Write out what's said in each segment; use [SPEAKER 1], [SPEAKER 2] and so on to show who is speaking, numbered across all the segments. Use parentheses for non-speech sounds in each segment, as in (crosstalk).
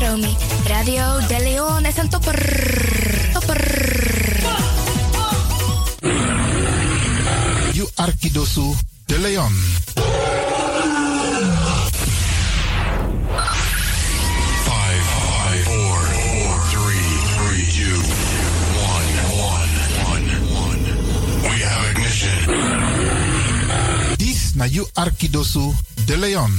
[SPEAKER 1] Naomi. Radio De Leon is een topper. Topper.
[SPEAKER 2] You Arkidosu de Leon.
[SPEAKER 3] Five, five, four, four, three, three, two, one, one, one, one. We have ignition.
[SPEAKER 2] This na You Arkidosu de Leon.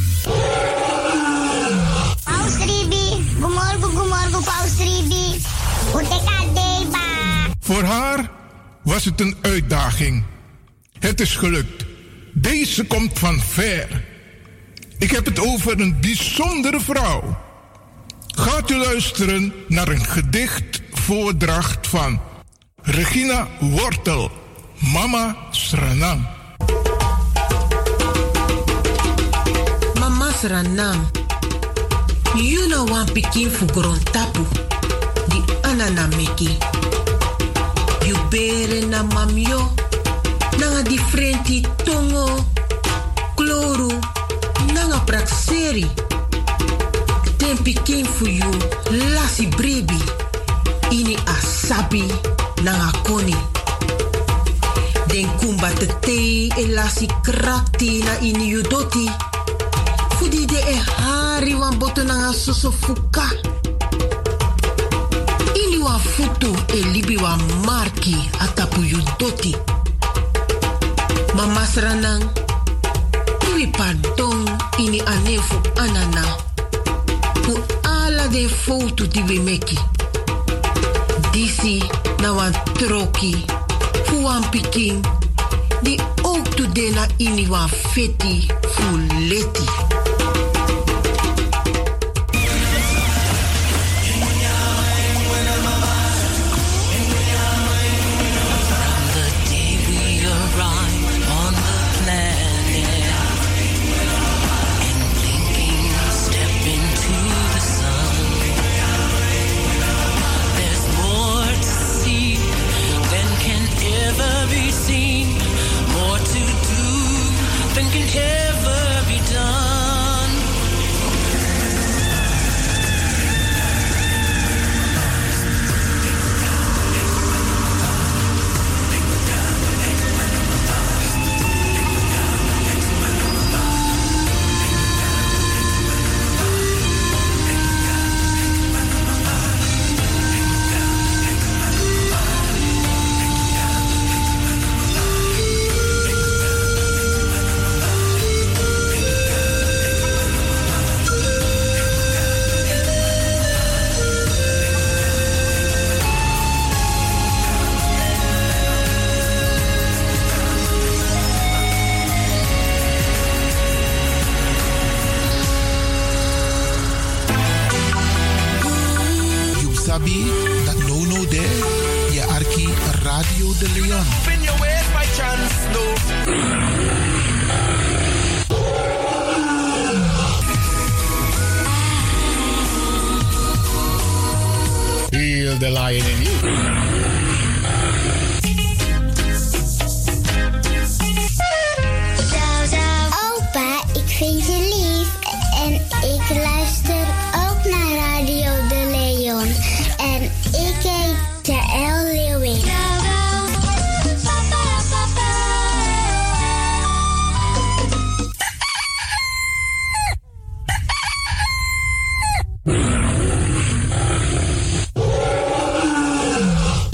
[SPEAKER 4] Paus Ribi, goedemorgen, goedemorgen Paus Ribi. Uteka Deba.
[SPEAKER 5] Voor haar was het een uitdaging. Het is gelukt. Deze komt van ver. Ik heb het over een bijzondere vrouw. Gaat u luisteren naar een gedichtvoordracht van Regina Wortel, Mama Sranang.
[SPEAKER 6] Mama Sranam, you know one pikin for grown tapu, the anana meki. You bere na mamyo, nanga differenti tongo, kloru, nanga prakseri. Ten pikin for you, lasi brebi, ini asabi, nanga koni. Den kumba te tei, elasi krakti na ini yudoti. Fudi de e hari wan boto nanga soso fuka. Ini wan futu e libi wan marki a tapu yu doti. Ma masranan, iwi pardon ini ane fu anana. Fu ala de foutu di we meki. Disi na wan troki, fu wan pikin, di ook tu de na ini wan feti fu leti.
[SPEAKER 7] Ever be done?
[SPEAKER 2] You sabi dat no no there. Je Arki Radio de Leon.
[SPEAKER 8] in your ways by chance,
[SPEAKER 9] Heal the lion in you.
[SPEAKER 4] Opa, ik vind je lief. En ik luister ook naar Radio De Leon. En ik heet Jaël Leeuwin.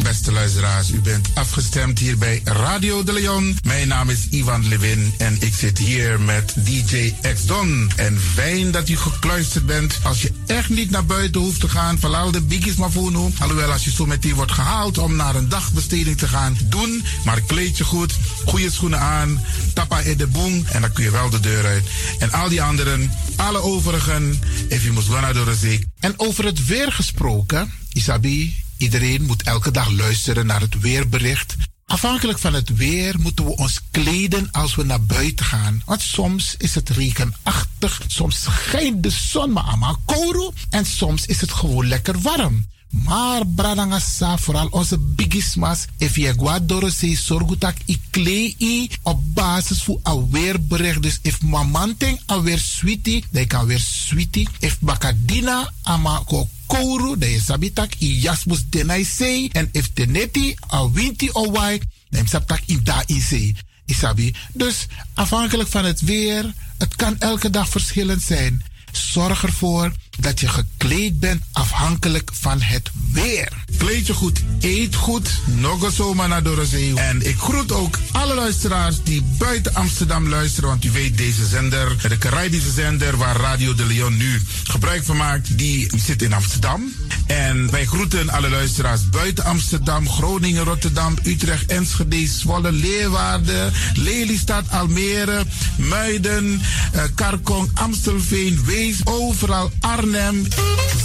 [SPEAKER 2] Beste luisteraars, u bent afgestemd hier bij Radio de Leon. Mijn naam is Ivan Levin en ik zit hier met DJ X Don. En fijn dat u gekluisterd bent. Als je echt niet naar buiten hoeft te gaan, verlaal de biggies maar voor nu. Alhoewel, als je zo meteen wordt gehaald om naar een dagbesteding te gaan, doen. Maar kleed je goed, goede schoenen aan, tappa in de boom en dan kun je wel de deur uit. En al die anderen, alle overigen, if you must go naar de zee. En over het weer gesproken, Isabi. Iedereen moet elke dag luisteren naar het weerbericht. Afhankelijk van het weer moeten we ons kleden als we naar buiten gaan. Want soms is het regenachtig, soms schijnt de zon maar allemaal kouro en soms is het gewoon lekker warm. Maar bradangasa, vooral onze bigismas, if je guadoro se sorgutak i klei op basis voor aweerbericht. Dus if mamanting aweer sweetie, dan kan weer sweetie. If bakadina ama ko kouru, dan je sabitak i jasmus denai sei. En if teneti a winti o wai, dan sabtak i da i sei. Isabi. Dus afhankelijk van het weer, het kan elke dag verschillend zijn. Zorg ervoor dat je gekleed bent afhankelijk van het weer. Kleed je goed, eet goed. Nog zomaar naar Dorozee. En ik groet ook alle luisteraars die buiten Amsterdam luisteren. Want u weet, deze zender, de Caribische zender waar Radio de Leon nu gebruik van maakt, die zit in Amsterdam. En wij groeten alle luisteraars buiten Amsterdam, Groningen, Rotterdam, Utrecht, Enschede, Zwolle, Leeuwarden, Lelystad, Almere, Muiden, eh, Karkong, Amstelveen, Wees, overal Arnhem,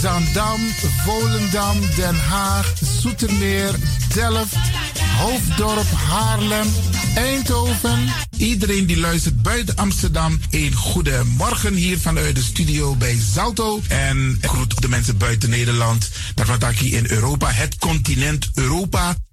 [SPEAKER 2] Zandam, Volendam, Den Haag, Zoetermeer, Delft, Hoofddorp, Haarlem, Eindhoven. Iedereen die luistert buiten Amsterdam, een goede morgen hier vanuit de studio bij Zalto. En ik groet de mensen buiten Nederland, dat wat ik hier in Europa, het continent Europa.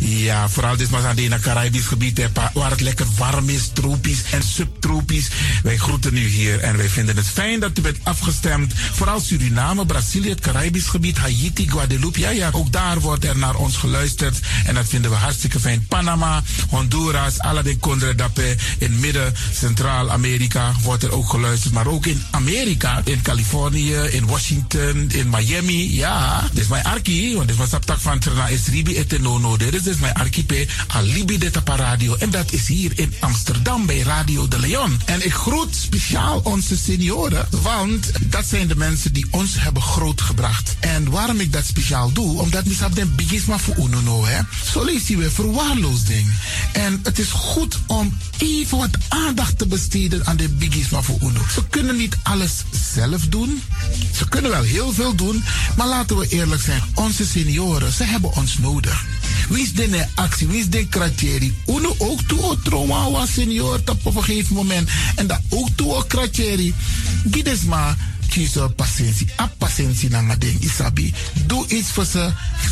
[SPEAKER 2] Ja, vooral dit was aan het Caribisch gebied, hè, pa- waar het lekker warm is, tropisch en subtropisch. Wij groeten u hier en wij vinden het fijn dat u bent afgestemd. Vooral Suriname, Brazilië, het Caribisch gebied, Haiti, Guadeloupe. Ja, ja, ook daar wordt er naar ons geluisterd en dat vinden we hartstikke fijn. Panama, Honduras, Aladdin Condre Dapé, in midden, Centraal-Amerika wordt er ook geluisterd. Maar ook in Amerika, in Californië, in Washington, in Miami. Ja, dit is mijn arki, want dit was op tak van Trana is Ribi et Nono. Dit is mijn archipel, Alibi de Tapa Radio. En dat is hier in Amsterdam bij Radio de Leon. En ik groet speciaal onze senioren, want dat zijn de mensen die ons hebben grootgebracht. En waarom ik dat speciaal doe, omdat we op den bigisma voor Unono, hè. Zo lezen we verwaarloosding. En het is goed om even wat aandacht te besteden aan de bigisma voor Uno. Ze kunnen niet alles zelf doen. Ze kunnen wel heel veel doen, maar laten we eerlijk zijn. Onze senioren, ze hebben ons nodig. Wie is de actie? Wie is de kratjeri? Uno ook toe trauma was senior op een gegeven moment. En dat ook toe kratjeri. Gides maar. Kies op patiëntie. A patiëntie na nga den isabi. Doe iets voor ze.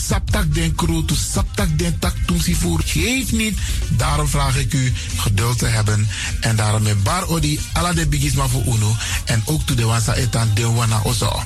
[SPEAKER 2] Saptak den kroot. Saptak den tak toensie voer. Geef niet. Daarom vraag ik u geduld te hebben. En daarom met bar odi. Alla de bigisma voor uno. En ook toe de wansa etan de wana ozo.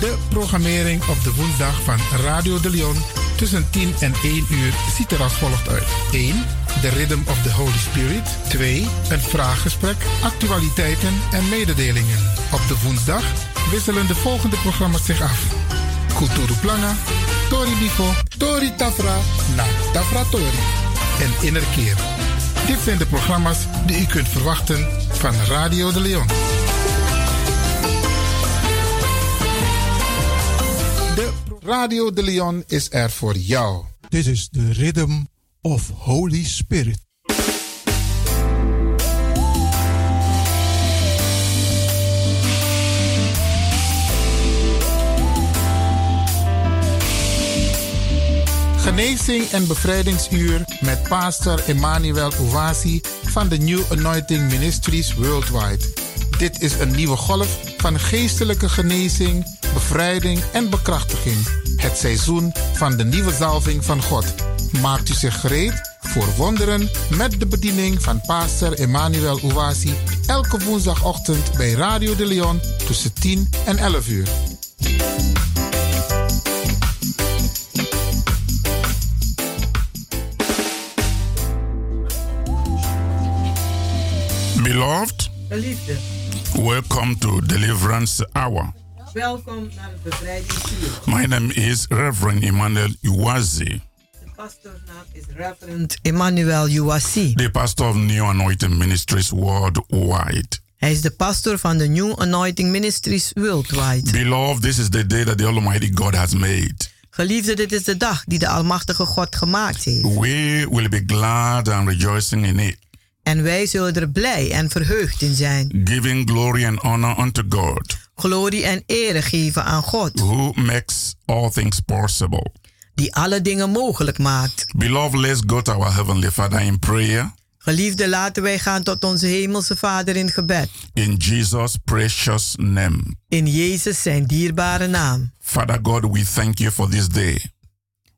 [SPEAKER 2] De programmering op de woensdag van Radio de Leon tussen 10 en 1 uur ziet er als volgt uit. 1. De Rhythm of the Holy Spirit. 2. Een vraaggesprek, actualiteiten en mededelingen. Op de woensdag wisselen de volgende programma's zich af. Kulturu Planga, Tori Bifo, Tori Tafra, Na Tafra Tori en Innerkeer. Dit zijn de programma's die u kunt verwachten van Radio de Leon. De Radio de Leon is er voor jou.
[SPEAKER 5] Dit is de Rhythm of Holy Spirit.
[SPEAKER 2] Genezing en Bevrijdingsuur met pastor Emmanuel Owasi van de New Anointing Ministries Worldwide. Dit is een nieuwe golf van geestelijke genezing, bevrijding en bekrachtiging. Het seizoen van de nieuwe zalving van God. Maakt u zich gereed voor wonderen met de bediening van pastor Emmanuel Owasi elke woensdagochtend bij Radio de Leon tussen 10 en 11 uur.
[SPEAKER 10] Beloved,
[SPEAKER 11] Geliefde,
[SPEAKER 10] welcome to Deliverance Hour.
[SPEAKER 11] welkom naar het bevrijdingsuur.
[SPEAKER 10] My name is Reverend Emmanuel Uwazi,
[SPEAKER 11] De pastoornaam is Reverend Emmanuel Uwasi.
[SPEAKER 10] the pastor of New Anointing Ministries worldwide.
[SPEAKER 11] Hij is de pastor van de New Anointing Ministries Worldwide.
[SPEAKER 10] Beloved, this is the day that the Almighty God has made.
[SPEAKER 11] Geliefde, dit is de dag die de Almachtige God gemaakt heeft.
[SPEAKER 10] We will be glad and rejoicing in it,
[SPEAKER 11] En wij zullen er blij en verheugd in zijn.
[SPEAKER 10] giving glory and honor unto God,
[SPEAKER 11] Glorie en ere geven aan God,
[SPEAKER 10] who makes all things possible.
[SPEAKER 11] die alle dingen mogelijk maakt.
[SPEAKER 10] Beloved, let's go to our Heavenly Father in prayer
[SPEAKER 11] Geliefde, laten wij gaan tot onze Hemelse Vader in gebed.
[SPEAKER 10] in Jesus' precious name.
[SPEAKER 11] In Jezus zijn dierbare naam.
[SPEAKER 10] Father God, we thank you for this day.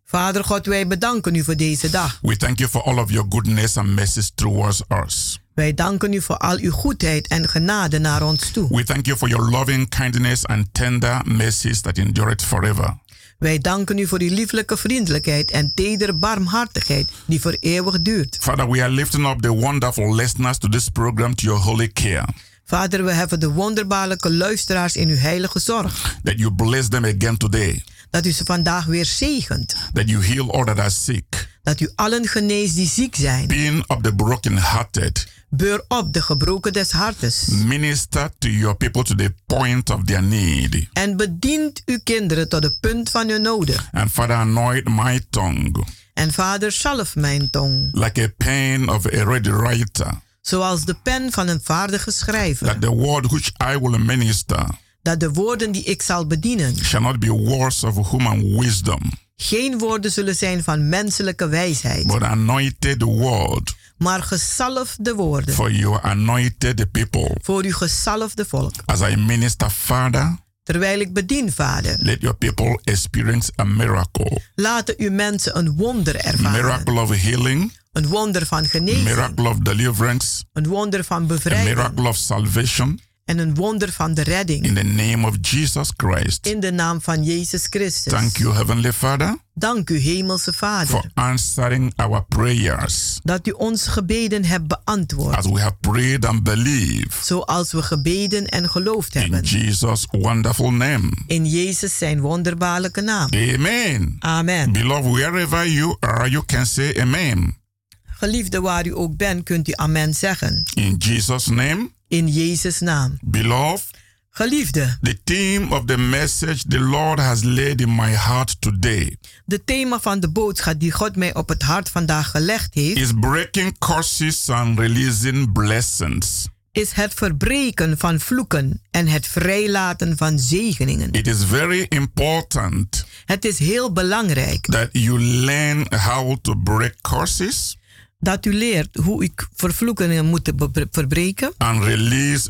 [SPEAKER 11] Vader God, wij bedanken u voor deze dag.
[SPEAKER 10] We thank you for all of your goodness and mercies towards us.
[SPEAKER 11] Wij danken u voor al uw goedheid en genade naar ons toe.
[SPEAKER 10] We thank you for your loving kindness and tender mercies that endureth forever.
[SPEAKER 11] Wij danken u voor uw lieflijke vriendelijkheid en tedere barmhartigheid die voor eeuwig duurt.
[SPEAKER 10] Father, we are lifting up the wonderful listeners to this program to your holy care,
[SPEAKER 11] Vader, we hebben de wonderbaarlijke luisteraars in uw heilige zorg.
[SPEAKER 10] that you bless them again today,
[SPEAKER 11] Dat u ze vandaag weer zegent.
[SPEAKER 10] that you heal all that are sick,
[SPEAKER 11] Dat u allen geneest die ziek zijn.
[SPEAKER 10] being of the brokenhearted.
[SPEAKER 11] Beur op de gebroken des hartes.
[SPEAKER 10] Minister to your people to the point of their need.
[SPEAKER 11] En bedient uw kinderen tot de punt van hun noden.
[SPEAKER 10] And Father, anoint my tongue
[SPEAKER 11] En vader, zalf mijn tong.
[SPEAKER 10] like a pen of a ready writer,
[SPEAKER 11] Zoals de pen van een vaardige schrijver.
[SPEAKER 10] that the word which I will minister
[SPEAKER 11] Dat de woorden die ik zal bedienen.
[SPEAKER 10] shall not be words of human wisdom,
[SPEAKER 11] Geen woorden zullen zijn van menselijke wijsheid.
[SPEAKER 10] but anointed word
[SPEAKER 11] Maar gezalfde woorden.
[SPEAKER 10] for your anointed people.
[SPEAKER 11] voor uw gezalfde volk.
[SPEAKER 10] As I minister, Father,
[SPEAKER 11] Terwijl ik bedien, Vader,
[SPEAKER 10] let your people experience a miracle.
[SPEAKER 11] laten uw mensen een wonder ervaren.
[SPEAKER 10] Miracle of healing,
[SPEAKER 11] Een wonder van genezing,
[SPEAKER 10] miracle of deliverance,
[SPEAKER 11] een wonder van
[SPEAKER 10] a
[SPEAKER 11] bevrijding
[SPEAKER 10] miracle of salvation
[SPEAKER 11] en een wonder van de redding.
[SPEAKER 10] in the name of Jesus Christ.
[SPEAKER 11] In de naam van Jezus Christus.
[SPEAKER 10] Thank you, Heavenly Father,
[SPEAKER 11] Dank u, Hemelse
[SPEAKER 10] for
[SPEAKER 11] Vader,
[SPEAKER 10] answering our prayers
[SPEAKER 11] dat u ons gebeden hebt beantwoord.
[SPEAKER 10] as we have prayed and believed
[SPEAKER 11] Zoals we gebeden en geloofd
[SPEAKER 10] in
[SPEAKER 11] hebben.
[SPEAKER 10] Jesus' wonderful name.
[SPEAKER 11] In Jezus zijn wonderbaarlijke naam.
[SPEAKER 10] Amen.
[SPEAKER 11] Amen.
[SPEAKER 10] Beloved, wherever you are, you can say Amen.
[SPEAKER 11] Geliefde waar u ook bent, kunt u amen zeggen.
[SPEAKER 10] In Jesus' name,
[SPEAKER 11] In Jezus' naam.
[SPEAKER 10] beloved,
[SPEAKER 11] Geliefde,
[SPEAKER 10] the theme of the message the Lord has laid in my heart today
[SPEAKER 11] de thema van de boodschap die God mij op het hart vandaag gelegd heeft,
[SPEAKER 10] is breaking curses and releasing blessings.
[SPEAKER 11] is het verbreken van vloeken en het vrijlaten van zegeningen.
[SPEAKER 10] It is very important
[SPEAKER 11] Het is heel belangrijk
[SPEAKER 10] that you learn how to break curses
[SPEAKER 11] dat u leert hoe u vervloekingen moet be- verbreken
[SPEAKER 10] and release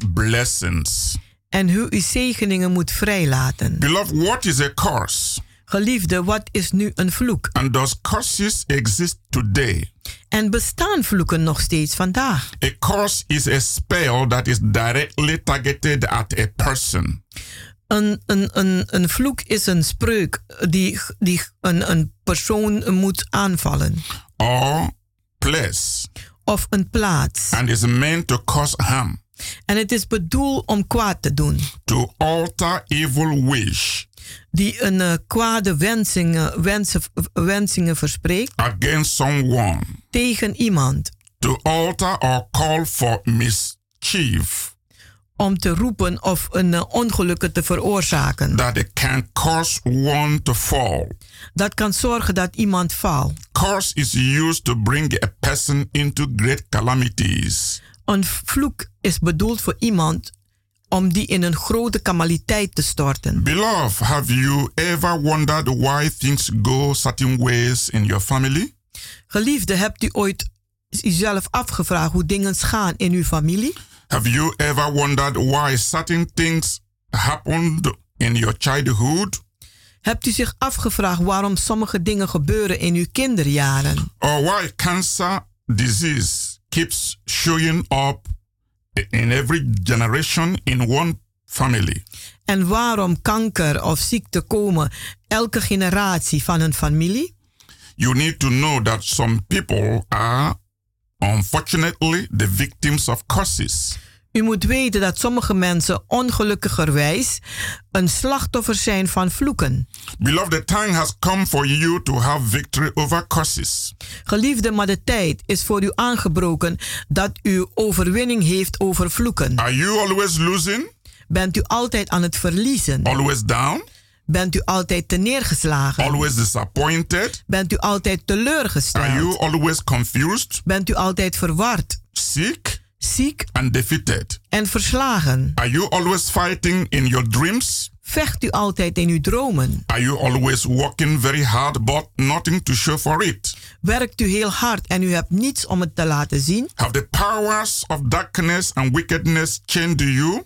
[SPEAKER 10] blessings.
[SPEAKER 11] en hoe u zegeningen moet vrijlaten.
[SPEAKER 10] Beloved, what is a curse?
[SPEAKER 11] Geliefde, wat is nu een vloek?
[SPEAKER 10] And does curses exist today?
[SPEAKER 11] En bestaan vloeken nog steeds vandaag?
[SPEAKER 10] A curse is a spell that is directly targeted at a person.
[SPEAKER 11] Een, een, een, een vloek is een spreuk die, die een, een persoon moet aanvallen
[SPEAKER 10] or place
[SPEAKER 11] of een plaats.
[SPEAKER 10] and is meant to cause harm,
[SPEAKER 11] En het is bedoeld om kwaad te doen.
[SPEAKER 10] to alter evil wish
[SPEAKER 11] die een eh, kwade wensingen, wensen, wensingen verspreekt
[SPEAKER 10] against someone,
[SPEAKER 11] tegen iemand
[SPEAKER 10] to alter or call for mischief
[SPEAKER 11] om te roepen of een eh, ongelukken te veroorzaken.
[SPEAKER 10] that it can cause one to fall.
[SPEAKER 11] Dat kan zorgen dat iemand valt.
[SPEAKER 10] Curse is used to bring a person into great calamities
[SPEAKER 11] Een vloek is bedoeld voor iemand om die in een grote kamaliteit te storten.
[SPEAKER 10] Beloved, have you ever wondered why things go certain ways in your family?
[SPEAKER 11] Geliefde, hebt u ooit zelf afgevraagd hoe dingen gaan in uw familie?
[SPEAKER 10] Have you ever wondered why certain things happened in your childhood?
[SPEAKER 11] Hebt u zich afgevraagd waarom sommige dingen gebeuren in uw kinderjaren?
[SPEAKER 10] Or why cancer disease keeps showing up in every generation in one family?
[SPEAKER 11] En waarom kanker of ziekte komen elke generatie van een familie?
[SPEAKER 10] You need to know that some people are unfortunately the victims of curses.
[SPEAKER 11] U moet weten dat sommige mensen ongelukkigerwijs een slachtoffer zijn van vloeken.
[SPEAKER 10] Beloved, the time has come for you to have victory over curses.
[SPEAKER 11] Geliefde, maar de tijd is voor u aangebroken dat u overwinning heeft over vloeken.
[SPEAKER 10] Are you always losing?
[SPEAKER 11] Bent u altijd aan het verliezen?
[SPEAKER 10] Always down?
[SPEAKER 11] Bent u altijd te neergeslagen?
[SPEAKER 10] Always disappointed?
[SPEAKER 11] Bent u altijd teleurgesteld?
[SPEAKER 10] Are you always confused?
[SPEAKER 11] Bent u altijd verward?
[SPEAKER 10] Sick?
[SPEAKER 11] ziek
[SPEAKER 10] and defeated.
[SPEAKER 11] en verslagen?
[SPEAKER 10] Are you always fighting in your dreams?
[SPEAKER 11] Vecht u altijd in uw dromen?
[SPEAKER 10] Are you always working very hard but nothing to show for it?
[SPEAKER 11] Werkt u heel hard en u hebt niets om het te laten zien?
[SPEAKER 10] Have the powers of darkness and wickedness chained you?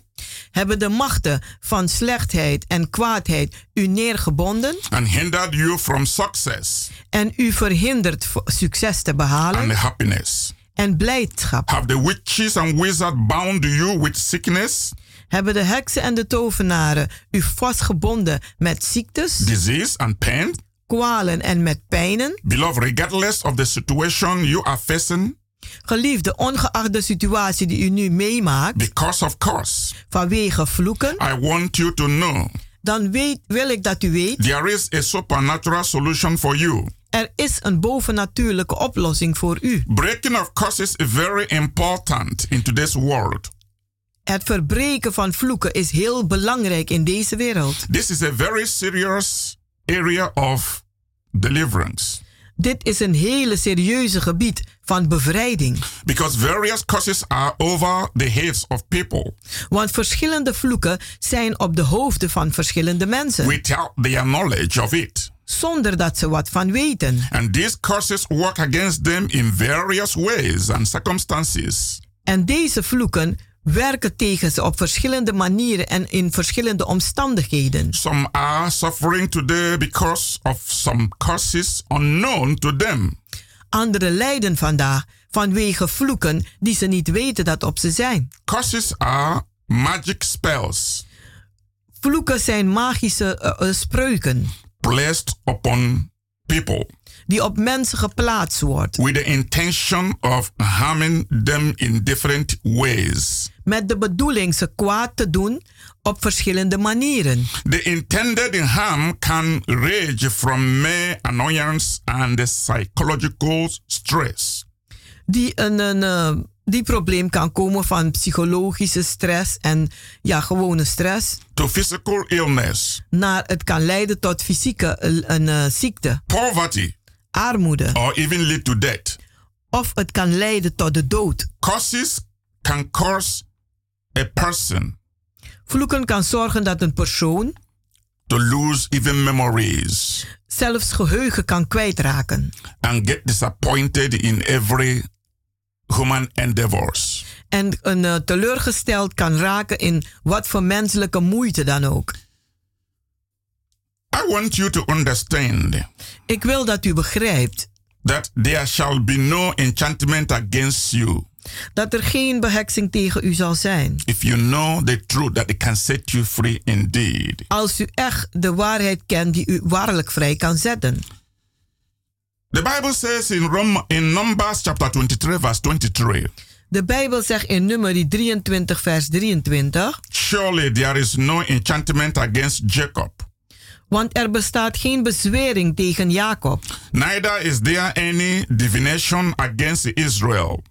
[SPEAKER 11] Hebben de machten van slechtheid en kwaadheid u neergebonden?
[SPEAKER 10] And hindered you from success?
[SPEAKER 11] En u verhinderd succes te behalen?
[SPEAKER 10] And happiness?
[SPEAKER 11] en blijdschap.
[SPEAKER 10] Have the witches and wizards bound you with sickness?
[SPEAKER 11] Hebben de heksen en de tovenaren u vastgebonden met ziektes?
[SPEAKER 10] Disease and pain?
[SPEAKER 11] Kwalen en met pijnen?
[SPEAKER 10] Beloved, regardless of the situation you are facing.
[SPEAKER 11] Geliefde, ongeacht de situatie die u nu meemaakt.
[SPEAKER 10] Because of course.
[SPEAKER 11] Vanwege vloeken.
[SPEAKER 10] I want you to know.
[SPEAKER 11] Dan weet, wil ik dat u weet.
[SPEAKER 10] There is a supernatural solution for you.
[SPEAKER 11] Er is een bovennatuurlijke oplossing voor u.
[SPEAKER 10] Breaking of curses is very important in today's world.
[SPEAKER 11] Het verbreken van vloeken is heel belangrijk in deze wereld.
[SPEAKER 10] This is a very serious area of deliverance.
[SPEAKER 11] Dit is een hele serieuze gebied van bevrijding.
[SPEAKER 10] Because various curses are over the heads of people.
[SPEAKER 11] Want verschillende vloeken zijn op de hoofden van verschillende mensen.
[SPEAKER 10] Without their knowledge of it
[SPEAKER 11] zonder dat ze wat van weten.
[SPEAKER 10] And these curses work against them in various ways and circumstances.
[SPEAKER 11] En deze vloeken werken tegen ze op verschillende manieren en in verschillende omstandigheden.
[SPEAKER 10] Some are suffering today because of some curses unknown to them.
[SPEAKER 11] Anderen lijden vandaag vanwege vloeken die ze niet weten dat op ze zijn.
[SPEAKER 10] Curses are magic spells.
[SPEAKER 11] Vloeken zijn magische uh, uh, spreuken
[SPEAKER 10] placed upon people.
[SPEAKER 11] Die op mensen geplaatst wordt.
[SPEAKER 10] With the intention of harming them in different ways.
[SPEAKER 11] Met de bedoeling ze kwaad te doen op verschillende manieren.
[SPEAKER 10] The intended harm can range from mere annoyance and psychological stress.
[SPEAKER 11] Die een, een die probleem kan komen van psychologische stress en ja, gewone stress.
[SPEAKER 10] To physical illness.
[SPEAKER 11] Naar het kan leiden tot fysieke een, uh, ziekte.
[SPEAKER 10] Poverty.
[SPEAKER 11] Armoede.
[SPEAKER 10] Or even lead to death.
[SPEAKER 11] Of het kan leiden tot de dood.
[SPEAKER 10] Curses can cause a person.
[SPEAKER 11] Vloeken kan zorgen dat een persoon.
[SPEAKER 10] To lose even memories.
[SPEAKER 11] Zelfs geheugen kan kwijtraken.
[SPEAKER 10] And get disappointed in every human endeavors.
[SPEAKER 11] En een uh, teleurgesteld kan raken in wat voor menselijke moeite dan ook.
[SPEAKER 10] I want you to understand.
[SPEAKER 11] Ik wil dat u begrijpt.
[SPEAKER 10] That there shall be no enchantment against you.
[SPEAKER 11] Dat er geen beheksing tegen u zal zijn.
[SPEAKER 10] If you know the truth that it can set you free indeed.
[SPEAKER 11] Als u echt de waarheid kent die u waarlijk vrij kan zetten.
[SPEAKER 10] The Bible says in Rome, in Numbers chapter 23 verse 23.
[SPEAKER 11] De Bijbel zegt in nummer 23 vers 23.
[SPEAKER 10] Surely there is no enchantment against Jacob.
[SPEAKER 11] Want er bestaat geen bezwering tegen Jacob.
[SPEAKER 10] Neither is there any divination against Israel.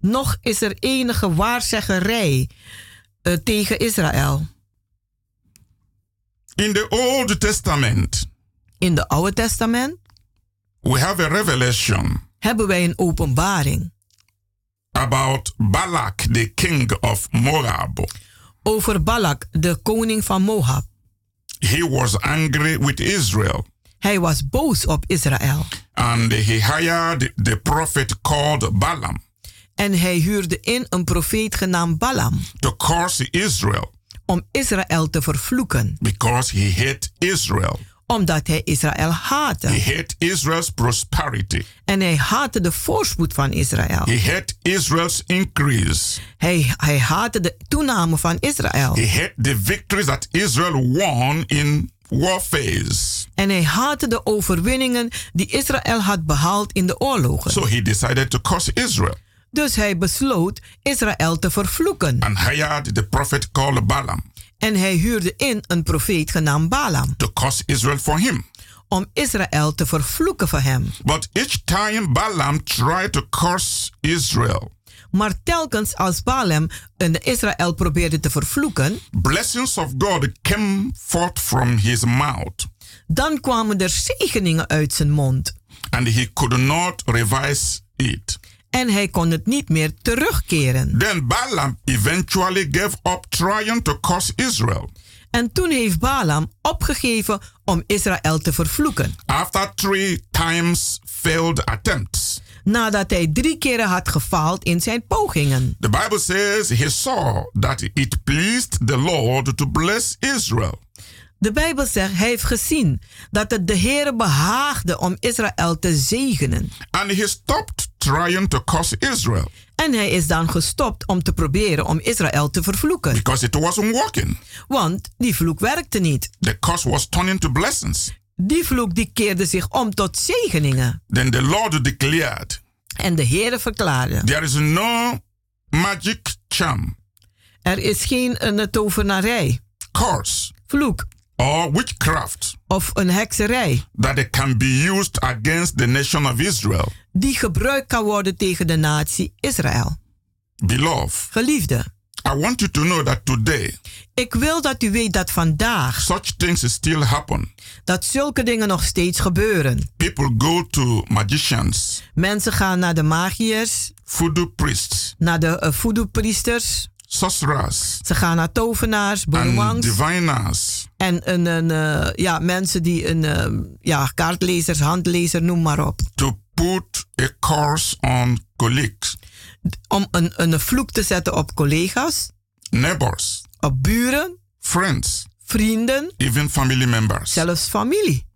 [SPEAKER 11] Nog is er enige waarzeggerij uh, tegen Israël.
[SPEAKER 10] In the Old Testament.
[SPEAKER 11] In de Oude Testament.
[SPEAKER 10] We have a revelation.
[SPEAKER 11] Hebben wij een openbaring.
[SPEAKER 10] About Balak, the king of Moab.
[SPEAKER 11] over Balak, de koning van Moab.
[SPEAKER 10] He was angry with Israel.
[SPEAKER 11] Hij was boos op Israël.
[SPEAKER 10] And he hired the prophet called Balaam.
[SPEAKER 11] En hij huurde in een profeet genaamd Balaam.
[SPEAKER 10] To curse Israel.
[SPEAKER 11] Om Israël te vervloeken.
[SPEAKER 10] Because he hate Israel.
[SPEAKER 11] Omdat hij Israël haatte.
[SPEAKER 10] He hate Israel's prosperity.
[SPEAKER 11] En hij haatte de voorspoed van Israël.
[SPEAKER 10] He hate Israel's increase.
[SPEAKER 11] Hij, hij haatte de toename van Israël.
[SPEAKER 10] He hate the victories that Israel won in warfares.
[SPEAKER 11] En hij haatte de overwinningen die Israël had behaald in de oorlogen.
[SPEAKER 10] So he decided to curse Israel.
[SPEAKER 11] Dus hij besloot Israël te vervloeken.
[SPEAKER 10] And hired the prophet called Balaam.
[SPEAKER 11] En hij huurde in een profeet genaamd Balaam.
[SPEAKER 10] To curse Israel for him.
[SPEAKER 11] Om Israël te vervloeken voor hem.
[SPEAKER 10] But each time Balaam tried to curse Israel.
[SPEAKER 11] Maar telkens als Balaam en Israël probeerde te vervloeken,
[SPEAKER 10] blessings of God came forth from his mouth.
[SPEAKER 11] Dan kwamen er zegeningen uit zijn mond.
[SPEAKER 10] And he could not revise it.
[SPEAKER 11] En hij kon het niet meer terugkeren.
[SPEAKER 10] Then Balaam eventually gave up trying to curse Israel.
[SPEAKER 11] En toen heeft Balaam opgegeven om Israël te vervloeken.
[SPEAKER 10] After three times failed attempts
[SPEAKER 11] nadat hij drie keren had gefaald in zijn pogingen.
[SPEAKER 10] The Bible says he saw that it pleased the Lord to bless Israel.
[SPEAKER 11] De Bijbel zegt hij heeft gezien dat het de Heere behaagde om Israël te zegenen.
[SPEAKER 10] And he stopped trying to curse Israel.
[SPEAKER 11] En hij is dan gestopt om te proberen om Israël te vervloeken.
[SPEAKER 10] Because it wasn't working.
[SPEAKER 11] Want die vloek werkte niet.
[SPEAKER 10] The curse was turning to blessings.
[SPEAKER 11] Die vloek die keerde zich om tot zegeningen.
[SPEAKER 10] Then the Lord declared.
[SPEAKER 11] En de Heere verklaarde.
[SPEAKER 10] There is no magic charm.
[SPEAKER 11] Er is geen eh, een tovenarij.
[SPEAKER 10] Curse.
[SPEAKER 11] Vloek.
[SPEAKER 10] Or witchcraft.
[SPEAKER 11] Of een hekserij.
[SPEAKER 10] That it can be used against the nation of Israel.
[SPEAKER 11] Die gebruikt kan worden tegen de natie Israël.
[SPEAKER 10] Beloved.
[SPEAKER 11] Geliefde.
[SPEAKER 10] I want you to know that today.
[SPEAKER 11] Ik wil dat u weet dat vandaag.
[SPEAKER 10] Such things still happen.
[SPEAKER 11] Dat zulke dingen nog steeds gebeuren.
[SPEAKER 10] People go to magicians.
[SPEAKER 11] Mensen gaan naar de magiërs.
[SPEAKER 10] Voodoo priests.
[SPEAKER 11] Naar de uh, voodoo priesters.
[SPEAKER 10] Sorcerers.
[SPEAKER 11] Ze gaan naar tovenaars, boemangs.
[SPEAKER 10] diviners.
[SPEAKER 11] En een, een, uh, ja, mensen die een uh, ja, kaartlezers, handlezer, noem maar op.
[SPEAKER 10] To put a curse on colleagues.
[SPEAKER 11] Om een, een vloek te zetten op collega's.
[SPEAKER 10] Neighbors
[SPEAKER 11] op buren,
[SPEAKER 10] friends,
[SPEAKER 11] vrienden,
[SPEAKER 10] even family members,
[SPEAKER 11] zelfs familie.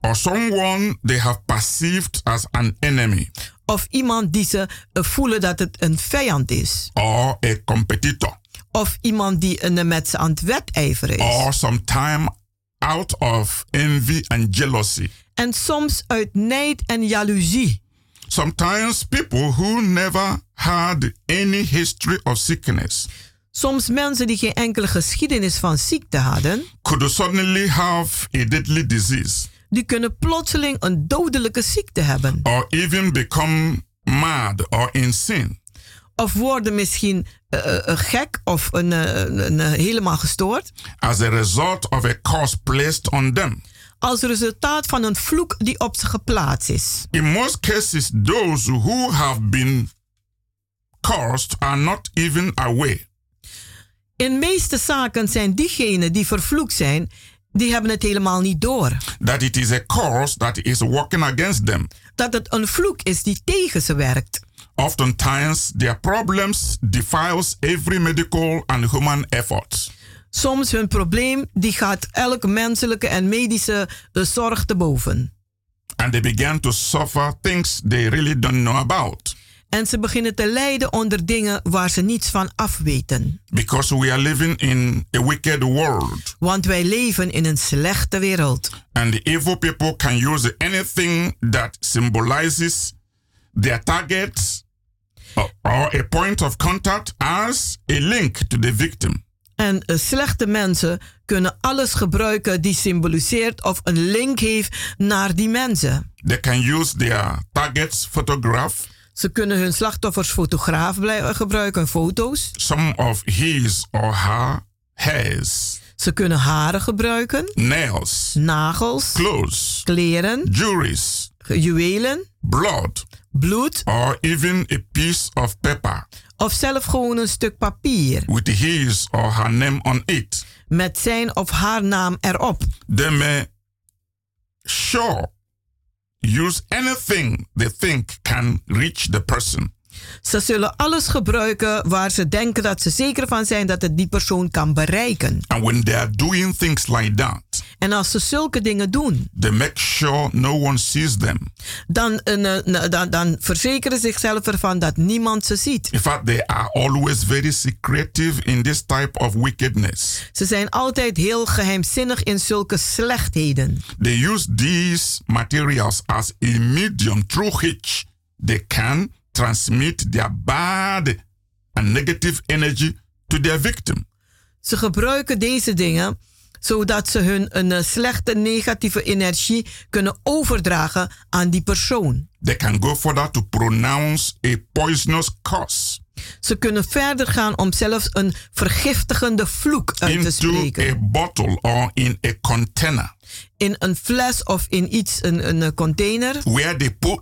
[SPEAKER 10] Or someone they have perceived as an enemy.
[SPEAKER 11] Of iemand die ze eh, voelen dat het een vijand is.
[SPEAKER 10] Or a competitor.
[SPEAKER 11] Of iemand die eh, met ze aan het wedijveren is.
[SPEAKER 10] Or sometime out of envy and jealousy.
[SPEAKER 11] En soms uit nijd en jaloezie.
[SPEAKER 10] Sometimes people who never had any history of sickness.
[SPEAKER 11] Soms mensen die geen enkele geschiedenis van ziekte hadden,
[SPEAKER 10] could suddenly have a deadly disease.
[SPEAKER 11] Die kunnen plotseling een dodelijke ziekte hebben.
[SPEAKER 10] Or even become mad or insane.
[SPEAKER 11] Of worden misschien uh, uh, gek of een, uh, helemaal gestoord.
[SPEAKER 10] As a result of a curse placed on them.
[SPEAKER 11] Als resultaat van een vloek die op ze geplaatst is.
[SPEAKER 10] In most cases, those who have been cursed are not even aware.
[SPEAKER 11] In meeste zaken zijn diegenen die vervloekt zijn, die hebben het helemaal niet door.
[SPEAKER 10] That it is a curse that is working against them.
[SPEAKER 11] Dat het een vloek is die tegen ze werkt.
[SPEAKER 10] Oftentimes their problems defiles every medical and human effort.
[SPEAKER 11] Soms hun probleem die gaat elke menselijke en medische eh, zorg te boven.
[SPEAKER 10] And they began to suffer things they really don't know about.
[SPEAKER 11] En ze beginnen te lijden onder dingen waar ze niets van afweten.
[SPEAKER 10] Because we are living in a wicked world.
[SPEAKER 11] Want wij leven in een slechte wereld.
[SPEAKER 10] And the evil people can use anything that symbolizes their target or a point of contact as a link to the victim.
[SPEAKER 11] En eh, slechte mensen kunnen alles gebruiken die symboliseert of een link heeft naar die mensen.
[SPEAKER 10] They can use their target's photograph.
[SPEAKER 11] Ze kunnen hun slachtoffers fotograaf gebruiken, foto's.
[SPEAKER 10] Some of his or her hairs.
[SPEAKER 11] Ze kunnen haren gebruiken.
[SPEAKER 10] Nails.
[SPEAKER 11] Nagels.
[SPEAKER 10] Clothes.
[SPEAKER 11] Kleren.
[SPEAKER 10] Juries.
[SPEAKER 11] Juwelen.
[SPEAKER 10] Blood.
[SPEAKER 11] bloed.
[SPEAKER 10] Or even a piece of paper.
[SPEAKER 11] Of zelf gewoon een stuk papier.
[SPEAKER 10] With his or her name on it.
[SPEAKER 11] Met zijn of haar naam erop.
[SPEAKER 10] They may sure use anything they think can reach the person.
[SPEAKER 11] Ze zullen alles gebruiken waar ze denken dat ze zeker van zijn dat het die persoon kan bereiken.
[SPEAKER 10] And when they are doing things like that,
[SPEAKER 11] en als ze zulke dingen doen,
[SPEAKER 10] they make sure no one sees them.
[SPEAKER 11] Dan, uh, dan, dan verzekeren ze zichzelf ervan dat niemand ze ziet.
[SPEAKER 10] In fact, they are always very secretive in this type of wickedness.
[SPEAKER 11] Ze zijn altijd heel geheimzinnig in zulke slechtheden.
[SPEAKER 10] They use these materials as a medium through which they can transmit their bad and negative energy to their victim.
[SPEAKER 11] Ze gebruiken deze dingen zodat ze hun een eh, slechte negatieve energie kunnen overdragen aan die persoon.
[SPEAKER 10] They can go further to pronounce a poisonous curse.
[SPEAKER 11] Ze kunnen verder gaan om zelfs een vergiftigende vloek uit
[SPEAKER 10] Into
[SPEAKER 11] te spreken.
[SPEAKER 10] A bottle or in a container.
[SPEAKER 11] In een fles of in iets een, een container.
[SPEAKER 10] Where they put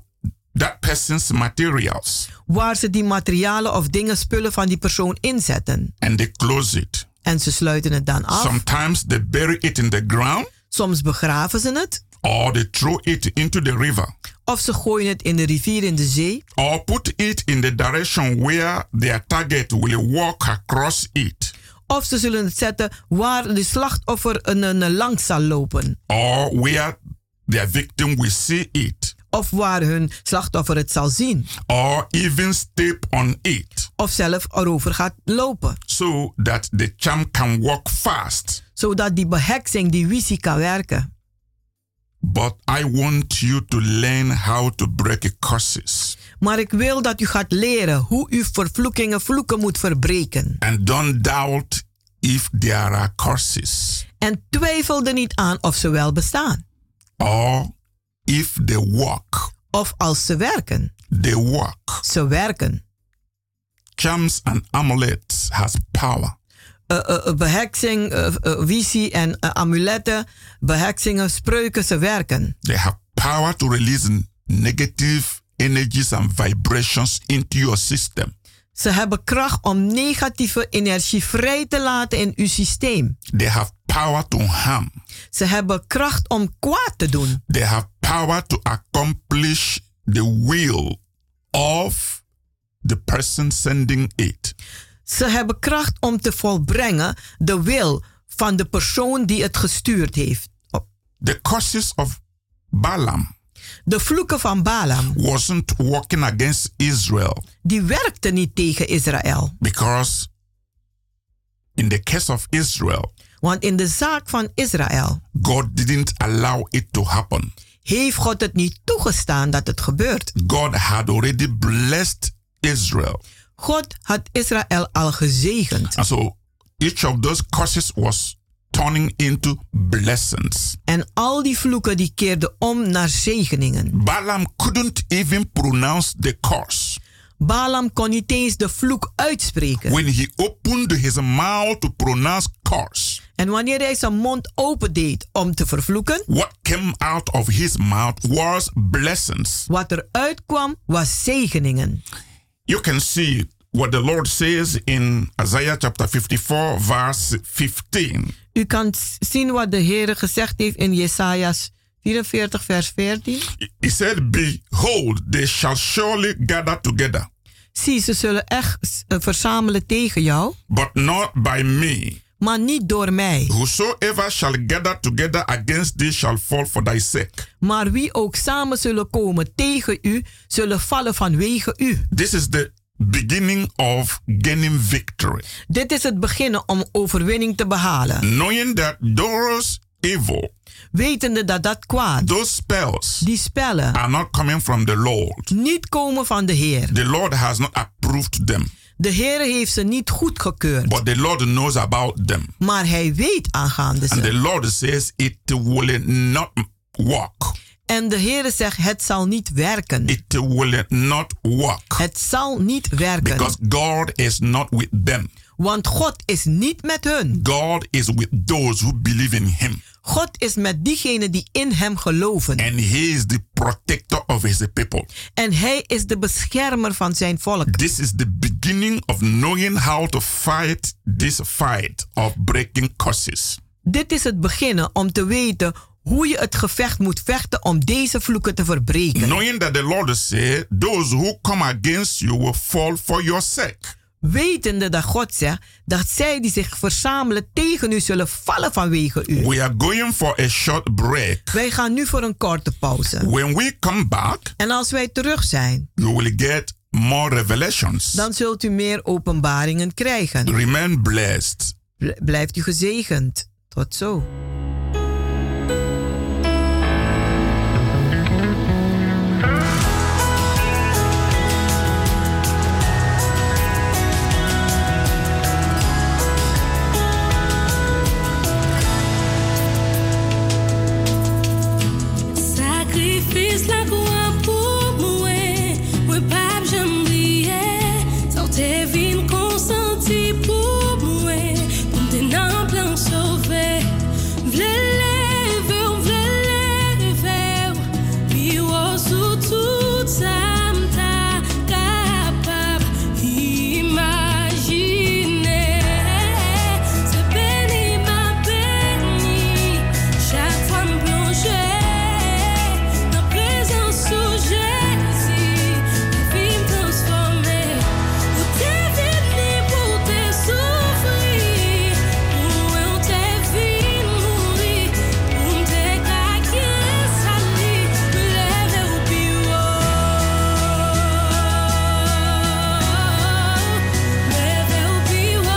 [SPEAKER 10] that person's materials.
[SPEAKER 11] Waar ze die materialen of dingen, spullen van die persoon inzetten.
[SPEAKER 10] And they close it.
[SPEAKER 11] En ze sluiten het dan af.
[SPEAKER 10] Sometimes they bury it in the ground.
[SPEAKER 11] Soms begraven ze het.
[SPEAKER 10] Or they throw it into the river.
[SPEAKER 11] Of ze gooien het in de rivier in de zee.
[SPEAKER 10] Or put it in the direction where their target will walk across it.
[SPEAKER 11] Of ze zullen het zetten waar de slachtoffer een, een langs zal lopen.
[SPEAKER 10] Or where their victim will see it
[SPEAKER 11] of waar hun slachtoffer het zal zien.
[SPEAKER 10] Or even step on it.
[SPEAKER 11] Of zelf erover gaat lopen.
[SPEAKER 10] So that the charm can walk fast.
[SPEAKER 11] Zodat die beheksing, die visie kan werken.
[SPEAKER 10] But I want you to learn how to break curses.
[SPEAKER 11] Maar ik wil dat u gaat leren hoe u vervloekingen vloeken moet verbreken.
[SPEAKER 10] And don't doubt if there are curses.
[SPEAKER 11] En twijfel er niet aan of ze wel bestaan.
[SPEAKER 10] Or if they work.
[SPEAKER 11] Of als ze werken.
[SPEAKER 10] They work.
[SPEAKER 11] Ze werken.
[SPEAKER 10] Charms and amulets has power.
[SPEAKER 11] Uh, uh, beheksing, uh, visie en eh, amuletten, beheksingen, spreuken, ze werken.
[SPEAKER 10] They have power to release negative energies and vibrations into your system.
[SPEAKER 11] Ze hebben kracht om negatieve energie vrij te laten in uw systeem.
[SPEAKER 10] They have power to harm.
[SPEAKER 11] Ze hebben kracht om kwaad te doen.
[SPEAKER 10] They have power to accomplish the will of the person sending it.
[SPEAKER 11] Ze hebben kracht om te volbrengen de wil van de persoon die het gestuurd heeft.
[SPEAKER 10] Oh. The curses of Balaam.
[SPEAKER 11] De vloeken van Balaam
[SPEAKER 10] wasn't working against Israel.
[SPEAKER 11] Die werkte niet tegen Israël.
[SPEAKER 10] Because in the case of Israel,
[SPEAKER 11] want in de zaak van Israël.
[SPEAKER 10] God didn't allow it to happen.
[SPEAKER 11] Heeft God het niet toegestaan dat het gebeurt?
[SPEAKER 10] God had already blessed Israel.
[SPEAKER 11] God had Israël al gezegend.
[SPEAKER 10] And so each of those curses was turning into blessings.
[SPEAKER 11] En al die vloeken die keerden om naar zegeningen.
[SPEAKER 10] Balaam couldn't even pronounce the curse.
[SPEAKER 11] Balaam kon niet eens de vloek uitspreken.
[SPEAKER 10] When he opened his mouth to pronounce curse.
[SPEAKER 11] En wanneer hij zijn mond opendeed om te vervloeken,
[SPEAKER 10] what came out of his mouth was blessings.
[SPEAKER 11] Wat er uitkwam was zegeningen.
[SPEAKER 10] You can see what the Lord says in Isaiah chapter 54 verse 15.
[SPEAKER 11] U kan zien wat de Heer gezegd heeft in Jesaja's 44 vers 14.
[SPEAKER 10] He said, Behold, they shall surely gather together.
[SPEAKER 11] Zie, ze zullen echt eh, verzamelen tegen jou.
[SPEAKER 10] But not by me.
[SPEAKER 11] Maar niet door mij.
[SPEAKER 10] Eh. Whosoever shall gather together against thee shall fall for thy sake.
[SPEAKER 11] Maar wie ook samen zullen komen tegen u, zullen vallen vanwege u.
[SPEAKER 10] This is the beginning of gaining victory.
[SPEAKER 11] Dit is het beginnen om overwinning te behalen.
[SPEAKER 10] Knowing that those evil
[SPEAKER 11] wetende dat dat kwaad,
[SPEAKER 10] Those spells
[SPEAKER 11] die spellen,
[SPEAKER 10] are not coming from the Lord.
[SPEAKER 11] niet komen van de Heer.
[SPEAKER 10] The Lord has not approved them.
[SPEAKER 11] De Heer heeft ze niet goedgekeurd.
[SPEAKER 10] But the Lord knows about them.
[SPEAKER 11] Maar hij weet aangaande ze.
[SPEAKER 10] And the Lord says it will not work.
[SPEAKER 11] En de Heer zegt het zal niet werken.
[SPEAKER 10] It will not work.
[SPEAKER 11] Het zal niet werken.
[SPEAKER 10] Because God is not with them.
[SPEAKER 11] Want God is niet met hun.
[SPEAKER 10] God is with those who believe in him.
[SPEAKER 11] God is met diegenen die in hem geloven.
[SPEAKER 10] And he is the protector of his people.
[SPEAKER 11] En hij is de beschermer van zijn volk.
[SPEAKER 10] This is the beginning of knowing how to fight this fight of breaking curses.
[SPEAKER 11] Dit is het beginnen om te weten hoe je het gevecht moet vechten om deze vloeken te verbreken.
[SPEAKER 10] Knowing that the Lord said, those who come against you will fall for your sake.
[SPEAKER 11] Wetende dat God zegt dat zij die zich verzamelen tegen u zullen vallen vanwege u.
[SPEAKER 10] We are going for a short break.
[SPEAKER 11] Wij gaan nu voor een korte pauze.
[SPEAKER 10] When we come back,
[SPEAKER 11] en als wij terug zijn,
[SPEAKER 10] you will get more revelations.
[SPEAKER 11] dan zult u meer openbaringen krijgen.
[SPEAKER 10] Remain blessed.
[SPEAKER 11] Bl- Blijft u gezegend. Tot zo.
[SPEAKER 12] Sakrifis la kwa pou mwen Mwen pap jam liye San te vin konsanti pou mwen Pou mte nan plan sove Vle leve ou vle leve ou Pi ou sou tout sa mta kapab Imagine Se beni ma beni Chaque fois me plonger dans présence où Jésus, vie me transformer. Où t'es venu pour te souffrir, où t'es venu mourir, où t'es caqué sali, me lever au bureau, lever au bureau. Leve o pior,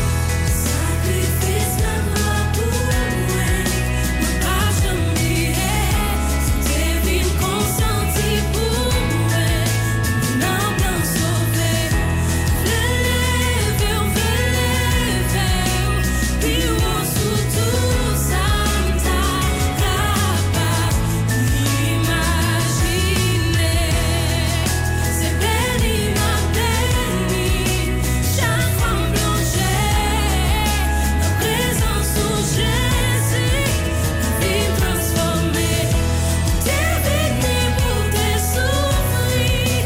[SPEAKER 12] sacrifício na tua mente. Não basta me receber, consciente por mim. Não canso ver, leve o leve, pior tudo santa capaz. Imagine. C'est béni, ma béni, chaque femme plongée, la présence où Jésus, vie transformée. T'es venu pour te souffrir,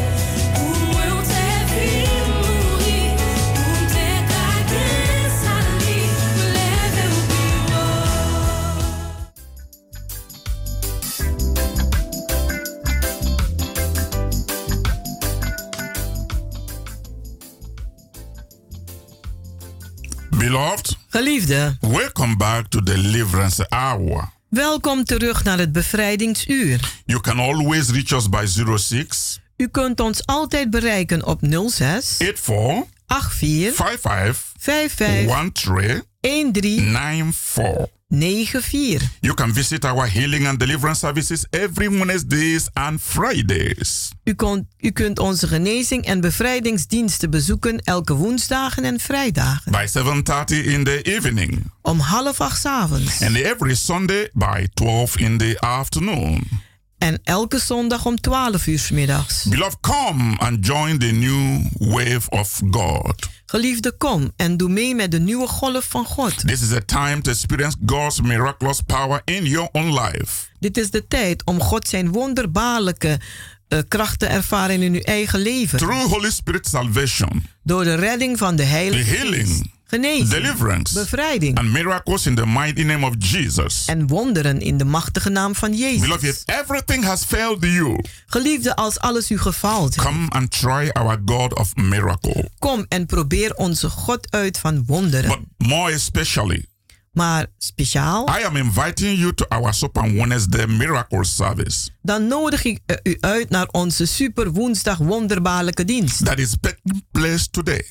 [SPEAKER 12] où on t'est vu mourir, où t'es cagué sali, me lever au bureau.
[SPEAKER 10] Beloved,
[SPEAKER 11] Geliefde,
[SPEAKER 10] welcome back to Deliverance Hour.
[SPEAKER 11] welkom terug naar het bevrijdingsuur.
[SPEAKER 10] You can always reach us by 06
[SPEAKER 11] U kunt ons altijd bereiken op 06
[SPEAKER 10] 84
[SPEAKER 11] 84
[SPEAKER 10] 55
[SPEAKER 11] 55
[SPEAKER 10] 13
[SPEAKER 11] 13
[SPEAKER 10] 94.
[SPEAKER 11] 94.
[SPEAKER 10] You can visit our healing and deliverance services every Wednesdays and Fridays.
[SPEAKER 11] U, kon- u kunt onze genezing en bevrijdingsdiensten bezoeken elke woensdagen en vrijdagen
[SPEAKER 10] by 7:30 in the evening
[SPEAKER 11] om half acht 's avonds
[SPEAKER 10] and every Sunday by 12 in the afternoon.
[SPEAKER 11] en elke zondag om 12 uur 's middags.
[SPEAKER 10] Beloved, come and join the new wave of God.
[SPEAKER 11] Geliefde, kom en doe mee met de nieuwe golf van God.
[SPEAKER 10] This is a time to experience God's miraculous power in your own life.
[SPEAKER 11] Dit is de tijd om God zijn wonderbaarlijke eh, kracht te ervaren in uw eigen leven.
[SPEAKER 10] Through Holy Spirit salvation,
[SPEAKER 11] Door de redding van de
[SPEAKER 10] the
[SPEAKER 11] Heilige Geest.
[SPEAKER 10] healing,
[SPEAKER 11] Genezing,
[SPEAKER 10] deliverance,
[SPEAKER 11] bevrijding
[SPEAKER 10] and miracles in the mighty name of Jesus.
[SPEAKER 11] en wonderen in de machtige naam van
[SPEAKER 10] Beloved,
[SPEAKER 11] Jezus.
[SPEAKER 10] if everything has failed you,
[SPEAKER 11] Geliefde, als alles u gefaald heeft,
[SPEAKER 10] come and try our God of miracle.
[SPEAKER 11] kom en probeer onze God uit van wonderen.
[SPEAKER 10] But more especially,
[SPEAKER 11] Maar speciaal,
[SPEAKER 10] I am inviting you to our Soap and Wednesday miracle service
[SPEAKER 11] dan nodig ik eh, u uit naar onze super woensdag wonderbaarlijke dienst.
[SPEAKER 10] that is taking place today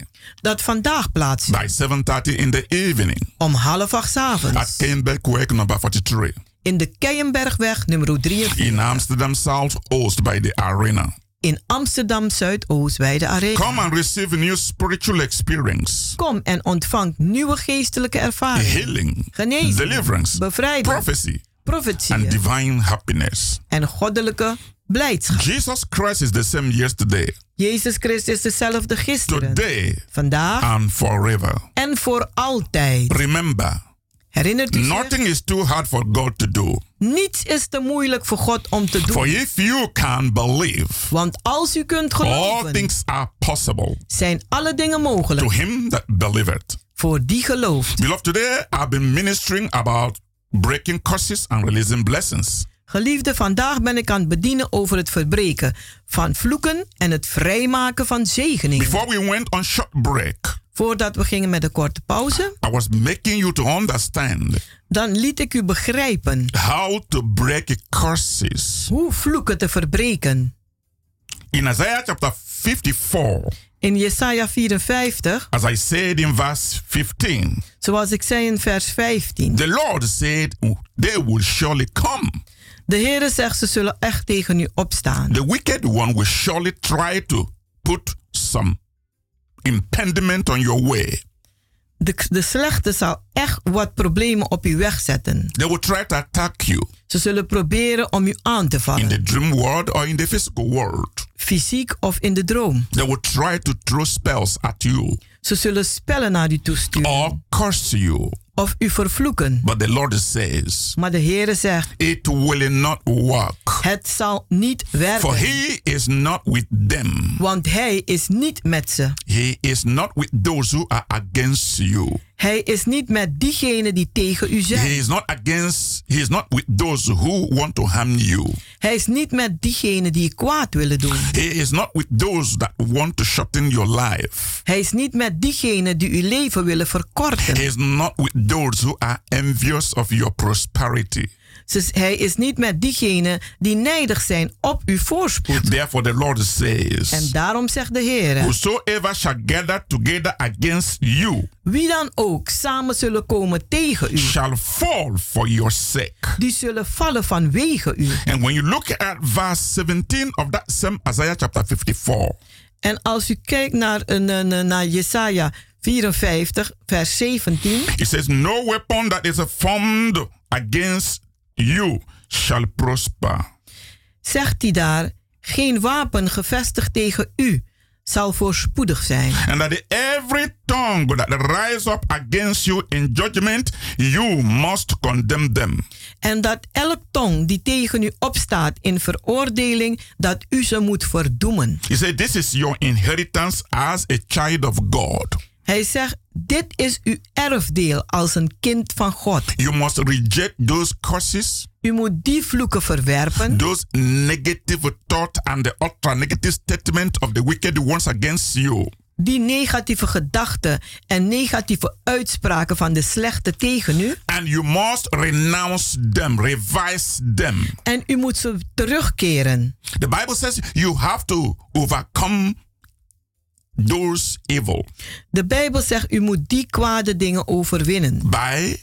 [SPEAKER 11] Dat vandaag plaatsvindt
[SPEAKER 10] by 7.30 in the evening
[SPEAKER 11] om half acht 's
[SPEAKER 10] at
[SPEAKER 11] avonds
[SPEAKER 10] Kenberg Work number 43
[SPEAKER 11] in de Keienbergweg nummer 43
[SPEAKER 10] in Amsterdam South Oost by the arena.
[SPEAKER 11] in Amsterdam Zuidoost bij de Arena.
[SPEAKER 10] Come and receive new spiritual experience,
[SPEAKER 11] Kom en ontvang nieuwe geestelijke ervaring.
[SPEAKER 10] healing,
[SPEAKER 11] Genezing.
[SPEAKER 10] deliverance,
[SPEAKER 11] Bevrijding.
[SPEAKER 10] prophecy,
[SPEAKER 11] profetieën.
[SPEAKER 10] and divine happiness.
[SPEAKER 11] en goddelijke blijdschap.
[SPEAKER 10] Jesus Christ is the same yesterday,
[SPEAKER 11] Jezus Christus is dezelfde gisteren,
[SPEAKER 10] today,
[SPEAKER 11] vandaag
[SPEAKER 10] and forever.
[SPEAKER 11] en voor altijd.
[SPEAKER 10] Remember,
[SPEAKER 11] Herinnert u zich,
[SPEAKER 10] nothing is too hard for God to do.
[SPEAKER 11] niets is te moeilijk voor God om te
[SPEAKER 10] For
[SPEAKER 11] doen.
[SPEAKER 10] if you can believe,
[SPEAKER 11] Want als u kunt
[SPEAKER 10] all
[SPEAKER 11] geloven,
[SPEAKER 10] things are possible
[SPEAKER 11] zijn alle dingen
[SPEAKER 10] to
[SPEAKER 11] mogelijk
[SPEAKER 10] him that believeth.
[SPEAKER 11] voor die gelooft.
[SPEAKER 10] Beloved, today I've been ministering about breaking curses and releasing blessings.
[SPEAKER 11] Geliefde, vandaag ben ik aan het bedienen over het verbreken van vloeken en het vrijmaken van zegeningen.
[SPEAKER 10] Before we went on short break,
[SPEAKER 11] Voordat we gingen met een korte pauze,
[SPEAKER 10] I was making you to understand
[SPEAKER 11] dan liet ik u begrijpen
[SPEAKER 10] how to break curses.
[SPEAKER 11] hoe vloeken te verbreken.
[SPEAKER 10] In Isaiah chapter 54,
[SPEAKER 11] In Jesaja 54,
[SPEAKER 10] as I said in verse 15,
[SPEAKER 11] zoals ik zei in vers 15,
[SPEAKER 10] the Lord said, "Oh, They will surely come.
[SPEAKER 11] de Heere zegt ze zullen echt tegen u opstaan.
[SPEAKER 10] The wicked one will surely try to put some impediment on your way.
[SPEAKER 11] De, de slechte zal echt wat problemen op u wegzetten.
[SPEAKER 10] They will try to attack you
[SPEAKER 11] Ze zullen proberen om u aan te
[SPEAKER 10] in the
[SPEAKER 11] vallen,
[SPEAKER 10] dream world or in the physical world.
[SPEAKER 11] fysiek of in de droom.
[SPEAKER 10] They will try to throw spells at you
[SPEAKER 11] Ze zullen spellen naar u toesturen
[SPEAKER 10] or curse you.
[SPEAKER 11] of u vervloeken.
[SPEAKER 10] But the Lord says,
[SPEAKER 11] Maar de Heere zegt,
[SPEAKER 10] It will not work.
[SPEAKER 11] het zal niet
[SPEAKER 10] For
[SPEAKER 11] werken,
[SPEAKER 10] he is not with them.
[SPEAKER 11] want hij is niet met ze.
[SPEAKER 10] He is not with those who are against you.
[SPEAKER 11] Hij is niet met diegenen die tegen u zijn.
[SPEAKER 10] He is not against, he is not with those who want to harm you.
[SPEAKER 11] Hij is niet met diegenen die je kwaad willen doen.
[SPEAKER 10] He is not with those that want to shorten your life.
[SPEAKER 11] Hij is niet met diegenen die uw leven willen
[SPEAKER 10] He
[SPEAKER 11] verkorten.
[SPEAKER 10] is not with those who are envious of your prosperity.
[SPEAKER 11] Dus hij is niet met diegenen die nijdig zijn op uw voorspoed.
[SPEAKER 10] Therefore, the Lord
[SPEAKER 11] En
[SPEAKER 10] says,
[SPEAKER 11] daarom zegt de Heer,
[SPEAKER 10] Whosoever shall gather together against you
[SPEAKER 11] wie dan ook samen zullen komen tegen u,
[SPEAKER 10] shall fall for your sake.
[SPEAKER 11] die zullen vallen vanwege u.
[SPEAKER 10] And when you look at verse 17 of that same Isaiah chapter 54,
[SPEAKER 11] En als u kijkt naar, een- een- een- naar Jesaja 54, vers 17,
[SPEAKER 10] It says, No weapon that is formed against you shall prosper.
[SPEAKER 11] zegt hij daar: Geen wapen gevestigd tegen u zal voorspoedig zijn.
[SPEAKER 10] And that every tongue that rise up against you in judgment, you must condemn them.
[SPEAKER 11] En dat elk tong die tegen u opstaat in veroordeling, dat u ze moet verdoemen.
[SPEAKER 10] He said, This is your inheritance as a child of God.
[SPEAKER 11] Hij zegt: Dit is uw erfdeel als een kind van God.
[SPEAKER 10] You must reject those curses,
[SPEAKER 11] U moet die vloeken verwerpen,
[SPEAKER 10] those negative thought and the ultra negative statement of the wicked ones against you.
[SPEAKER 11] die negatieve gedachten en negatieve uitspraken van de slechte tegen u.
[SPEAKER 10] And you must renounce them, revise them.
[SPEAKER 11] En u moet ze terugkeren.
[SPEAKER 10] The Bible says you have to overcome those evil
[SPEAKER 11] De Bijbel zegt, u moet die kwade dingen overwinnen.
[SPEAKER 10] by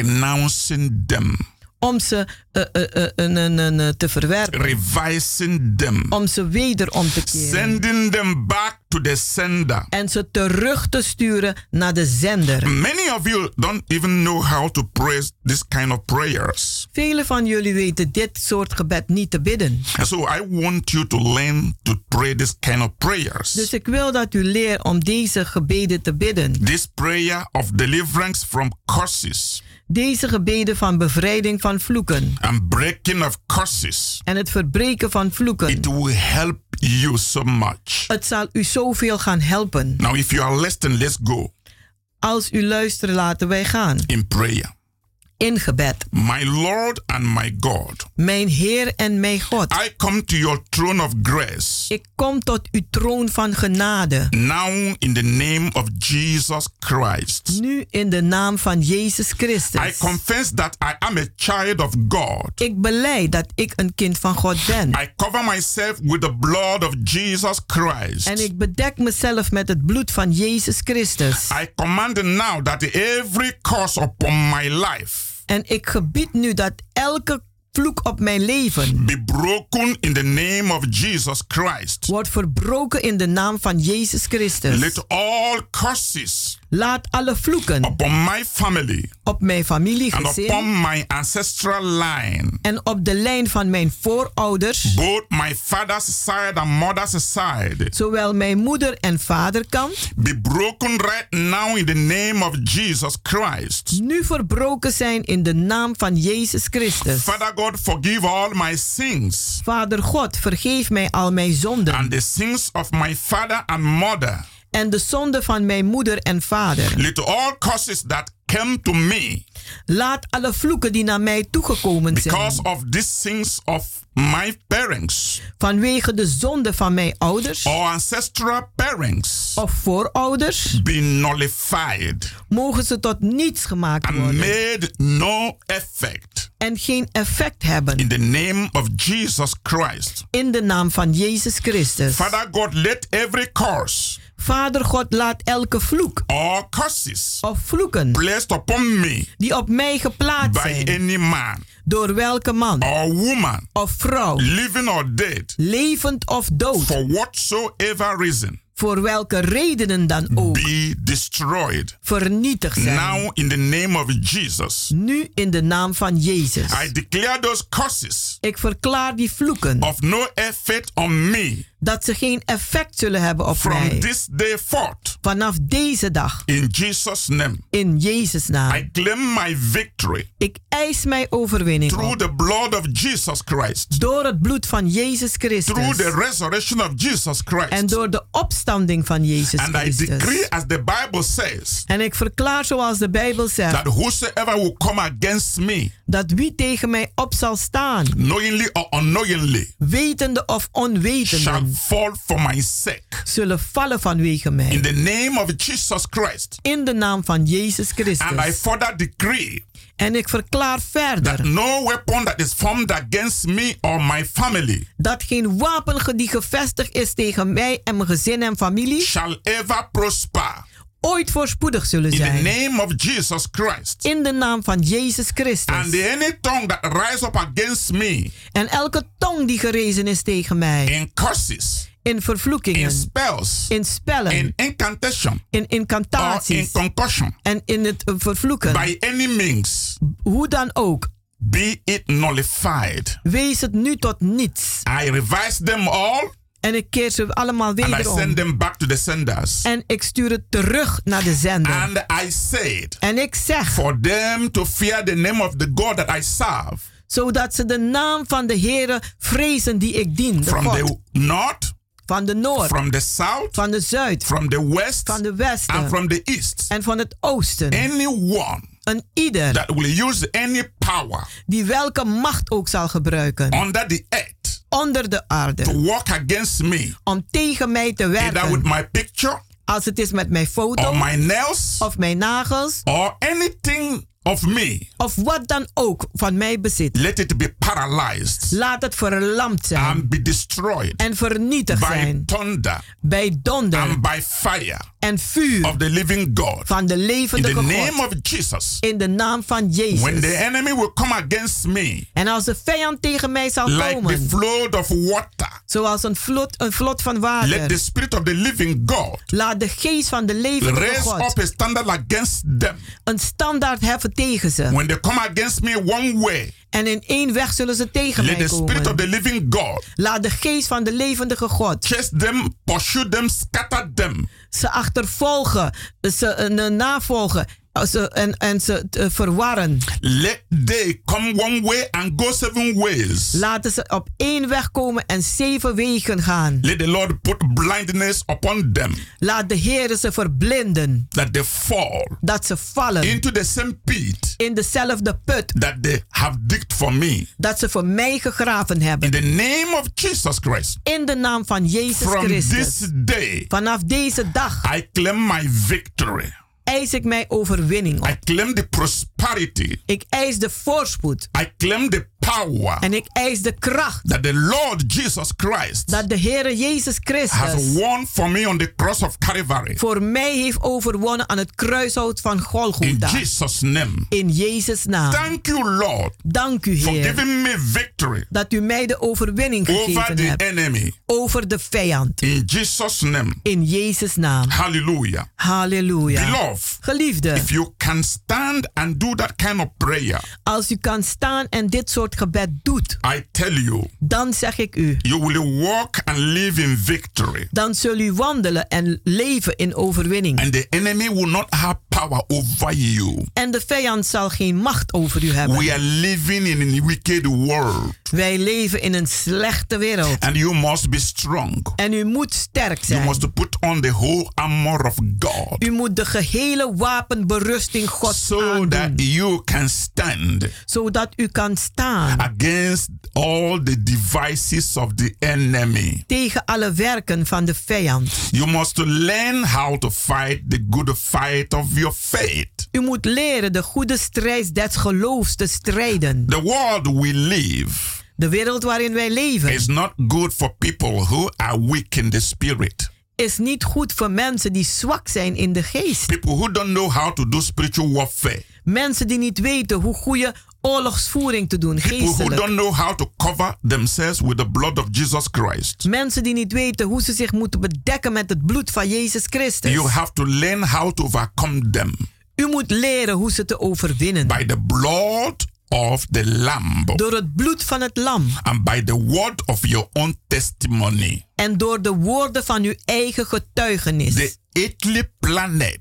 [SPEAKER 10] renouncing them,
[SPEAKER 11] Om ze eh, eh, eh, eh, eh, eh, eh, te verwerpen.
[SPEAKER 10] revising them,
[SPEAKER 11] Om ze weder om te keren.
[SPEAKER 10] sending them back to the sender.
[SPEAKER 11] En ze terug te sturen naar de zender.
[SPEAKER 10] Many of you don't even know how to pray this kind of prayers.
[SPEAKER 11] Velen van jullie weten dit soort gebed niet te bidden.
[SPEAKER 10] And so I want you to learn to pray this kind of
[SPEAKER 11] Dus
[SPEAKER 10] prayers.
[SPEAKER 11] ik wil dat u leert om deze gebeden te bidden.
[SPEAKER 10] This prayer of deliverance from curses
[SPEAKER 11] Deze gebeden van bevrijding van vloeken.
[SPEAKER 10] and breaking of curses.
[SPEAKER 11] En het verbreken van vloeken.
[SPEAKER 10] It will help you so much.
[SPEAKER 11] Het zal u zoveel gaan helpen.
[SPEAKER 10] Now, if you are listening, let's go
[SPEAKER 11] Als u luistert, laten wij gaan.
[SPEAKER 10] in prayer.
[SPEAKER 11] In gebed.
[SPEAKER 10] My Lord and my God,
[SPEAKER 11] Mijn Heer en mijn God.
[SPEAKER 10] I come to your throne of grace
[SPEAKER 11] Ik kom tot uw troon van genade.
[SPEAKER 10] now in the name of Jesus Christ.
[SPEAKER 11] Nu in de naam van Jezus
[SPEAKER 10] I
[SPEAKER 11] Christus.
[SPEAKER 10] confess that I am a child of God.
[SPEAKER 11] Ik beleid dat ik een kind van God ben.
[SPEAKER 10] I cover myself with the blood of Jesus Christ.
[SPEAKER 11] En ik bedek mezelf met het bloed van Jezus Christus.
[SPEAKER 10] I command now that every curse upon my life
[SPEAKER 11] En ik gebied nu dat elke vloek op mijn leven
[SPEAKER 10] be broken in the name of Jesus Christ.
[SPEAKER 11] wordt verbroken in de naam van Jezus Christus.
[SPEAKER 10] Let all curses
[SPEAKER 11] Laat alle vloeken
[SPEAKER 10] upon my family,
[SPEAKER 11] op mijn familie
[SPEAKER 10] and
[SPEAKER 11] gezin
[SPEAKER 10] upon my ancestral line,
[SPEAKER 11] en op de lijn van mijn voorouders,
[SPEAKER 10] both my father's side and mother's side,
[SPEAKER 11] zowel mijn moeder en vaderkant,
[SPEAKER 10] be broken right now in the name of Jesus Christ.
[SPEAKER 11] nu verbroken zijn in de naam van Jezus Christus.
[SPEAKER 10] Father God, forgive all my sins
[SPEAKER 11] Vader God, vergeef mij al mijn zonden
[SPEAKER 10] and the sins of my father and mother.
[SPEAKER 11] en de zonden van mijn moeder en vader.
[SPEAKER 10] Let all curses that came to me
[SPEAKER 11] Laat alle vloeken die naar mij toegekomen zijn,
[SPEAKER 10] because of these sins of my parents
[SPEAKER 11] vanwege de zonden van mijn ouders
[SPEAKER 10] or ancestral parents
[SPEAKER 11] of voorouders,
[SPEAKER 10] be nullified
[SPEAKER 11] mogen ze tot niets gemaakt
[SPEAKER 10] and
[SPEAKER 11] worden
[SPEAKER 10] made no effect
[SPEAKER 11] en geen effect hebben
[SPEAKER 10] in the name of Jesus Christ.
[SPEAKER 11] in de naam van Jezus Christus.
[SPEAKER 10] Father God, let every curse
[SPEAKER 11] Vader God, laat elke vloek
[SPEAKER 10] or curses
[SPEAKER 11] of vloeken
[SPEAKER 10] placed upon me
[SPEAKER 11] die op mij geplaatst
[SPEAKER 10] by
[SPEAKER 11] zijn,
[SPEAKER 10] any man
[SPEAKER 11] door welke man
[SPEAKER 10] or woman,
[SPEAKER 11] of vrouw,
[SPEAKER 10] living or dead,
[SPEAKER 11] levend of dood,
[SPEAKER 10] for whatsoever reason,
[SPEAKER 11] voor welke redenen dan ook,
[SPEAKER 10] be destroyed.
[SPEAKER 11] vernietigd zijn.
[SPEAKER 10] Now, in the name of Jesus,
[SPEAKER 11] Nu in de naam van Jezus.
[SPEAKER 10] I declare those curses
[SPEAKER 11] Ik verklaar die vloeken
[SPEAKER 10] of no effect on me
[SPEAKER 11] dat ze geen effect zullen hebben op
[SPEAKER 10] from
[SPEAKER 11] mij.
[SPEAKER 10] this day forth.
[SPEAKER 11] Vanaf deze dag,
[SPEAKER 10] In Jesus' name,
[SPEAKER 11] in Jezus' naam.
[SPEAKER 10] I claim my victory
[SPEAKER 11] Ik eis mijn overwinning
[SPEAKER 10] through
[SPEAKER 11] op.
[SPEAKER 10] the blood of Jesus Christ,
[SPEAKER 11] door het bloed van Jezus
[SPEAKER 10] through the
[SPEAKER 11] Christus
[SPEAKER 10] resurrection of Jesus
[SPEAKER 11] en
[SPEAKER 10] Christ.
[SPEAKER 11] door de opstanding van Jezus
[SPEAKER 10] And I decree,
[SPEAKER 11] Christus.
[SPEAKER 10] as the Bible says,
[SPEAKER 11] En ik verklaar zoals de Bijbel zegt,
[SPEAKER 10] that whosoever will come against me,
[SPEAKER 11] dat wie tegen mij op zal staan,
[SPEAKER 10] knowingly or unknowingly,
[SPEAKER 11] wetende of
[SPEAKER 10] shall
[SPEAKER 11] onwetende,
[SPEAKER 10] fall for my sake.
[SPEAKER 11] zullen vallen vanwege
[SPEAKER 10] In
[SPEAKER 11] mij.
[SPEAKER 10] the name of Jesus Christ.
[SPEAKER 11] In de naam van Jezus
[SPEAKER 10] And I
[SPEAKER 11] Christus.
[SPEAKER 10] further decree
[SPEAKER 11] En ik verklaar
[SPEAKER 10] that
[SPEAKER 11] verder
[SPEAKER 10] no weapon that is formed against me or my family
[SPEAKER 11] dat geen wapen ge- die gevestigd is tegen mij en mijn gezin en familie
[SPEAKER 10] shall ever prosper.
[SPEAKER 11] ooit voorspoedig zullen
[SPEAKER 10] In the
[SPEAKER 11] zijn.
[SPEAKER 10] name of Jesus Christ.
[SPEAKER 11] In de naam van Jezus
[SPEAKER 10] And
[SPEAKER 11] Christus.
[SPEAKER 10] any tongue that rise up against me
[SPEAKER 11] En elke tong die gerezen is tegen mij,
[SPEAKER 10] in curses,
[SPEAKER 11] in
[SPEAKER 10] in
[SPEAKER 11] vervloekingen,
[SPEAKER 10] spells,
[SPEAKER 11] in
[SPEAKER 10] in
[SPEAKER 11] spellen,
[SPEAKER 10] incantation, or
[SPEAKER 11] in
[SPEAKER 10] in
[SPEAKER 11] incantaties
[SPEAKER 10] concussion,
[SPEAKER 11] en in het eh, vervloeken,
[SPEAKER 10] by any means,
[SPEAKER 11] hoe dan ook,
[SPEAKER 10] be it nullified.
[SPEAKER 11] wees het nu tot niets.
[SPEAKER 10] I revise them all
[SPEAKER 11] En ik keer ze allemaal
[SPEAKER 10] and I
[SPEAKER 11] wederom.
[SPEAKER 10] send them back to the senders.
[SPEAKER 11] En ik stuur het terug naar de zender.
[SPEAKER 10] And I said,
[SPEAKER 11] En ik zeg,
[SPEAKER 10] for them to fear the name of the God that I serve
[SPEAKER 11] zodat ze de naam van de Heere vrezen die ik dien. De
[SPEAKER 10] from
[SPEAKER 11] God,
[SPEAKER 10] the north,
[SPEAKER 11] van de noord,
[SPEAKER 10] from the south,
[SPEAKER 11] van de zuid,
[SPEAKER 10] from the west,
[SPEAKER 11] van de
[SPEAKER 10] and
[SPEAKER 11] westen
[SPEAKER 10] from the east.
[SPEAKER 11] en van het oosten.
[SPEAKER 10] Anyone
[SPEAKER 11] Een ieder
[SPEAKER 10] that will use any power
[SPEAKER 11] die welke macht ook zal gebruiken
[SPEAKER 10] under the earth
[SPEAKER 11] onder de
[SPEAKER 10] to
[SPEAKER 11] aarde
[SPEAKER 10] work against me,
[SPEAKER 11] om tegen mij te
[SPEAKER 10] either with
[SPEAKER 11] werken,
[SPEAKER 10] my picture
[SPEAKER 11] als het is met mijn
[SPEAKER 10] or
[SPEAKER 11] foto
[SPEAKER 10] my nails
[SPEAKER 11] of mijn nagels
[SPEAKER 10] or anything of me,
[SPEAKER 11] of wat dan ook van mij bezit,
[SPEAKER 10] let it be paralyzed
[SPEAKER 11] laat het verlamd zijn
[SPEAKER 10] and be destroyed
[SPEAKER 11] en vernietigd
[SPEAKER 10] by
[SPEAKER 11] zijn
[SPEAKER 10] thunder
[SPEAKER 11] bij donder
[SPEAKER 10] and by fire
[SPEAKER 11] en vuur
[SPEAKER 10] of the living God.
[SPEAKER 11] van de
[SPEAKER 10] In the
[SPEAKER 11] levendige
[SPEAKER 10] name
[SPEAKER 11] God
[SPEAKER 10] of Jesus.
[SPEAKER 11] in de naam van
[SPEAKER 10] When the
[SPEAKER 11] Jezus.
[SPEAKER 10] enemy will come against me
[SPEAKER 11] En als de vijand tegen mij zal
[SPEAKER 10] like the
[SPEAKER 11] komen,
[SPEAKER 10] flood of water,
[SPEAKER 11] zoals een vlot, een vlot van
[SPEAKER 10] let the
[SPEAKER 11] water,
[SPEAKER 10] spirit of the living God
[SPEAKER 11] laat de geest van de levende
[SPEAKER 10] raise
[SPEAKER 11] God
[SPEAKER 10] up a standard against them.
[SPEAKER 11] een standaard heffen tegen ze.
[SPEAKER 10] When they come against me one way,
[SPEAKER 11] En in één weg zullen ze tegen
[SPEAKER 10] let
[SPEAKER 11] mij
[SPEAKER 10] the spirit of the
[SPEAKER 11] komen.
[SPEAKER 10] living God
[SPEAKER 11] Laat de geest van de levendige God
[SPEAKER 10] chase them, pursue them, scatter them.
[SPEAKER 11] ze achtervolgen, ze eh, navolgen eh, ze, en, en ze eh, verwarren.
[SPEAKER 10] Let they come one way and go seven ways.
[SPEAKER 11] Laten ze op één weg komen en zeven wegen gaan.
[SPEAKER 10] Let the Lord put blindness upon them
[SPEAKER 11] Laat de Heer ze verblinden,
[SPEAKER 10] that they fall
[SPEAKER 11] dat ze vallen
[SPEAKER 10] into the same pit
[SPEAKER 11] in dezelfde put
[SPEAKER 10] that they have digged for me.
[SPEAKER 11] dat ze voor mij gegraven
[SPEAKER 10] In
[SPEAKER 11] hebben.
[SPEAKER 10] the name of Jesus Christ.
[SPEAKER 11] In de naam van Jezus
[SPEAKER 10] From this
[SPEAKER 11] Christus.
[SPEAKER 10] day,
[SPEAKER 11] Vanaf deze dag
[SPEAKER 10] I claim my victory.
[SPEAKER 11] eis ik mijn overwinning
[SPEAKER 10] I
[SPEAKER 11] op.
[SPEAKER 10] claim the prosperity.
[SPEAKER 11] Ik eis de voorspoed.
[SPEAKER 10] I claim the power.
[SPEAKER 11] En ik eis de kracht.
[SPEAKER 10] That the Lord Jesus Christ.
[SPEAKER 11] Dat de Heere Jezus Christus.
[SPEAKER 10] Has won for me on the cross of Calvary.
[SPEAKER 11] Voor mij heeft overwonnen aan het kruishout van Golgotha.
[SPEAKER 10] In Jesus name.
[SPEAKER 11] In Jezus naam.
[SPEAKER 10] Thank you Lord.
[SPEAKER 11] Dank u Heer.
[SPEAKER 10] For giving me victory.
[SPEAKER 11] Dat u mij de overwinning gegeven
[SPEAKER 10] Over the
[SPEAKER 11] hebt.
[SPEAKER 10] enemy.
[SPEAKER 11] Over de vijand.
[SPEAKER 10] In Jesus name.
[SPEAKER 11] In Jezus naam.
[SPEAKER 10] Hallelujah.
[SPEAKER 11] Halleluja.
[SPEAKER 10] Beloved.
[SPEAKER 11] Geliefde.
[SPEAKER 10] If you can stand and do that kind of prayer.
[SPEAKER 11] Als u kan staan en dit soort gebed doet.
[SPEAKER 10] I tell you.
[SPEAKER 11] Dan zeg ik u.
[SPEAKER 10] You will walk and live in victory.
[SPEAKER 11] Dan zult u wandelen en leven in overwinning.
[SPEAKER 10] And the enemy will not have power over you.
[SPEAKER 11] En de vijand zal geen macht over u hebben.
[SPEAKER 10] We are living in a wicked world.
[SPEAKER 11] Wij leven in een slechte wereld.
[SPEAKER 10] And you must be strong.
[SPEAKER 11] En u moet sterk zijn.
[SPEAKER 10] You must put on the whole armor of God.
[SPEAKER 11] U moet de gehele wapenberusting Gods
[SPEAKER 10] so
[SPEAKER 11] aandoen.
[SPEAKER 10] That you can stand.
[SPEAKER 11] Zodat u kan staan.
[SPEAKER 10] Against all the devices of the enemy.
[SPEAKER 11] Tegen alle werken van de vijand.
[SPEAKER 10] You must learn how to fight the good fight of your faith.
[SPEAKER 11] U moet leren de goede strijd des geloofs te strijden.
[SPEAKER 10] The world we live.
[SPEAKER 11] De wereld waarin wij leven.
[SPEAKER 10] Is not good for people who are weak in the spirit
[SPEAKER 11] is niet goed voor mensen die zwak zijn in de geest.
[SPEAKER 10] People who don't know how to do spiritual warfare.
[SPEAKER 11] Mensen die niet weten hoe goede oorlogsvoering te doen geestelijk.
[SPEAKER 10] People who don't know how to cover themselves with the blood of Jesus Christ.
[SPEAKER 11] Mensen die niet weten hoe ze zich moeten bedekken met het bloed van Jezus Christus.
[SPEAKER 10] You have to learn how to overcome them.
[SPEAKER 11] U moet leren hoe ze te overwinnen.
[SPEAKER 10] By the blood of the lamb.
[SPEAKER 11] Door het bloed van het lam.
[SPEAKER 10] And by the word of your own testimony.
[SPEAKER 11] En door de woorden van uw eigen getuigenis.
[SPEAKER 10] The earthly planet.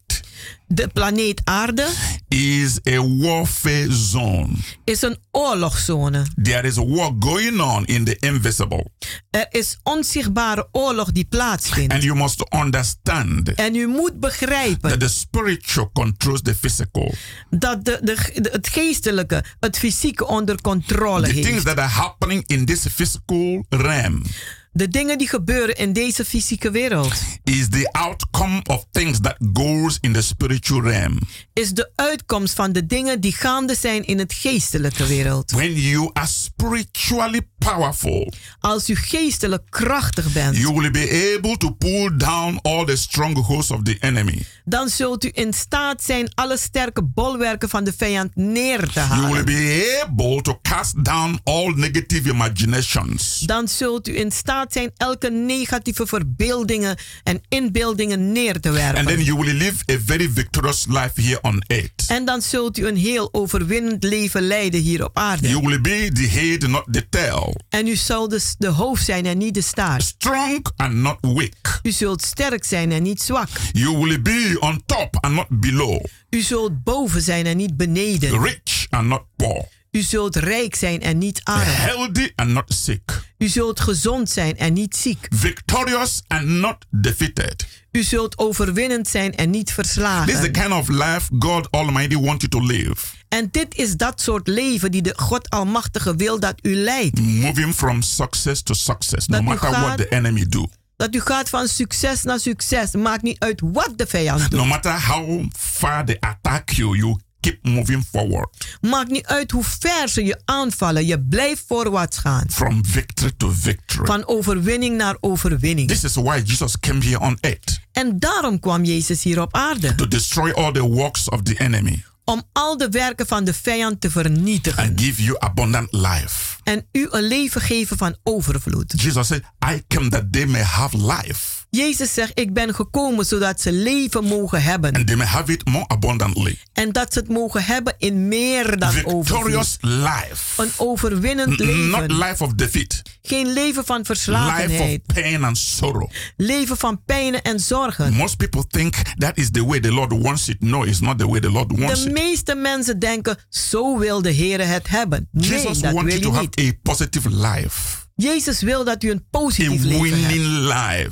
[SPEAKER 11] De planeet Aarde
[SPEAKER 10] is a warfare zone.
[SPEAKER 11] Is een oorlogszone.
[SPEAKER 10] There is a war going on in the invisible.
[SPEAKER 11] Er is onzichtbare oorlog die plaatsvindt.
[SPEAKER 10] And you must understand.
[SPEAKER 11] En u moet begrijpen.
[SPEAKER 10] That the spiritual controls the physical.
[SPEAKER 11] Dat de, de, de het geestelijke het fysieke onder controle
[SPEAKER 10] the
[SPEAKER 11] heeft.
[SPEAKER 10] Things that are happening in this physical realm.
[SPEAKER 11] De dingen die gebeuren in deze fysieke wereld.
[SPEAKER 10] Is the outcome of things that goes in the spiritual realm.
[SPEAKER 11] Is de uitkomst van de dingen die gaande zijn in het geestelijke wereld.
[SPEAKER 10] When you are spiritually powerful.
[SPEAKER 11] Als u geestelijk krachtig bent.
[SPEAKER 10] You will be able to pull down all the strongholds of the enemy.
[SPEAKER 11] Dan zult u in staat zijn alle sterke bolwerken van de vijand neer te halen.
[SPEAKER 10] You will be able to cast down all negative imaginations.
[SPEAKER 11] Dan zult u in staat zijn elke negatieve verbeeldingen en inbeeldingen neer te werpen.
[SPEAKER 10] And then you will live a very victorious life here on earth.
[SPEAKER 11] En dan zult u een heel overwinnend leven leiden hier op aarde.
[SPEAKER 10] You will be the head, not the tail.
[SPEAKER 11] En u zal dus de hoofd zijn en niet de staart.
[SPEAKER 10] Strong and not weak.
[SPEAKER 11] U zult sterk zijn en niet zwak.
[SPEAKER 10] You will be on top and not below.
[SPEAKER 11] U zult boven zijn en niet beneden.
[SPEAKER 10] Rich and not poor.
[SPEAKER 11] U zult rijk zijn en niet arm.
[SPEAKER 10] Healthy and not sick.
[SPEAKER 11] U zult gezond zijn en niet ziek.
[SPEAKER 10] Victorious and not defeated.
[SPEAKER 11] U zult overwinnend zijn en niet verslagen.
[SPEAKER 10] This is the kind of life God Almighty wants you to live.
[SPEAKER 11] En dit is dat soort leven die de God Almachtige wil dat u leidt.
[SPEAKER 10] Moving from success to success,
[SPEAKER 11] Dat
[SPEAKER 10] no
[SPEAKER 11] u
[SPEAKER 10] matter
[SPEAKER 11] gaat-
[SPEAKER 10] what the enemy do.
[SPEAKER 11] Dat u gaat van succes naar succes. Maakt niet uit wat de vijand doet.
[SPEAKER 10] No matter how far they attack you, you keep moving forward.
[SPEAKER 11] Maakt niet uit hoe ver ze je aanvallen. Je blijft voorwaarts gaan.
[SPEAKER 10] From victory to victory.
[SPEAKER 11] Van overwinning naar overwinning.
[SPEAKER 10] This is why Jesus came here on earth.
[SPEAKER 11] En daarom kwam Jezus hier op aarde.
[SPEAKER 10] To destroy all the works of the enemy.
[SPEAKER 11] Om al de werken van de vijand te vernietigen.
[SPEAKER 10] And give you abundant life.
[SPEAKER 11] En u een leven geven van overvloed.
[SPEAKER 10] Jesus said, I came that they may have life.
[SPEAKER 11] Jezus zegt, ik ben gekomen zodat ze leven mogen hebben.
[SPEAKER 10] And they may have it more abundantly.
[SPEAKER 11] En dat ze het mogen hebben in meer dan
[SPEAKER 10] Victorious
[SPEAKER 11] overvloed.
[SPEAKER 10] life.
[SPEAKER 11] Een overwinnend
[SPEAKER 10] N- Not
[SPEAKER 11] leven.
[SPEAKER 10] life of defeat.
[SPEAKER 11] Geen leven van
[SPEAKER 10] Life
[SPEAKER 11] verslagenheid.
[SPEAKER 10] of pain and sorrow.
[SPEAKER 11] Leven van pijnen en zorgen.
[SPEAKER 10] Most people think that is the way the Lord wants it. No, it's not the way the Lord wants
[SPEAKER 11] De
[SPEAKER 10] it.
[SPEAKER 11] meeste mensen denken, zo wil de Heer het hebben. Nee,
[SPEAKER 10] Jesus
[SPEAKER 11] dat
[SPEAKER 10] wants
[SPEAKER 11] wil
[SPEAKER 10] you to
[SPEAKER 11] hij
[SPEAKER 10] have
[SPEAKER 11] niet.
[SPEAKER 10] a positive life,
[SPEAKER 11] Jezus wil dat u een
[SPEAKER 10] a
[SPEAKER 11] positief leven hebt.
[SPEAKER 10] winning life,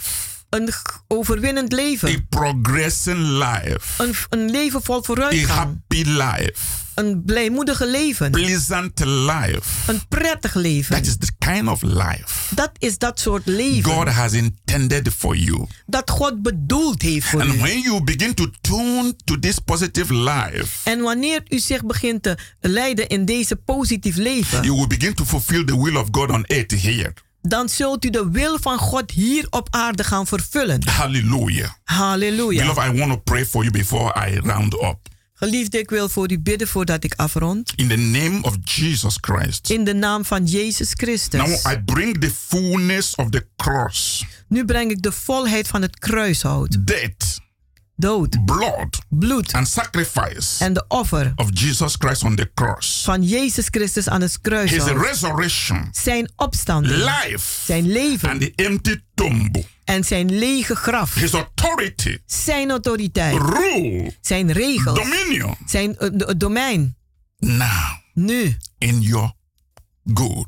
[SPEAKER 11] Een g- overwinnend leven.
[SPEAKER 10] a progressing life,
[SPEAKER 11] Een, een leven vol
[SPEAKER 10] a
[SPEAKER 11] vooruitgang.
[SPEAKER 10] happy life.
[SPEAKER 11] een blijmoedige leven.
[SPEAKER 10] Pleasant life.
[SPEAKER 11] Een prettig leven.
[SPEAKER 10] That is the kind of life.
[SPEAKER 11] Dat is dat soort leven.
[SPEAKER 10] God has intended for you.
[SPEAKER 11] Dat God bedoeld heeft voor
[SPEAKER 10] And
[SPEAKER 11] u.
[SPEAKER 10] when you begin to tune to this positive life,
[SPEAKER 11] En wanneer u zich begint te leiden in deze positief leven,
[SPEAKER 10] you will begin to fulfill the will of God on earth here.
[SPEAKER 11] dan zult u de wil van God hier op aarde gaan vervullen.
[SPEAKER 10] Hallelujah.
[SPEAKER 11] Halleluja.
[SPEAKER 10] Beloved, I want to pray for you before I round up.
[SPEAKER 11] Geliefde, ik wil voor u bidden voordat ik afrond.
[SPEAKER 10] In the name of Jesus Christ.
[SPEAKER 11] In de naam van Jezus
[SPEAKER 10] Now
[SPEAKER 11] Christus.
[SPEAKER 10] I bring the fullness of the cross.
[SPEAKER 11] Nu breng ik de volheid van het kruishout.
[SPEAKER 10] Death.
[SPEAKER 11] Dood.
[SPEAKER 10] Blood.
[SPEAKER 11] Bloed.
[SPEAKER 10] And sacrifice
[SPEAKER 11] En de offer
[SPEAKER 10] of Jesus Christ on the cross.
[SPEAKER 11] van Jezus Christus aan het
[SPEAKER 10] His
[SPEAKER 11] kruishout.
[SPEAKER 10] resurrection.
[SPEAKER 11] Zijn opstanding.
[SPEAKER 10] Life.
[SPEAKER 11] Zijn
[SPEAKER 10] And
[SPEAKER 11] leven.
[SPEAKER 10] the empty tomb.
[SPEAKER 11] En zijn lege graf.
[SPEAKER 10] His authority.
[SPEAKER 11] Zijn autoriteit.
[SPEAKER 10] Rule.
[SPEAKER 11] Zijn regels.
[SPEAKER 10] Dominion.
[SPEAKER 11] Zijn eh, do- domein.
[SPEAKER 10] Now.
[SPEAKER 11] Nu.
[SPEAKER 10] In your good.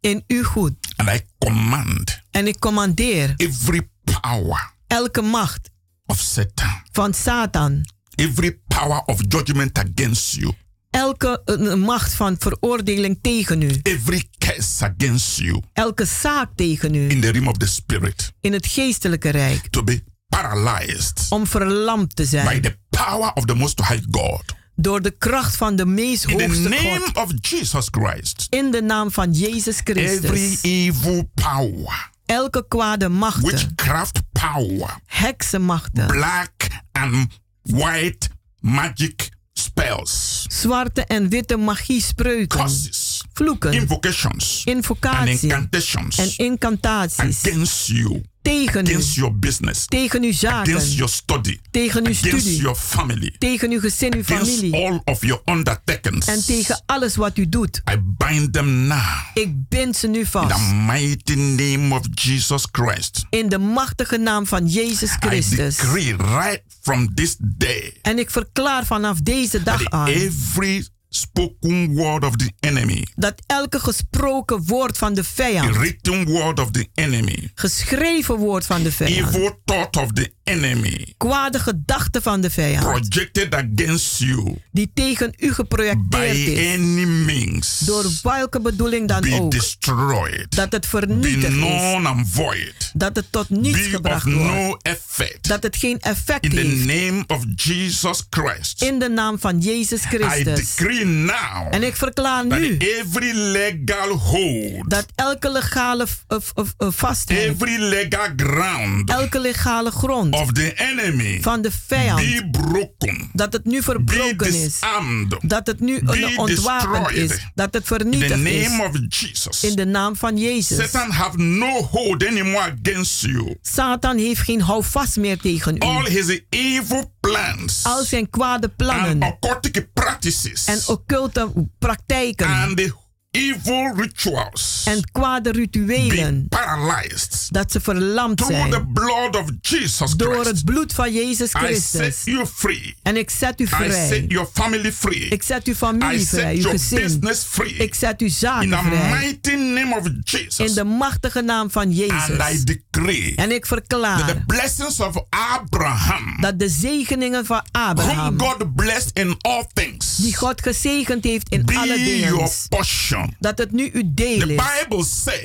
[SPEAKER 11] In uw goed.
[SPEAKER 10] And I command
[SPEAKER 11] En ik commandeer
[SPEAKER 10] every power
[SPEAKER 11] elke macht
[SPEAKER 10] of Satan.
[SPEAKER 11] van Satan.
[SPEAKER 10] Every power of judgment against you.
[SPEAKER 11] Elke eh, macht van veroordeling tegen u.
[SPEAKER 10] Every curse against you.
[SPEAKER 11] Elke zaak tegen u.
[SPEAKER 10] In the realm of the spirit.
[SPEAKER 11] In het geestelijke rijk.
[SPEAKER 10] To be paralyzed.
[SPEAKER 11] Om verlamd te
[SPEAKER 10] by
[SPEAKER 11] zijn.
[SPEAKER 10] the power of the Most High God.
[SPEAKER 11] Door de kracht van de meest
[SPEAKER 10] In the
[SPEAKER 11] hoogste
[SPEAKER 10] name
[SPEAKER 11] God.
[SPEAKER 10] of Jesus Christ,
[SPEAKER 11] In de naam van Jezus
[SPEAKER 10] every
[SPEAKER 11] Christus.
[SPEAKER 10] evil power,
[SPEAKER 11] Elke kwade machten.
[SPEAKER 10] witchcraft power,
[SPEAKER 11] Heksenmachten.
[SPEAKER 10] black and white magic spells,
[SPEAKER 11] Zwarte en witte magie spreuken.
[SPEAKER 10] curses,
[SPEAKER 11] Vloeken.
[SPEAKER 10] invocations, and
[SPEAKER 11] Invocatie. En
[SPEAKER 10] incantations
[SPEAKER 11] incantaties.
[SPEAKER 10] against you,
[SPEAKER 11] Tegen u.
[SPEAKER 10] against your business,
[SPEAKER 11] Tegen uw
[SPEAKER 10] against
[SPEAKER 11] zaken.
[SPEAKER 10] your study,
[SPEAKER 11] Tegen uw
[SPEAKER 10] against
[SPEAKER 11] studie.
[SPEAKER 10] your family,
[SPEAKER 11] Tegen uw gezin, uw
[SPEAKER 10] against
[SPEAKER 11] familie.
[SPEAKER 10] all of your
[SPEAKER 11] En
[SPEAKER 10] undertakings.
[SPEAKER 11] tegen alles wat u doet.
[SPEAKER 10] I bind them now
[SPEAKER 11] Ik bind ze nu
[SPEAKER 10] in the
[SPEAKER 11] vast.
[SPEAKER 10] mighty name of Jesus Christ.
[SPEAKER 11] In de machtige naam van Jezus
[SPEAKER 10] I
[SPEAKER 11] Christus.
[SPEAKER 10] decree right from this day
[SPEAKER 11] En ik verklaar vanaf deze dag
[SPEAKER 10] that
[SPEAKER 11] aan
[SPEAKER 10] every spoken word of the enemy,
[SPEAKER 11] dat elke gesproken woord van de
[SPEAKER 10] the
[SPEAKER 11] vijand,
[SPEAKER 10] written word of the enemy,
[SPEAKER 11] geschreven woord van de vijand,
[SPEAKER 10] evil thought of the enemy
[SPEAKER 11] kwade gedachten van de vijand,
[SPEAKER 10] projected against you
[SPEAKER 11] die tegen u
[SPEAKER 10] by
[SPEAKER 11] geprojecteerd is,
[SPEAKER 10] any means
[SPEAKER 11] door welke bedoeling dan
[SPEAKER 10] be
[SPEAKER 11] ook,
[SPEAKER 10] destroyed,
[SPEAKER 11] dat het
[SPEAKER 10] be
[SPEAKER 11] vernietigd is,
[SPEAKER 10] known and void,
[SPEAKER 11] dat het tot niets
[SPEAKER 10] be of
[SPEAKER 11] gebracht wordt,
[SPEAKER 10] no effect.
[SPEAKER 11] dat het geen effect
[SPEAKER 10] In the
[SPEAKER 11] heeft.
[SPEAKER 10] name of Jesus Christ,
[SPEAKER 11] In de naam van Jezus
[SPEAKER 10] I
[SPEAKER 11] Christus.
[SPEAKER 10] decree now
[SPEAKER 11] En ik verklaar nu
[SPEAKER 10] that every legal hold
[SPEAKER 11] dat elke legale v- v- v- vastheid,
[SPEAKER 10] every legal ground
[SPEAKER 11] elke legale grond
[SPEAKER 10] of the enemy
[SPEAKER 11] van de vijand,
[SPEAKER 10] be broken,
[SPEAKER 11] dat het nu
[SPEAKER 10] be
[SPEAKER 11] verbroken is.
[SPEAKER 10] disarmed
[SPEAKER 11] Dat het nu
[SPEAKER 10] Be
[SPEAKER 11] een ontwapend is.
[SPEAKER 10] destroyed.
[SPEAKER 11] Dat het
[SPEAKER 10] in the
[SPEAKER 11] vernietigd
[SPEAKER 10] name
[SPEAKER 11] is.
[SPEAKER 10] of Jesus.
[SPEAKER 11] In de naam van Jezus.
[SPEAKER 10] Satan have no hold anymore against you.
[SPEAKER 11] Satan heeft geen houvast meer tegen
[SPEAKER 10] All
[SPEAKER 11] u.
[SPEAKER 10] his evil plans
[SPEAKER 11] Al zijn kwade
[SPEAKER 10] and
[SPEAKER 11] plannen
[SPEAKER 10] occultic practices
[SPEAKER 11] en occulte praktijken
[SPEAKER 10] and the evil rituals
[SPEAKER 11] en kwade
[SPEAKER 10] be
[SPEAKER 11] rituelen.
[SPEAKER 10] paralyzed
[SPEAKER 11] Dat ze verlamd
[SPEAKER 10] through the
[SPEAKER 11] zijn
[SPEAKER 10] blood of Jesus
[SPEAKER 11] door het
[SPEAKER 10] Christ.
[SPEAKER 11] bloed van Jezus
[SPEAKER 10] I set
[SPEAKER 11] Christus.
[SPEAKER 10] you free.
[SPEAKER 11] En ik zet u
[SPEAKER 10] I set
[SPEAKER 11] vrij.
[SPEAKER 10] your family free.
[SPEAKER 11] Ik zet uw
[SPEAKER 10] I
[SPEAKER 11] familie vrij,
[SPEAKER 10] set
[SPEAKER 11] uw
[SPEAKER 10] your
[SPEAKER 11] gezin.
[SPEAKER 10] business free.
[SPEAKER 11] Ik zet uw
[SPEAKER 10] in the
[SPEAKER 11] zaken vrij.
[SPEAKER 10] mighty name of
[SPEAKER 11] In
[SPEAKER 10] Jesus.
[SPEAKER 11] de machtige naam van
[SPEAKER 10] And I
[SPEAKER 11] Jezus.
[SPEAKER 10] decree
[SPEAKER 11] En ik
[SPEAKER 10] that the
[SPEAKER 11] verklaar
[SPEAKER 10] blessings of Abraham,
[SPEAKER 11] dat de zegeningen van
[SPEAKER 10] whom
[SPEAKER 11] Abraham
[SPEAKER 10] God blessed in all things,
[SPEAKER 11] die God gezegend heeft in alle
[SPEAKER 10] be your
[SPEAKER 11] dingen.
[SPEAKER 10] portion.
[SPEAKER 11] Dat het nu uw deel
[SPEAKER 10] The
[SPEAKER 11] is.
[SPEAKER 10] Bible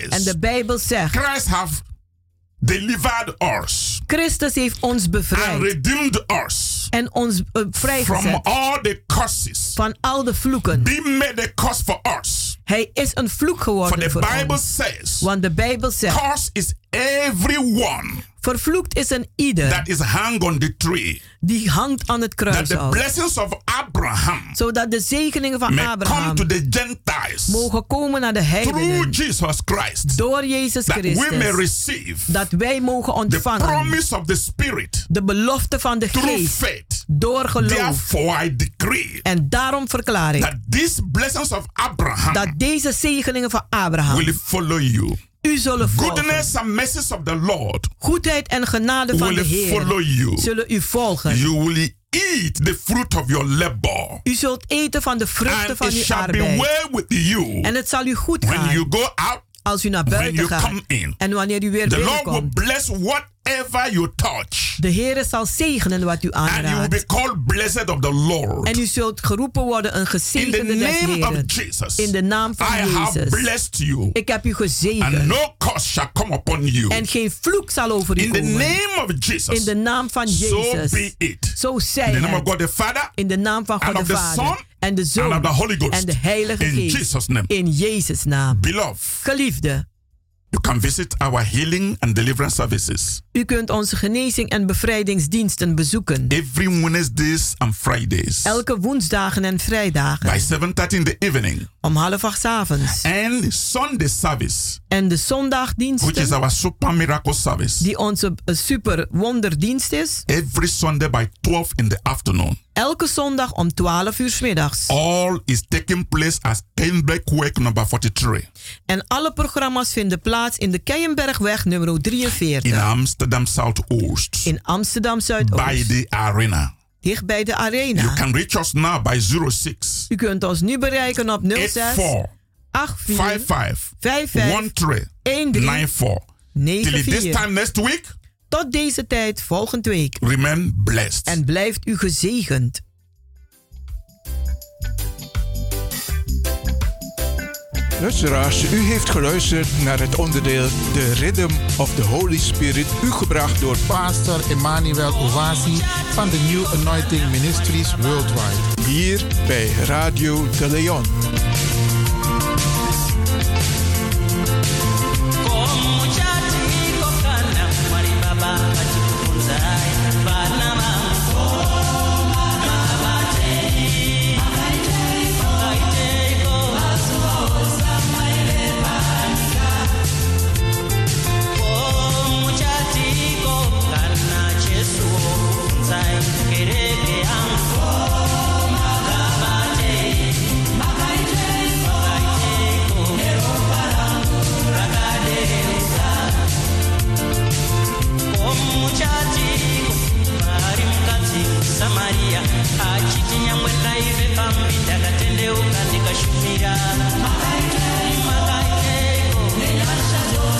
[SPEAKER 11] En
[SPEAKER 10] says
[SPEAKER 11] de Bijbel zegt,
[SPEAKER 10] Christ have delivered us
[SPEAKER 11] Christus heeft ons
[SPEAKER 10] and
[SPEAKER 11] bevrijd
[SPEAKER 10] redeemed us
[SPEAKER 11] en ons eh,
[SPEAKER 10] from
[SPEAKER 11] vrijgezet
[SPEAKER 10] all the curses.
[SPEAKER 11] van al de vloeken.
[SPEAKER 10] Be made a curse for us.
[SPEAKER 11] Hij is een vloek
[SPEAKER 10] For
[SPEAKER 11] geworden
[SPEAKER 10] the
[SPEAKER 11] voor
[SPEAKER 10] Bible
[SPEAKER 11] ons.
[SPEAKER 10] says,
[SPEAKER 11] Want de Bijbel zegt,
[SPEAKER 10] curse is everyone
[SPEAKER 11] vervloekt is een ieder
[SPEAKER 10] that is hung on the tree.
[SPEAKER 11] die hangt aan het
[SPEAKER 10] That the
[SPEAKER 11] kruishout.
[SPEAKER 10] blessings of Abraham
[SPEAKER 11] Zodat de zegeningen van
[SPEAKER 10] may come
[SPEAKER 11] Abraham
[SPEAKER 10] to the Gentiles
[SPEAKER 11] mogen komen naar de
[SPEAKER 10] through
[SPEAKER 11] heidenen
[SPEAKER 10] Jesus Christ.
[SPEAKER 11] door Jezus
[SPEAKER 10] That we may
[SPEAKER 11] Christus.
[SPEAKER 10] receive
[SPEAKER 11] Dat wij mogen
[SPEAKER 10] the
[SPEAKER 11] ontvangen
[SPEAKER 10] promise of the Spirit
[SPEAKER 11] de belofte van de
[SPEAKER 10] through
[SPEAKER 11] geest
[SPEAKER 10] faith.
[SPEAKER 11] door geloof.
[SPEAKER 10] Therefore, I decree
[SPEAKER 11] En daarom verklaar ik
[SPEAKER 10] that these blessings of
[SPEAKER 11] dat
[SPEAKER 10] Abraham
[SPEAKER 11] deze zegeningen van Abraham
[SPEAKER 10] will follow you.
[SPEAKER 11] u zullen volgen.
[SPEAKER 10] Goodness and mercies of the Lord
[SPEAKER 11] Goedheid en genade van de
[SPEAKER 10] will follow
[SPEAKER 11] Heer
[SPEAKER 10] you.
[SPEAKER 11] zullen u volgen.
[SPEAKER 10] You will eat the fruit of your labor.
[SPEAKER 11] U zult eten van de vruchten
[SPEAKER 10] And
[SPEAKER 11] van
[SPEAKER 10] it
[SPEAKER 11] uw
[SPEAKER 10] shall be
[SPEAKER 11] arbeid.
[SPEAKER 10] well with you
[SPEAKER 11] En het zal u goed
[SPEAKER 10] when
[SPEAKER 11] gaan
[SPEAKER 10] you go out
[SPEAKER 11] als u naar
[SPEAKER 10] when
[SPEAKER 11] buiten
[SPEAKER 10] you
[SPEAKER 11] gaat
[SPEAKER 10] come in.
[SPEAKER 11] en wanneer u weer
[SPEAKER 10] The Lord will
[SPEAKER 11] binnenkomt.
[SPEAKER 10] bless what whatever you touch.
[SPEAKER 11] De Heer zal zegenen wat u
[SPEAKER 10] And you will be
[SPEAKER 11] aanraakt.
[SPEAKER 10] called blessed of the Lord.
[SPEAKER 11] En u zult geroepen worden een gezegende
[SPEAKER 10] In the
[SPEAKER 11] des
[SPEAKER 10] name of
[SPEAKER 11] Heren.
[SPEAKER 10] Jesus,
[SPEAKER 11] In de naam van
[SPEAKER 10] I have
[SPEAKER 11] Jezus.
[SPEAKER 10] blessed you.
[SPEAKER 11] Ik heb u
[SPEAKER 10] And
[SPEAKER 11] gezegend.
[SPEAKER 10] no curse shall come upon you.
[SPEAKER 11] En geen vloek zal over u
[SPEAKER 10] In the
[SPEAKER 11] komen.
[SPEAKER 10] name of Jesus.
[SPEAKER 11] In de naam van
[SPEAKER 10] So
[SPEAKER 11] Jezus.
[SPEAKER 10] be it.
[SPEAKER 11] Zo
[SPEAKER 10] In the
[SPEAKER 11] zij
[SPEAKER 10] name
[SPEAKER 11] het.
[SPEAKER 10] of God the Father.
[SPEAKER 11] In de naam van
[SPEAKER 10] and
[SPEAKER 11] God de
[SPEAKER 10] of the Son,
[SPEAKER 11] Vader. En de Zoon.
[SPEAKER 10] and of the Holy Ghost.
[SPEAKER 11] En de Heilige
[SPEAKER 10] In
[SPEAKER 11] Geest.
[SPEAKER 10] Jesus' name.
[SPEAKER 11] In Jezus' naam.
[SPEAKER 10] Beloved,
[SPEAKER 11] Geliefde,
[SPEAKER 10] you can visit our healing and deliverance services
[SPEAKER 11] u kunt onze genezing- en bevrijdingsdiensten bezoeken.
[SPEAKER 10] every Wednesdays and Fridays
[SPEAKER 11] Elke woensdagen en vrijdagen.
[SPEAKER 10] by 7:30 in the evening.
[SPEAKER 11] Om half acht 's avonds.
[SPEAKER 10] And Sunday service,
[SPEAKER 11] En de
[SPEAKER 10] which is
[SPEAKER 11] zondagdiensten,
[SPEAKER 10] our super miracle service,
[SPEAKER 11] die onze eh, super wonderdienst is.
[SPEAKER 10] every Sunday by 12 in the afternoon.
[SPEAKER 11] Elke zondag om 12 uur 's middags.
[SPEAKER 10] All is taking place at Kenbeck Work number 43
[SPEAKER 11] En alle programma's vinden plaats in de Keienbergweg nummer
[SPEAKER 10] in
[SPEAKER 11] 43.
[SPEAKER 10] Amsterdam Zuidoost
[SPEAKER 11] In Amsterdam
[SPEAKER 10] by
[SPEAKER 11] Zuidoost.
[SPEAKER 10] the arena.
[SPEAKER 11] Dicht bij de
[SPEAKER 10] You
[SPEAKER 11] arena.
[SPEAKER 10] can reach us now by 06
[SPEAKER 11] U kunt ons nu bereiken op 06
[SPEAKER 10] 84
[SPEAKER 11] 84
[SPEAKER 10] 55
[SPEAKER 11] 55
[SPEAKER 10] 13 94. Till this
[SPEAKER 11] 94.
[SPEAKER 10] time next week,
[SPEAKER 11] Tot deze tijd volgende week.
[SPEAKER 10] remain blessed.
[SPEAKER 11] En blijft u gezegend.
[SPEAKER 5] Luisteraars, u heeft geluisterd naar het onderdeel The Rhythm of the Holy Spirit, u gebracht door
[SPEAKER 13] Pastor Emmanuel Owasi van de New Anointing Ministries Worldwide.
[SPEAKER 5] hier bij Radio de Leon.
[SPEAKER 14] Samaria, achitinya mwenda ive pambi takatendeuka nikashumira makaiteko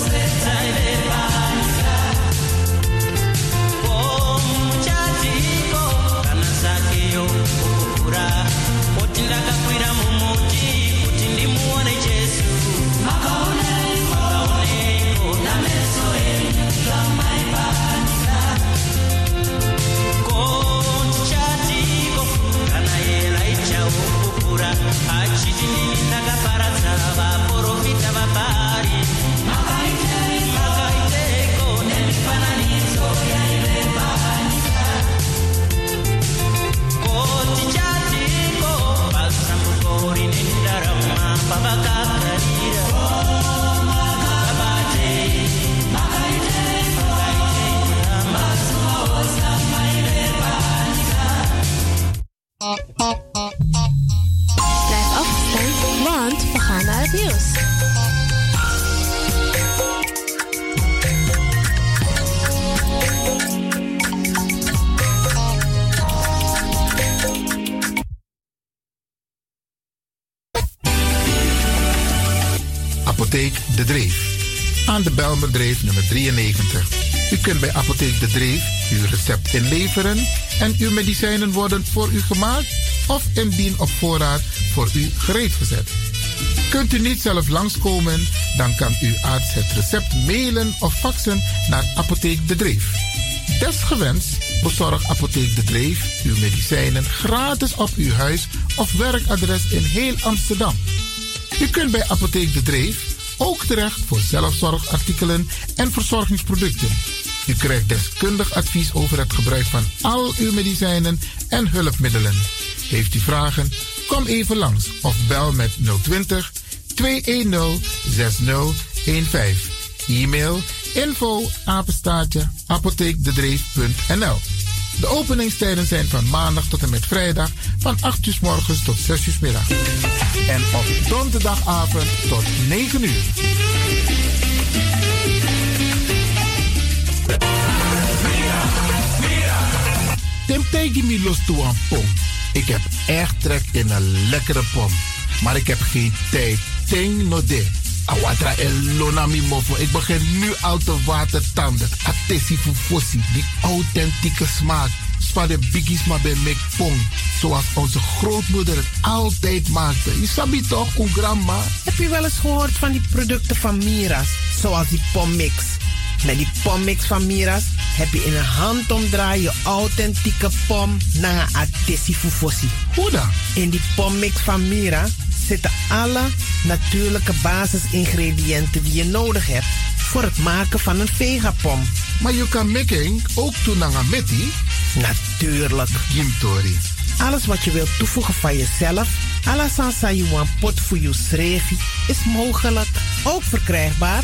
[SPEAKER 14] zaivepanika omuchatiko kana zakeyo kukura oti ndakakwira mumuti kuti ndimuone jesu makaoneko nameso enyu zvamaipanika kotichatiko kana yela ichawo kukura achiti nini ndakaparadza vaprofita vabhari makaiteko nemifananidzo yaivepanika kotichatiko pasambuko rine ndarama pavakakarira
[SPEAKER 7] Blijf afgestemd, want we gaan naar het nieuws.
[SPEAKER 2] Apotheek De Dreef. Aan de Belmerdreef nummer 93. U kunt bij Apotheek De Dreef uw recept inleveren en uw medicijnen worden voor u gemaakt of indien op voorraad voor u gereedgezet. Kunt u niet zelf langskomen, dan kan uw arts het recept mailen of faxen naar Apotheek De Dreef. Desgewenst bezorgt Apotheek De Dreef uw medicijnen gratis op uw huis of werkadres in heel Amsterdam. U kunt bij Apotheek De Dreef ook terecht voor zelfzorgartikelen en verzorgingsproducten. U krijgt deskundig advies over het gebruik van al uw medicijnen en hulpmiddelen. Heeft u vragen? Kom even langs of bel met 020 210 6015. E-mail info apenstaartje apotheekdedreef.nl De openingstijden zijn van maandag tot en met vrijdag van 8 uur 's morgens tot 6 uur 's middags. En op donderdagavond tot 9 uur. Tim Tegi mi los toe aan pom. Ik heb echt trek in een lekkere pom. Maar ik heb geen tijd. Ting no de. Awatra elona mi mofo. Ik begin nu al te watertanden. Atesi fufosi, die authentieke smaak. Spa de biggies maar bij mekpong. Zoals onze grootmoeder het altijd maakte. Je sabi toch, oe grandma?
[SPEAKER 15] Heb je wel eens gehoord van die producten van Mira's? Zoals die pommix. Met die pommix van Mira's heb je in een handomdraai je authentieke pom naar Atesi Fufosi.
[SPEAKER 2] Hoe dan?
[SPEAKER 15] In die pommix van Mira zitten alle natuurlijke basisingrediënten die je nodig hebt voor het maken van een vegapom.
[SPEAKER 2] Maar je kan making ook doen aan meti?
[SPEAKER 15] Natuurlijk.
[SPEAKER 2] Gimtori.
[SPEAKER 15] Alles wat je wilt toevoegen van jezelf, à sansa yuan pot voor je srevi, is mogelijk. Ook verkrijgbaar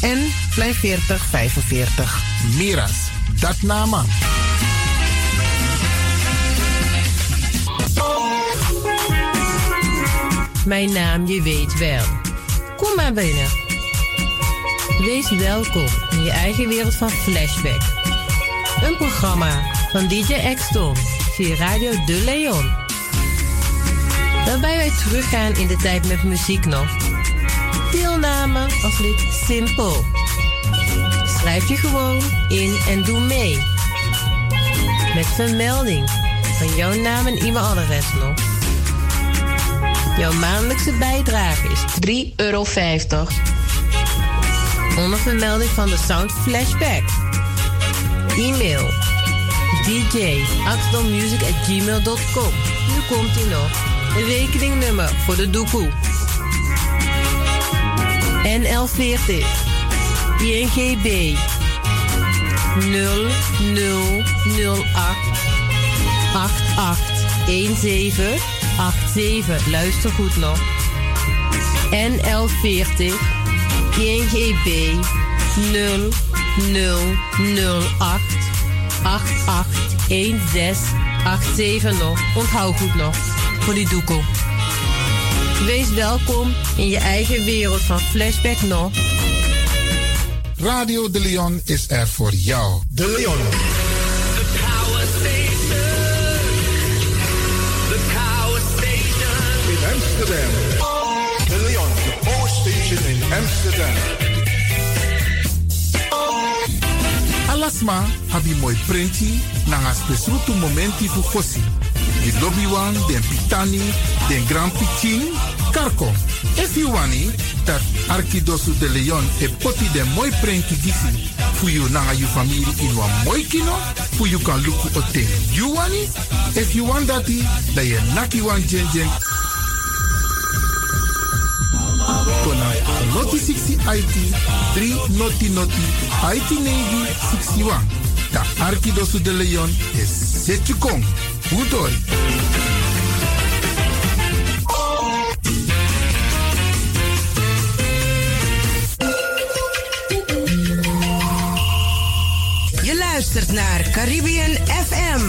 [SPEAKER 15] en Plein 4045.
[SPEAKER 2] Miras, dat nama.
[SPEAKER 16] Mijn naam, je weet wel. Kom maar binnen. Wees welkom in je eigen wereld van Flashback. Een programma van DJ Exton via Radio De Leon. Waarbij wij teruggaan in de tijd met muziek nog. Deelname als lid simpel. Schrijf je gewoon in en doe mee. Met vermelding van jouw naam en e-mailadres nog. Jouw maandelijkse bijdrage is 3,50 euro. Onder vermelding van de Sound Flashback. E-mail djaxdonmusic.gmail.com Nu komt ie nog. Een rekeningnummer voor de doekoe. NL40 INGB 0008 8817 87. Luister goed nog. NL40 1GB 0008 881687 nog. Onthoud goed nog. Voor die doekel. Wees welkom in je eigen wereld van Flashback nog.
[SPEAKER 2] Radio De Leon is er voor jou.
[SPEAKER 7] De Leon. The Power Station. The Power Station.
[SPEAKER 5] In Amsterdam. De Leon, the power station in Amsterdam.
[SPEAKER 2] Alasma, habi moi prenti, nanga spesrutu momenti fu fosi. Di lobby wan, den pitani, den grand pitin, karko. If you wani, dat Arkidosu de Leon e poti den moi prenti gisi. Fu you nanga you family in wan moi kino, fu you kan luku oten. You wani? If you want dati, da ye naki wan jen jen. Kona Noti 60 IT 3 Noti Noti IT Navy 61. Da Arkidosu de Leon is Setu Kong. Hudori.
[SPEAKER 17] Je luistert naar Caribbean FM,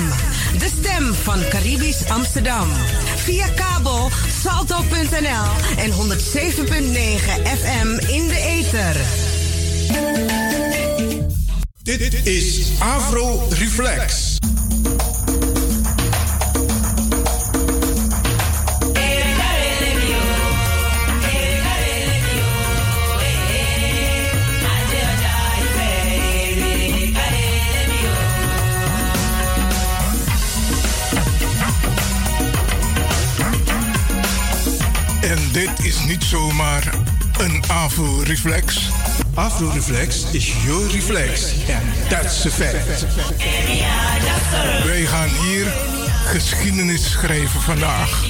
[SPEAKER 17] de stem van Caribisch Amsterdam. Via kabel salto.nl en 107.9 FM in de ether.
[SPEAKER 5] Dit is Afro Reflex. En dit is niet zomaar een Afro-reflex. Afro-reflex is jouw reflex. En dat is een fact. Wij gaan hier geschiedenis schrijven vandaag.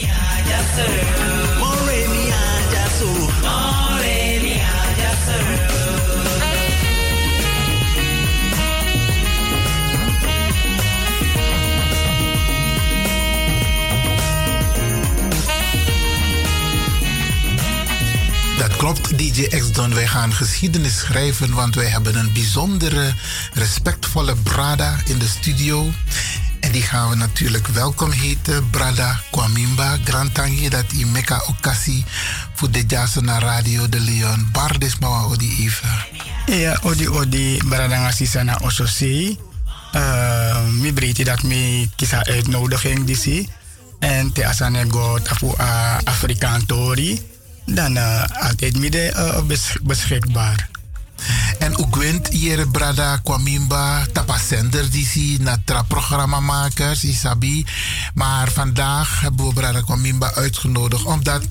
[SPEAKER 2] Dat klopt, DJ X-Don. Wij gaan geschiedenis schrijven, want wij hebben een bijzondere, respectvolle Brada in de studio. En die gaan we natuurlijk welkom heten. Brada Kwamimba, Grantangi, dat i meka okasi. Voor de Jasona Radio de Leon. Bardis mawa odi Eva.
[SPEAKER 9] Ja, odi odi Brada Ngasisana Ososi. Uh, mi breedte dat mi kisa eh, uitnodiging die zie. En te asane god afu a Afrikaan Tori. Dan uh, altijd midden uh, bes beschikbaar.
[SPEAKER 2] En ook wint hier Brada Kwamimba, tapasender die zie natra programmamakers, Isabi. Maar vandaag hebben we Brada Kwamimba uitgenodigd omdat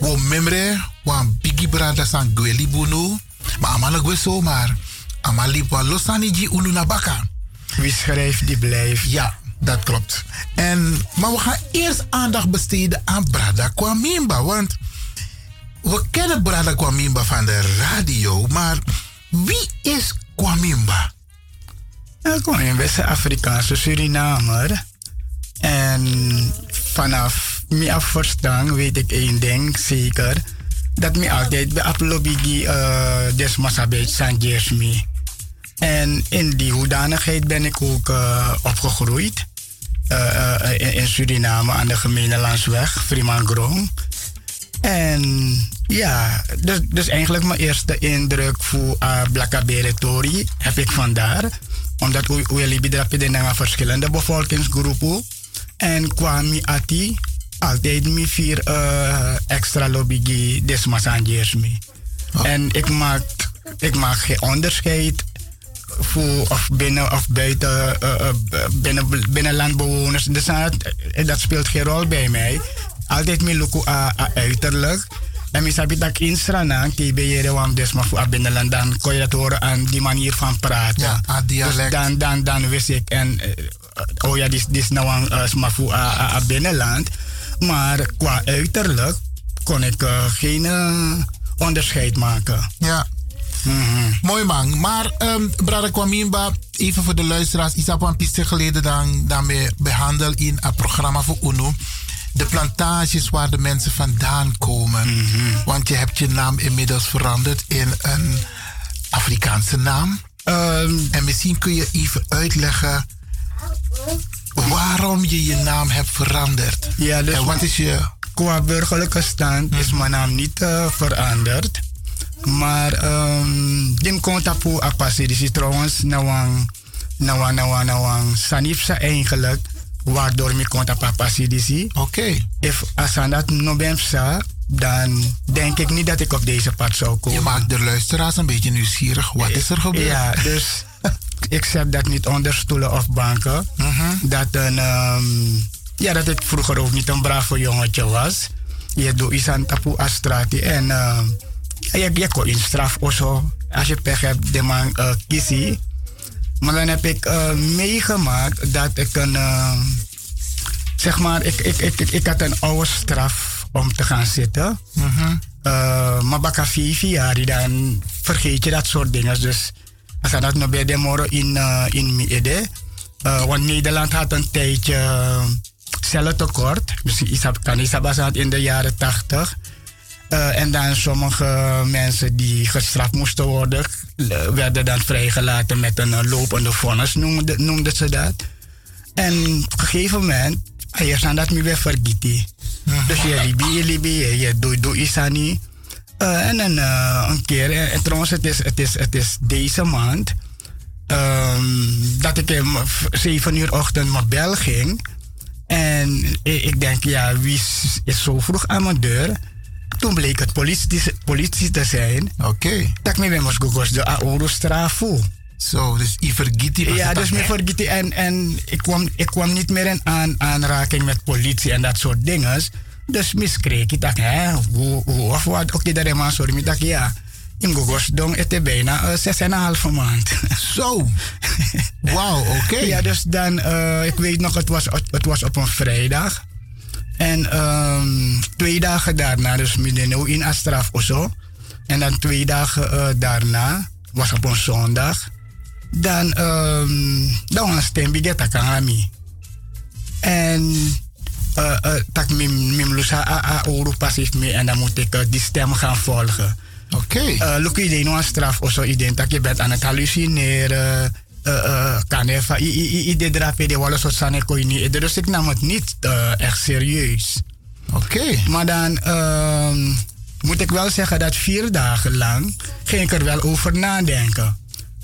[SPEAKER 2] we memre, we bigi Brada san gweli bunu. Maar amalek we zomaar. Amalip wa losaniji unu nabaka.
[SPEAKER 9] Wie schrijft, die blijft.
[SPEAKER 2] Ja, dat klopt. En, maar we gaan eerst aandacht besteden aan Brada Kwamimba. Want we kennen Brada Kwamimba van de radio, maar wie is Kwamimba?
[SPEAKER 9] Ja, Kwamimba is een Afrikaanse Surinamer. En vanaf mijn afverstand weet ik één ding zeker. Dat mij altijd bij Aplobigi uh, desmasabeit San Jersmi. En in die hoedanigheid ben ik ook uh, opgegroeid. Uh, uh, in, in Suriname aan de gemene Landsweg, Fremangrom. En ja, dus, dus eigenlijk mijn eerste indruk voor uh, Blakabere Tori heb ik vandaar. Omdat we libidrapiden naar verschillende bevolkingsgroepen. En qua mi ati, altijd mi vier uh, extra lobby desmassangeers mi. Oh. En ik maak, ik maak geen onderscheid voor of binnen of buiten uh, binnen, binnenlandbewoners. Dus dat, dat speelt geen rol bij mij altijd mi luku a, a eh, uiterlijk. En mi sabi tak insranang, ki bejere wam desma fu a binnenland, dan kon je dat horen aan die manier van praten.
[SPEAKER 2] Ja, a dialect.
[SPEAKER 9] Dus dan, dan, dan wist ik, en, uh, oh ja, dit is nou een uh, sma fu a, a, a, binnenland. Maar qua uiterlijk kon ik uh, geen onderscheid maken. Mhm.
[SPEAKER 2] Ja. Mm -hmm. Mooi man. Maar um, Brada Kwamimba, even voor de luisteraars. Isap een piste geleden dan, dan mee behandeld in een programma voor UNO de plantages waar de mensen vandaan komen. Mm
[SPEAKER 9] Mhm.
[SPEAKER 2] -hmm. Want je hebt je naam inmiddels veranderd in een Afrikaanse naam.
[SPEAKER 9] Ehm.
[SPEAKER 2] Um, en misschien kun je even uitleggen waarom je je naam hebt veranderd.
[SPEAKER 9] Ja, dus
[SPEAKER 2] en wat is je. Hmm.
[SPEAKER 9] Qua burgerlijke stand is mijn naam niet uh, veranderd. Maar ehm, dim konta pu apasi dus trouwens nawang nawang nawang nawang sanipsa eigenlijk waardoor ik konta papa CDC.
[SPEAKER 2] Oké. Okay.
[SPEAKER 9] If Asandat Nobemsa, dan denk ik niet dat ik op deze pad zou komen.
[SPEAKER 2] Je maakt de luisteraars een beetje nieuwsgierig. Wat is er gebeurd?
[SPEAKER 9] Ja,
[SPEAKER 2] (laughs)
[SPEAKER 9] dus ik zet dat niet onder stoelen of
[SPEAKER 2] Hmm.
[SPEAKER 9] banken. Uh -huh. Dat een, um, ja, dat ik vroeger ook niet een brave jongetje was. Je doet iets aan tapu astrati en uh, je, je kon in straf of zo. Als je pech hebt, de man uh, kiesie. Maar dan heb ik uh, meegemaakt dat ik een. Uh, zeg maar, ik, ik, ik, ik, had een oude straf om te gaan zitten. Mm -hmm. uh, maar baka vier jaar, dan vergeet je dat soort dingen. Dus als dat nog bij de morgen in, uh, in Miede. want Nederland had een tijdje eh, cellentekort. Misschien dus kan Isabasat in de jaren tachtig. Uh, en dan sommige mensen die gestraft moesten worden, werden dan vrijgelaten met een uh, lopende vonnis, noemden noemde ze dat. En op een gegeven moment, je staat dat me weer vergeten.
[SPEAKER 2] Mhm.
[SPEAKER 9] Dus je libi, je libi, je doe, doe isani. Uh, en dan een keer, en, trouwens, het is, het is, het is deze maand, ehm, dat ik om 7 uur ochtend mijn bel ging. En ik, ik denk, ja, wie is zo vroeg aan mijn deur? toen bleek het politie, politie te zijn.
[SPEAKER 2] Oké. Okay.
[SPEAKER 9] Dat ik me moest googlen, de Aorostrafo.
[SPEAKER 2] Zo, dus ik vergeet die
[SPEAKER 9] Ja, dus ik vergeet En, en ik, kwam, ik kwam niet meer in aan, aanraking met politie en dat soort dingen. Dus miskreeg ik dat, hè, hoe, hoe of wat. Oké, okay, dat is maar sorry, ik dacht, ja. In Gogos dong het is bijna eh, zes en een halve maand. (laughs)
[SPEAKER 2] Zo! Wauw, oké. Okay.
[SPEAKER 9] Ja, dus dan, uh, ik weet nog, het was, het was op een vrijdag. En um, twee dagen daarna, dus midden in Astraf of zo. En dan twee dagen uh, daarna, was op een zondag. Dan, um, dan was Stembi Geta Kangami. En eh, eh, tak mim, mim lusa a a oru passief mee en dan moet ik eh, die stem gaan volgen. Eh,
[SPEAKER 2] Oké.
[SPEAKER 9] Okay. idee nog nou een straf of zo idee dat je bent aan het hallucineren. eh, eh, Kan even, i- i- i- ieder drape de wallen soort zijn, ik kon je niet. Dus ik nam het niet eh, echt serieus.
[SPEAKER 2] Oké.
[SPEAKER 9] Maar dan ehm, moet ik wel zeggen dat vier dagen lang ging ik er wel over nadenken.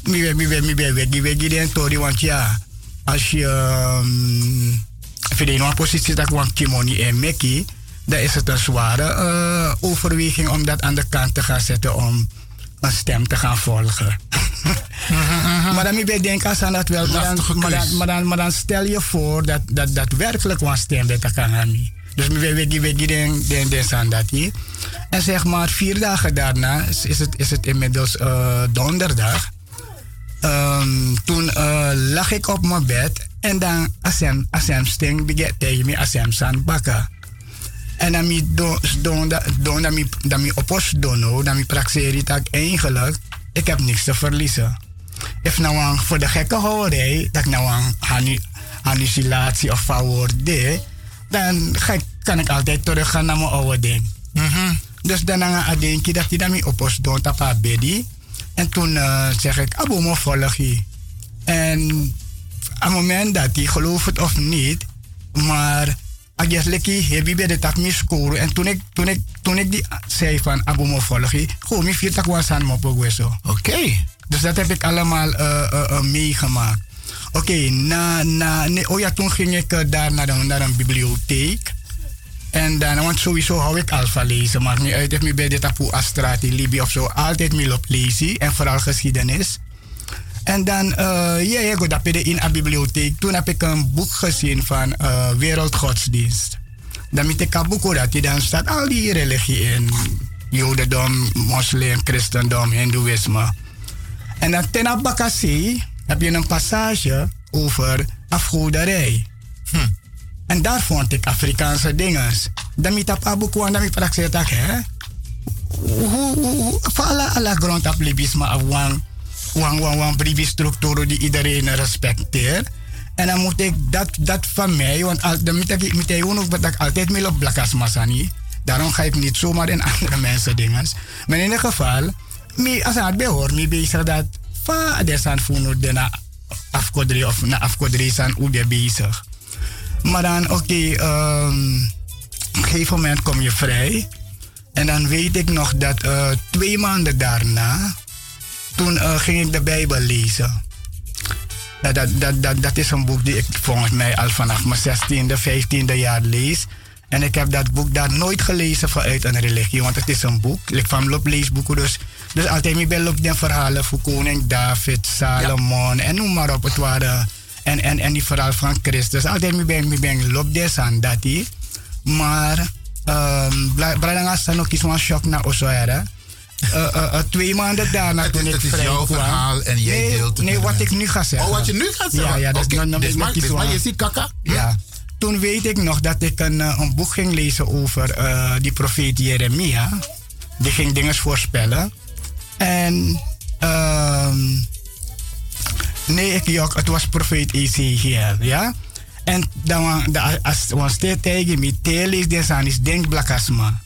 [SPEAKER 9] Mie, mie, mie, mie, weggie, weggie, den tori, want ja, als je ehm, voor de een positie dat want Kimoni en Mickey, dan is het een zware eh, overweging om dat aan de kant te gaan zetten om een stem te gaan volgen. Maar dan moet je denken aan dat wel. Maar dan, maar, dan, maar, dan, maar dan stel je voor dat, dat, dat werkelijk was stem dat kan aan mij. Dus we weten we, we, den, den, den aan dat hier. En zeg maar vier dagen daarna is, is het, is het inmiddels eh, donderdag. Ehm, toen eh, lag ik op mijn bed en dan Asem, Asem sting begat tegen me Asem san bakken. En dan mi don, don, don, dan mi, dan mi opos dono, dan mi praxeri tak eigenlijk, ik heb niks te verliezen. If nou aan voor de gekke hoorij, dat ik nou aan hannu- annulatie of verwoordde, dan ga, ik- kan ik altijd teruggaan naar mijn oude ding. Dus dan aan denk je dat je daarmee opos doet op haar bedie. En toen eh, zeg ik, abo me volg je. En aan het moment dat hij gelooft het of niet, maar eigenlijk heb je bij de tak scoren. En toen ik, toen, ik, toen ik die zei van abo me volg je, gewoon mijn vier tak was aan mijn pogo zo.
[SPEAKER 2] Oké.
[SPEAKER 9] Dus dat heb ik allemaal eh, eh, eh, meegemaakt. Oké, na, na, nee, oh ja, toen ging ik eh, daar naar, een- naar een bibliotheek. En dan, want sowieso hou ik alfa lezen. Maakt niet uit of ik bij de Tapu Astrati, Libi of zo. Altijd mee op lezen. En vooral geschiedenis. En dan, eh, ja, ja, goed, dat ben ik in een bibliotheek. Toen heb ik een boek gezien van eh, Wereldgodsdienst. Dan met ik een boek hoor dat die dan staat al die religie in. Jodendom, moslim, christendom, hindoeïsme. En dan ten abakasi heb je een passage over afgoderij. Hm. En daar vond ik Afrikaanse dingen. Dan met dat abu kwam, dan met dat ik zei dat, hè. Hoe- hoe- hoe- Voor alle, alle grond op libisme of wang, wang, wang, wang, brievenstructuren die iedereen respecteert. En dan moet ik dat, dat van mij, want al, dan moet ik, moet ik ook dat ik altijd mee op blakas masani. Daarom ga ik niet zomaar in andere mensen dingen. Maar in ieder geval, mi, als ik het behoor, mi bezig dat, va, desan funu, dena afkodri of na afkodri san, hoe ben bezig. Maar dan, oké, ehm, op een gegeven moment kom je vrij. En dan weet ik nog dat eh, twee maanden daarna, toen eh, ging ik de Bijbel lezen. Ja, Nou, dat, dat, dat, dat is een boek die ik volgens mij al vanaf mijn 16e, 15e jaar lees. En ik heb dat boek daar nooit gelezen vanuit een religie, want het is een boek. Ik van loop leesboeken, dus, dus altijd mee bij loop de verhalen voor koning David, Salomon en noem maar op. Het waren, en, en, en die verhaal van Christus. Altijd mee bij, mee bij loop des aan dat die. Maar, Bradanga um, staan ook iets van shock naar Osoera. eh, twee maanden daarna toen ik
[SPEAKER 18] Het is
[SPEAKER 9] vrij
[SPEAKER 18] jouw
[SPEAKER 9] kwam.
[SPEAKER 18] verhaal en jij
[SPEAKER 9] nee,
[SPEAKER 18] deelt het
[SPEAKER 9] Nee,
[SPEAKER 18] met
[SPEAKER 9] wat
[SPEAKER 18] hem.
[SPEAKER 9] ik nu ga zeggen.
[SPEAKER 18] Oh, wat je nu gaat zeggen?
[SPEAKER 9] Ja, ja dat nou,
[SPEAKER 18] Oké,
[SPEAKER 9] is nog-
[SPEAKER 18] dit
[SPEAKER 9] nog-
[SPEAKER 18] maakt-
[SPEAKER 9] nog iets
[SPEAKER 18] dit maakt-
[SPEAKER 9] waar.
[SPEAKER 18] je ziet kaka.
[SPEAKER 9] Ja. Toen weet ik nog dat ik een, eh, een boek ging lezen over eh, die profeet Jeremia. Die ging dingen voorspellen. En ehm, nee, ik jok, het was profeet Ezekiel, ja. En dan wa- da- als was dit tegen me, telis des aan is denk blakasma.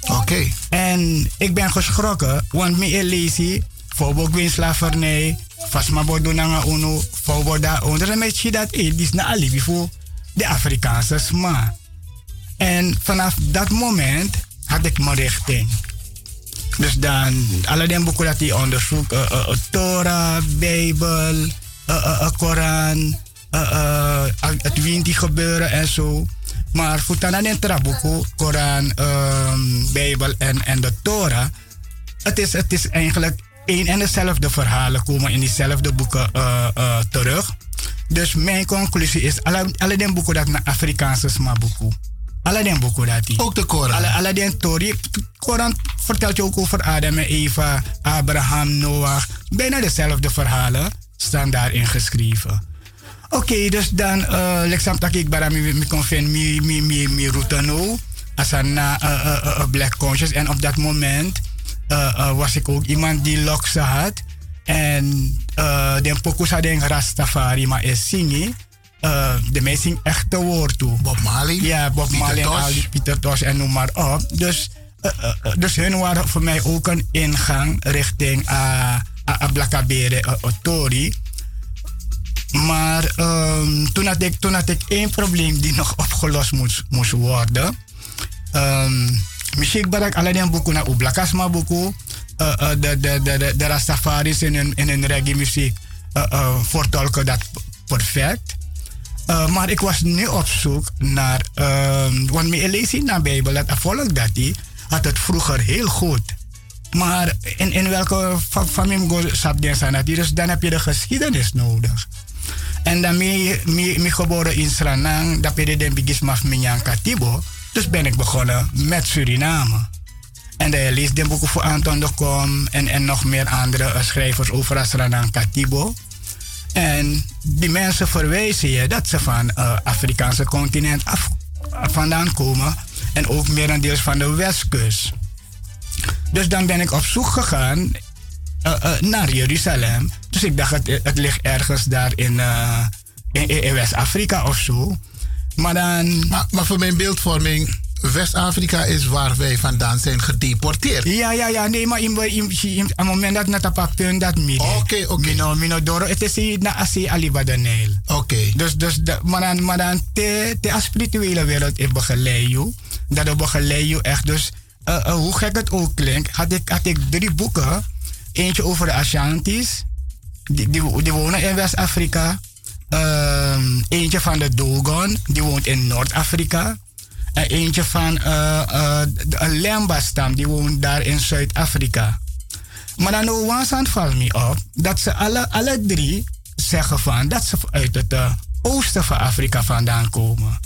[SPEAKER 9] Oké. En ik ben geschrokken, want me elisi, voorbeeld win slavernij, vasma bodonanga uno, voorbeeld daar onder een beetje dat het is na alibi voor de Afrikaanse sma. En vanaf dat moment had ik mijn richting. Dus dan, alle den boeken dat hij onderzoekt, eh, eh, eh, Torah, Bijbel, eh, eh, eh, Koran, eh, eh, al- het winti gebeuren en zo. Maar voor Tana den Trabuku, Koran, ehm, Bijbel en, en de Torah, het is, het is eigenlijk één en dezelfde verhalen komen in diezelfde boeken eh, eh, terug. Dus mijn conclusie is, alle, alle den boeken dat naar Afrikaanse sma boeken. Alle den boeken dat die. Ook de Koran. Alle, alle den Tori. De Koran vertelt je ook over Adam en Eva, Abraham, Noach. Bijna dezelfde verhalen staan daarin geschreven. Oké, dus dan, eh Lexam Takik Barami, mi convin, mi, mi, mi, mi Rutano. Als een na eh, eh, eh, eh, Black Conscious. En op dat moment eh, eh, was ik ook iemand die lokse had. En eh den pokus had een Rastafari, maar is Singi. eh, de mensen zien echte woord toe. Bob Marley? Ja, Bob
[SPEAKER 19] Pieter
[SPEAKER 9] Marley en
[SPEAKER 19] Tosh.
[SPEAKER 9] al die Pieter Tosh en noem maar op. Dus, eh, eh, eh, dus hun waren voor mij ook een ingang richting uh, Ablakabere eh, eh, Tori. Maar ehm, toen, had ik, toen had ik één probleem die nog opgelost moest, moest worden. Ehm misschien barak alleen boeken naar Oblakasma boeken. eh, eh, de, de, de, de, de Rastafaris in hun, in hun reggae muziek eh, eh, vertolken dat perfect. Eh, maar ik was nu op zoek naar, ehm want mijn lezen in de Bijbel, dat volk dat die, had het vroeger heel goed. Maar in, in welke fa- familie go- zat die en zijn dat die? Dus dan heb je de geschiedenis nodig. En dan mi, mi, mi geboren in Suriname, dat je de bigismaf minyan katibo. Dus ben ik begonnen met Suriname. En hij leest de boeken voor Anton de Kom en, en nog meer andere eh, schrijvers over Suriname katibo. En die mensen verwijzen je dat ze van het Afrikaanse continent af, vandaan komen. En ook merendeels van de westkust. Dus dan ben ik op zoek gegaan eh, eh, naar Jeruzalem. Dus ik dacht, het, het ligt ergens daar in, eh, in, in- in West-Afrika of zo. Maar dan...
[SPEAKER 2] Maar, maar voor mijn beeldvorming, West-Afrika is waar wij vandaan zijn gedeporteerd.
[SPEAKER 9] Ja, ja, ja. Nee, maar in, in, in, op het moment dat het pakt, dat niet. Oké, oké. Mino, mino doro. Het is hier na asi alibadaneel. Oké. Dus, dus dat- maar dan, maar dan te, te als spirituele wereld in begeleid je. Dat ik begeleid je echt. Dus eh, eh, hoe gek het ook klinkt, had ik, had ik drie boeken. Eentje over de Ashantis. Die, die, die wonen in West-Afrika. Ehm, eentje van de Dogon. Die woont in Noord-Afrika. En eentje van eh, eh, de- een Lemba-stam, die woont daar in Zuid-Afrika. Maar dan nou, Wansan valt me op dat ze alle, alle drie zeggen van dat ze uit het eh, oosten van Afrika vandaan komen.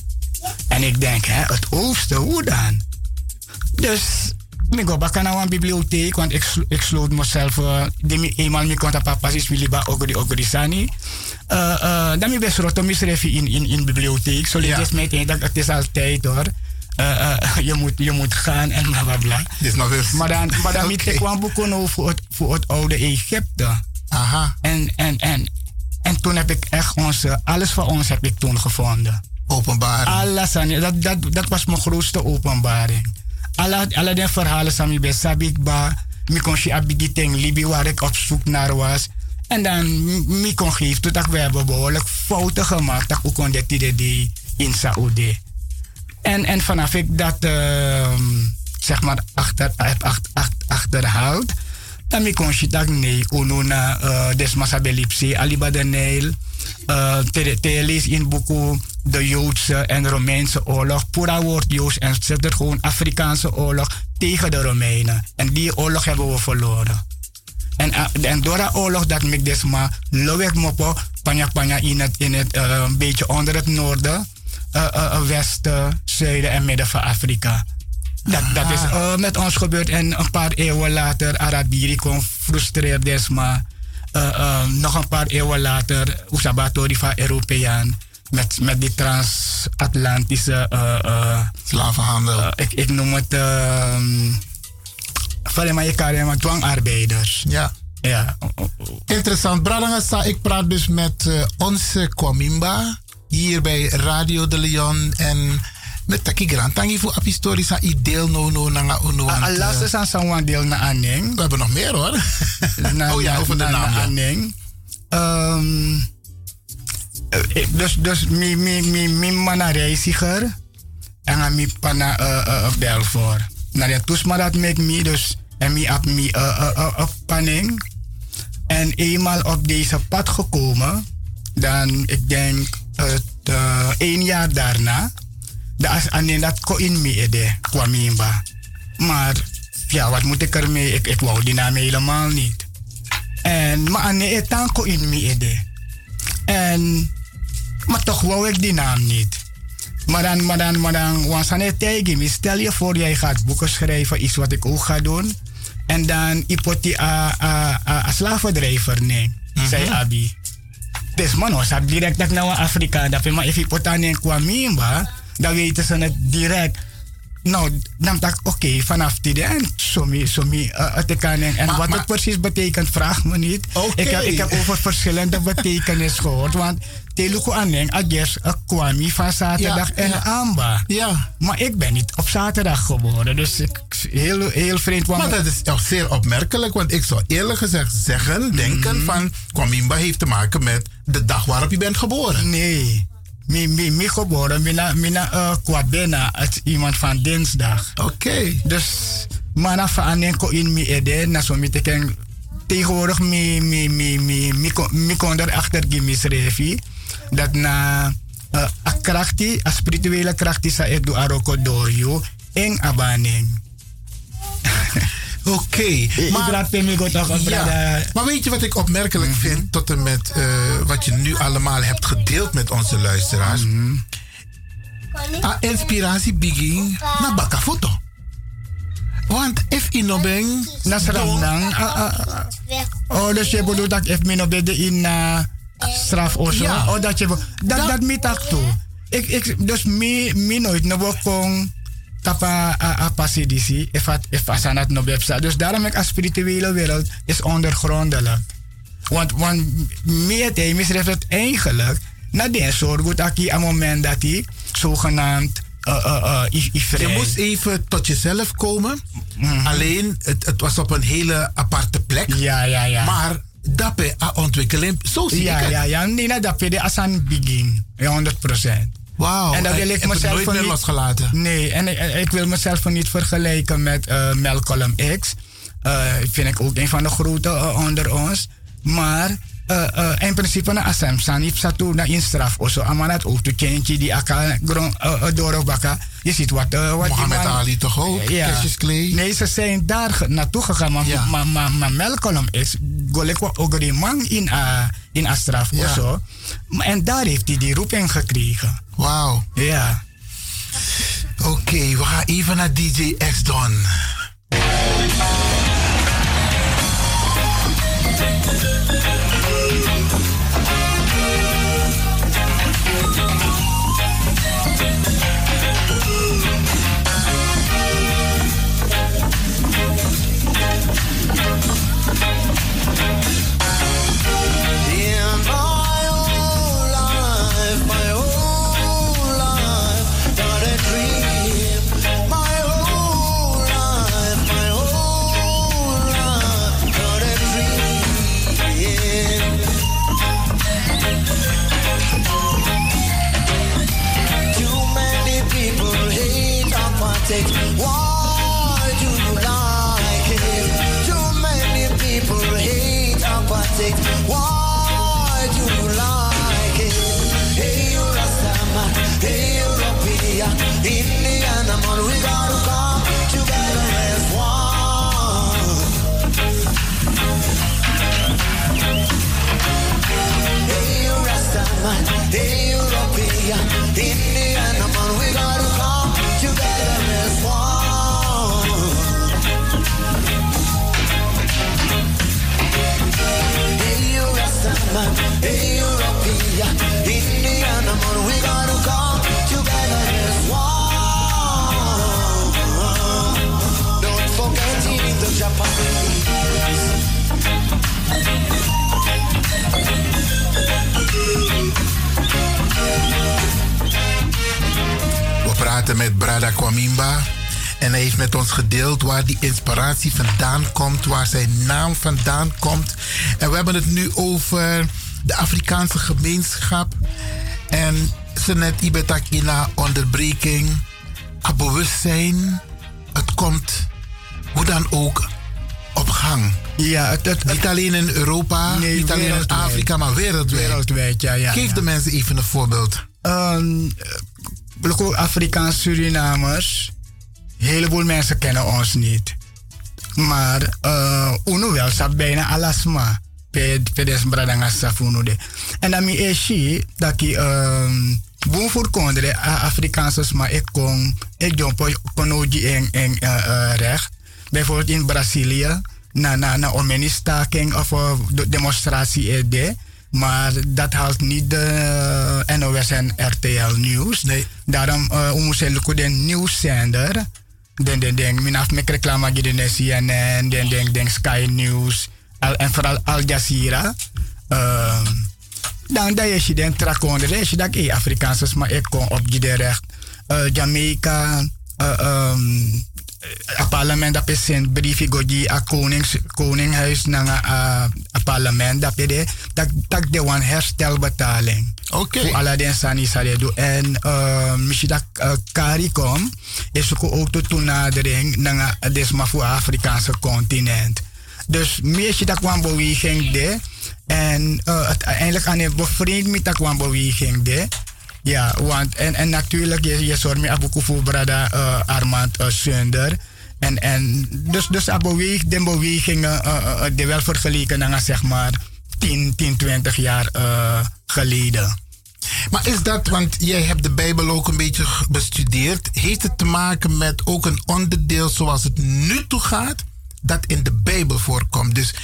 [SPEAKER 9] En ik denk, hè, het oosten, hoe dan? Dus ik ga bakken naar een bibliotheek, want ik, slo- ik sloot mezelf. eh, die me eenmaal me kon papa's is miliba ook die ook die sani. Eh, eh, Dan ben ik rotom in in in bibliotheek. Zo lees het meteen dat het is altijd hoor. Eh, eh, (laughs) je, moet, je moet gaan en bla bla bla.
[SPEAKER 2] Dit is nog eens.
[SPEAKER 9] Maar dan, maar dan
[SPEAKER 2] (laughs) Oké.
[SPEAKER 9] ik kwam boeken over voor het, voor het oude Egypte. Aha. En, en, en, en toen heb ik echt onze, alles van ons heb ik toen gevonden. Openbaring. Alles aan, dat, dat, dat was mijn grootste openbaring. Alle, alle de verhalen van mij bij Sabikba, ik kon je abigiteng Libi waar ik op zoek naar was. En dan m- ik kon geven dat we hebben behoorlijk fouten gemaakt. Dat ook kon dit idee in Saoedi. En, en vanaf ik dat ehm, zeg maar achter, heb acht- acht- achterhaald, dan mi kon je dat nee, onuna eh, desmasa belipsi, alibadeneil, eh, te- te lees in boeken de Joodse en Romeinse oorlog, pura woord Joods en zet er gewoon Afrikaanse oorlog tegen de Romeinen. En die oorlog hebben we verloren. En, a- en door dat oorlog dat dus ik desma lowek mopo, panja panja in het, in het eh, een beetje onder het noorden, eh, eh, eh, westen, zuiden en midden van Afrika. Dat, dat is eh, met ons gebeurd en een paar eeuwen later Arabiri kon frustreerd desma. Eh, eh, nog een paar eeuwen later Usabatori van Europeaan met, met die transatlantische slavenhandel. ik, ik noem het ehm, Vallen maar je karren, maar dwangarbeiders.
[SPEAKER 2] Ja.
[SPEAKER 9] Ja.
[SPEAKER 2] Interessant. Bradangasa, ik praat dus met eh, onze Kwamimba hier bij Radio de Leon en met Taki Grand. Tangi voor Apistorisa i deel no no nanga ono. want, eh,
[SPEAKER 9] Alas is aan Sangwan deel naar Anning.
[SPEAKER 2] We hebben nog meer hoor. (laughs)
[SPEAKER 9] Na-
[SPEAKER 2] oh ja,
[SPEAKER 9] na-
[SPEAKER 2] over de
[SPEAKER 9] na-
[SPEAKER 2] naam.
[SPEAKER 9] na
[SPEAKER 2] ja.
[SPEAKER 9] Aneng. Ehm, eh, dus, dus, mi, mi, mi, mi mana reiziger. En aan mi pana eh, eh, eh, Belfort. Naar de toesma dat met mi, dus. En mi op mi eh, eh, eh, eh, panning. En eenmaal op deze pad gekomen, dan, ik denk, het, eh, één jaar daarna, dat is aan dat ko in me ede, kwam in ba. Maar, ja, wat moet ik ermee? Ik, ik wou die naam helemaal niet. En maar ah, aan het tanko in me ede. En maar toch wou ik die naam niet. Maar dan, maar dan, maar dan, was aan het tegen me. Stel je voor, jij gaat boeken schrijven, iets wat ik ook ga doen. En dan ah, ipoti a, a, a, a slavendrijver neem, zei Abi. Dus man, als ik direct dat naar Afrika, dat je maar even ipota neem kwam, mimba, dan weten ze het direct. Nou, dan dacht ik, oké, vanaf die en somi, somi, uh, het kan. En, en
[SPEAKER 2] Maar-
[SPEAKER 9] wat
[SPEAKER 2] maar-
[SPEAKER 9] het precies betekent, vraag me niet.
[SPEAKER 2] Oké.
[SPEAKER 9] Ik, heb, ik heb over
[SPEAKER 2] (laughs)
[SPEAKER 9] verschillende betekenis gehoord. Want Telugu Aneng, Adjes, eh, Kwami van zaterdag
[SPEAKER 2] Ja,
[SPEAKER 9] en
[SPEAKER 2] ja.
[SPEAKER 9] Amba.
[SPEAKER 2] Ja.
[SPEAKER 9] Maar ik ben niet op zaterdag geboren, dus ik, heel, heel vreemd. want-
[SPEAKER 2] Maar dat is toch zeer opmerkelijk, want ik zou eerlijk gezegd zeggen, denken
[SPEAKER 9] Mhm.
[SPEAKER 2] van Kwamimba heeft te maken met de dag waarop je bent geboren.
[SPEAKER 9] Nee. Mi, mi, mi geboren, mina, mina uh, kwabena, het iemand van dinsdag.
[SPEAKER 2] Oké.
[SPEAKER 9] Dus, mana van anenko in mi ede, na zo mi teken, tegenwoordig mi, mi, mi, mi, mi, kon- mi kon erachter gimme schreven, dat na uh, a krachti, a spirituele krachti sa edu aroko dorju, eng abaning.
[SPEAKER 2] Oké.
[SPEAKER 9] Maar, ik raad me goed af,
[SPEAKER 2] Ja, maar weet je wat ik opmerkelijk
[SPEAKER 9] Mhm.
[SPEAKER 2] vind tot en met eh, wat je nu allemaal hebt gedeeld met onze luisteraars?
[SPEAKER 9] Mhm.
[SPEAKER 2] A inspiratie begin na bakafoto. Want if inobeng
[SPEAKER 9] Nasranang, ah, Oh, dus je bedoelt dat ik min op de in uh, straf of zo?
[SPEAKER 2] Ja.
[SPEAKER 9] Oh, dat je be- dat dat, dat met tak toe. Ik ik dus mi mi nooit no bokong tapa a, a passie disi if at if asanat no bepsa. Dus daarom ik als spirituele wereld is ondergrondelijk. Want want meer te misreft het eigenlijk na de soort goed aki een moment dat hij zogenaamd eh eh eh i- i-
[SPEAKER 2] Je
[SPEAKER 9] vrij- Mhm.
[SPEAKER 2] moest even tot jezelf komen. Alleen, het, het was op een hele aparte plek.
[SPEAKER 9] Ja, ja, ja.
[SPEAKER 2] Maar dat bij a ontwikkeling, zo zie
[SPEAKER 9] ja,
[SPEAKER 2] ik het.
[SPEAKER 9] Ja, ja, Nee, nou, dat vind ik als een begin. Ja, 100%.
[SPEAKER 2] Wauw,
[SPEAKER 9] En dat wil
[SPEAKER 2] ik
[SPEAKER 9] ik
[SPEAKER 2] heb het
[SPEAKER 9] mezelf
[SPEAKER 2] nooit
[SPEAKER 9] van
[SPEAKER 2] meer
[SPEAKER 9] niet-
[SPEAKER 2] losgelaten.
[SPEAKER 9] Nee, en ik, en ik wil mezelf van niet vergelijken met eh Malcolm X. Eh, vind ik ook een van de grote eh, onder ons. Maar eh, eh, in principe na Assam staan niet zat na in straf of zo. Maar dat ook de kindje die akka grond eh, eh, door of bakka. Je ziet wat eh, wat
[SPEAKER 2] Mohammed
[SPEAKER 9] iemand-
[SPEAKER 2] Ali toch ook? Cassius
[SPEAKER 9] Nee, ze zijn daar ge- naartoe gegaan. Maar,
[SPEAKER 2] Ja.
[SPEAKER 9] maar, maar, maar Malcolm is golekwa ogrimang in, eh, in Astraf
[SPEAKER 2] Ja.
[SPEAKER 9] of zo. Maar- En daar heeft hij die roeping gekregen.
[SPEAKER 2] Wauw.
[SPEAKER 9] Ja.
[SPEAKER 2] Oké, we gaan even naar DJ X Don.
[SPEAKER 7] In my whole life, my whole life, not a dream. My whole life, my whole life, not a dream. Too many people hate our politics. Why do you like it? Too many people hate our politics. Why do you like it? Hey, you're a Saman. Hey, European. Indian, I'm on. We gotta come together as one. Hey, you're a Saman. Hey, European. Indian, I'm on. We gotta come together as one. Hey, you're a Saman. Hey, European. Indian, I'm on. We gotta come together as one. Don't forget the Japanese.
[SPEAKER 2] We praten met Brada Kwamimba. En hij heeft met ons gedeeld waar die inspiratie vandaan komt, waar zijn naam vandaan komt. En we hebben het nu over de Afrikaanse gemeenschap. En ze net Ibetakina onderbreking, het bewustzijn. Het komt hoe dan ook op gang.
[SPEAKER 9] Ja,
[SPEAKER 2] niet alleen in Europa,
[SPEAKER 9] Nee,
[SPEAKER 2] niet alleen in
[SPEAKER 9] wereldwijd.
[SPEAKER 2] Afrika, maar wereldwijd.
[SPEAKER 9] Wereldwijd, ja, ja.
[SPEAKER 2] Geef
[SPEAKER 9] ja.
[SPEAKER 2] de mensen even een voorbeeld.
[SPEAKER 9] Ehm, eh, ook Afrikaans Surinamers, een heleboel mensen kennen ons niet. Maar eh uno wel, sa bijna alasma. Ped, pedes bradanga safuno de. En dan mi eshi, dat ik um, boon voor kondre, Afrikaanse sma, ik kon, ik jompo, kon oji en, en eh, eh, recht. Bijvoorbeeld in Brazilië, na, na, na omenistaking of eh, de- demonstratie er de. Maar dat haalt niet de eh, NOS en RTL nieuws.
[SPEAKER 2] Nee.
[SPEAKER 9] Daarom uh, moesten we een nieuwszender. Den, den, den. Mijn af met reclame gieten de CNN, den, den, den, Sky News. Al, en vooral Al Jazeera. Ehm, dan dat je je den trak onder. Dat je dat eh, Afrikaans is, maar ik kom op je recht. Eh, Jamaica. eh, ehm, a parlement dat is een briefje goji ah, a konings koninghuis naar a, a parlement dat je de dat dat de wan herstelbetaling.
[SPEAKER 2] Oké.
[SPEAKER 9] Voor alle den sani sare do en uh, misschien dat uh, CARICOM is ook ook de toenadering naar a- dus maar voor Afrikaanse continent. Dus meesje dat kwam beweging de en eh, uiteindelijk aan een bevriend met dat kwam beweging de. Ja, want en, en natuurlijk, je, je zorgt me ook voor brada eh, Armand Sunder. En, en dus, dus de, beweeg, de bewegingen eh, eh, eh, die wel vergeleken naar zeg maar 10, 10 20 jaar eh, geleden.
[SPEAKER 18] Maar is dat, want jij hebt de Bijbel ook een beetje g- bestudeerd. Heeft het te maken met ook een onderdeel zoals het nu toe gaat, dat in de Bijbel voorkomt? Dus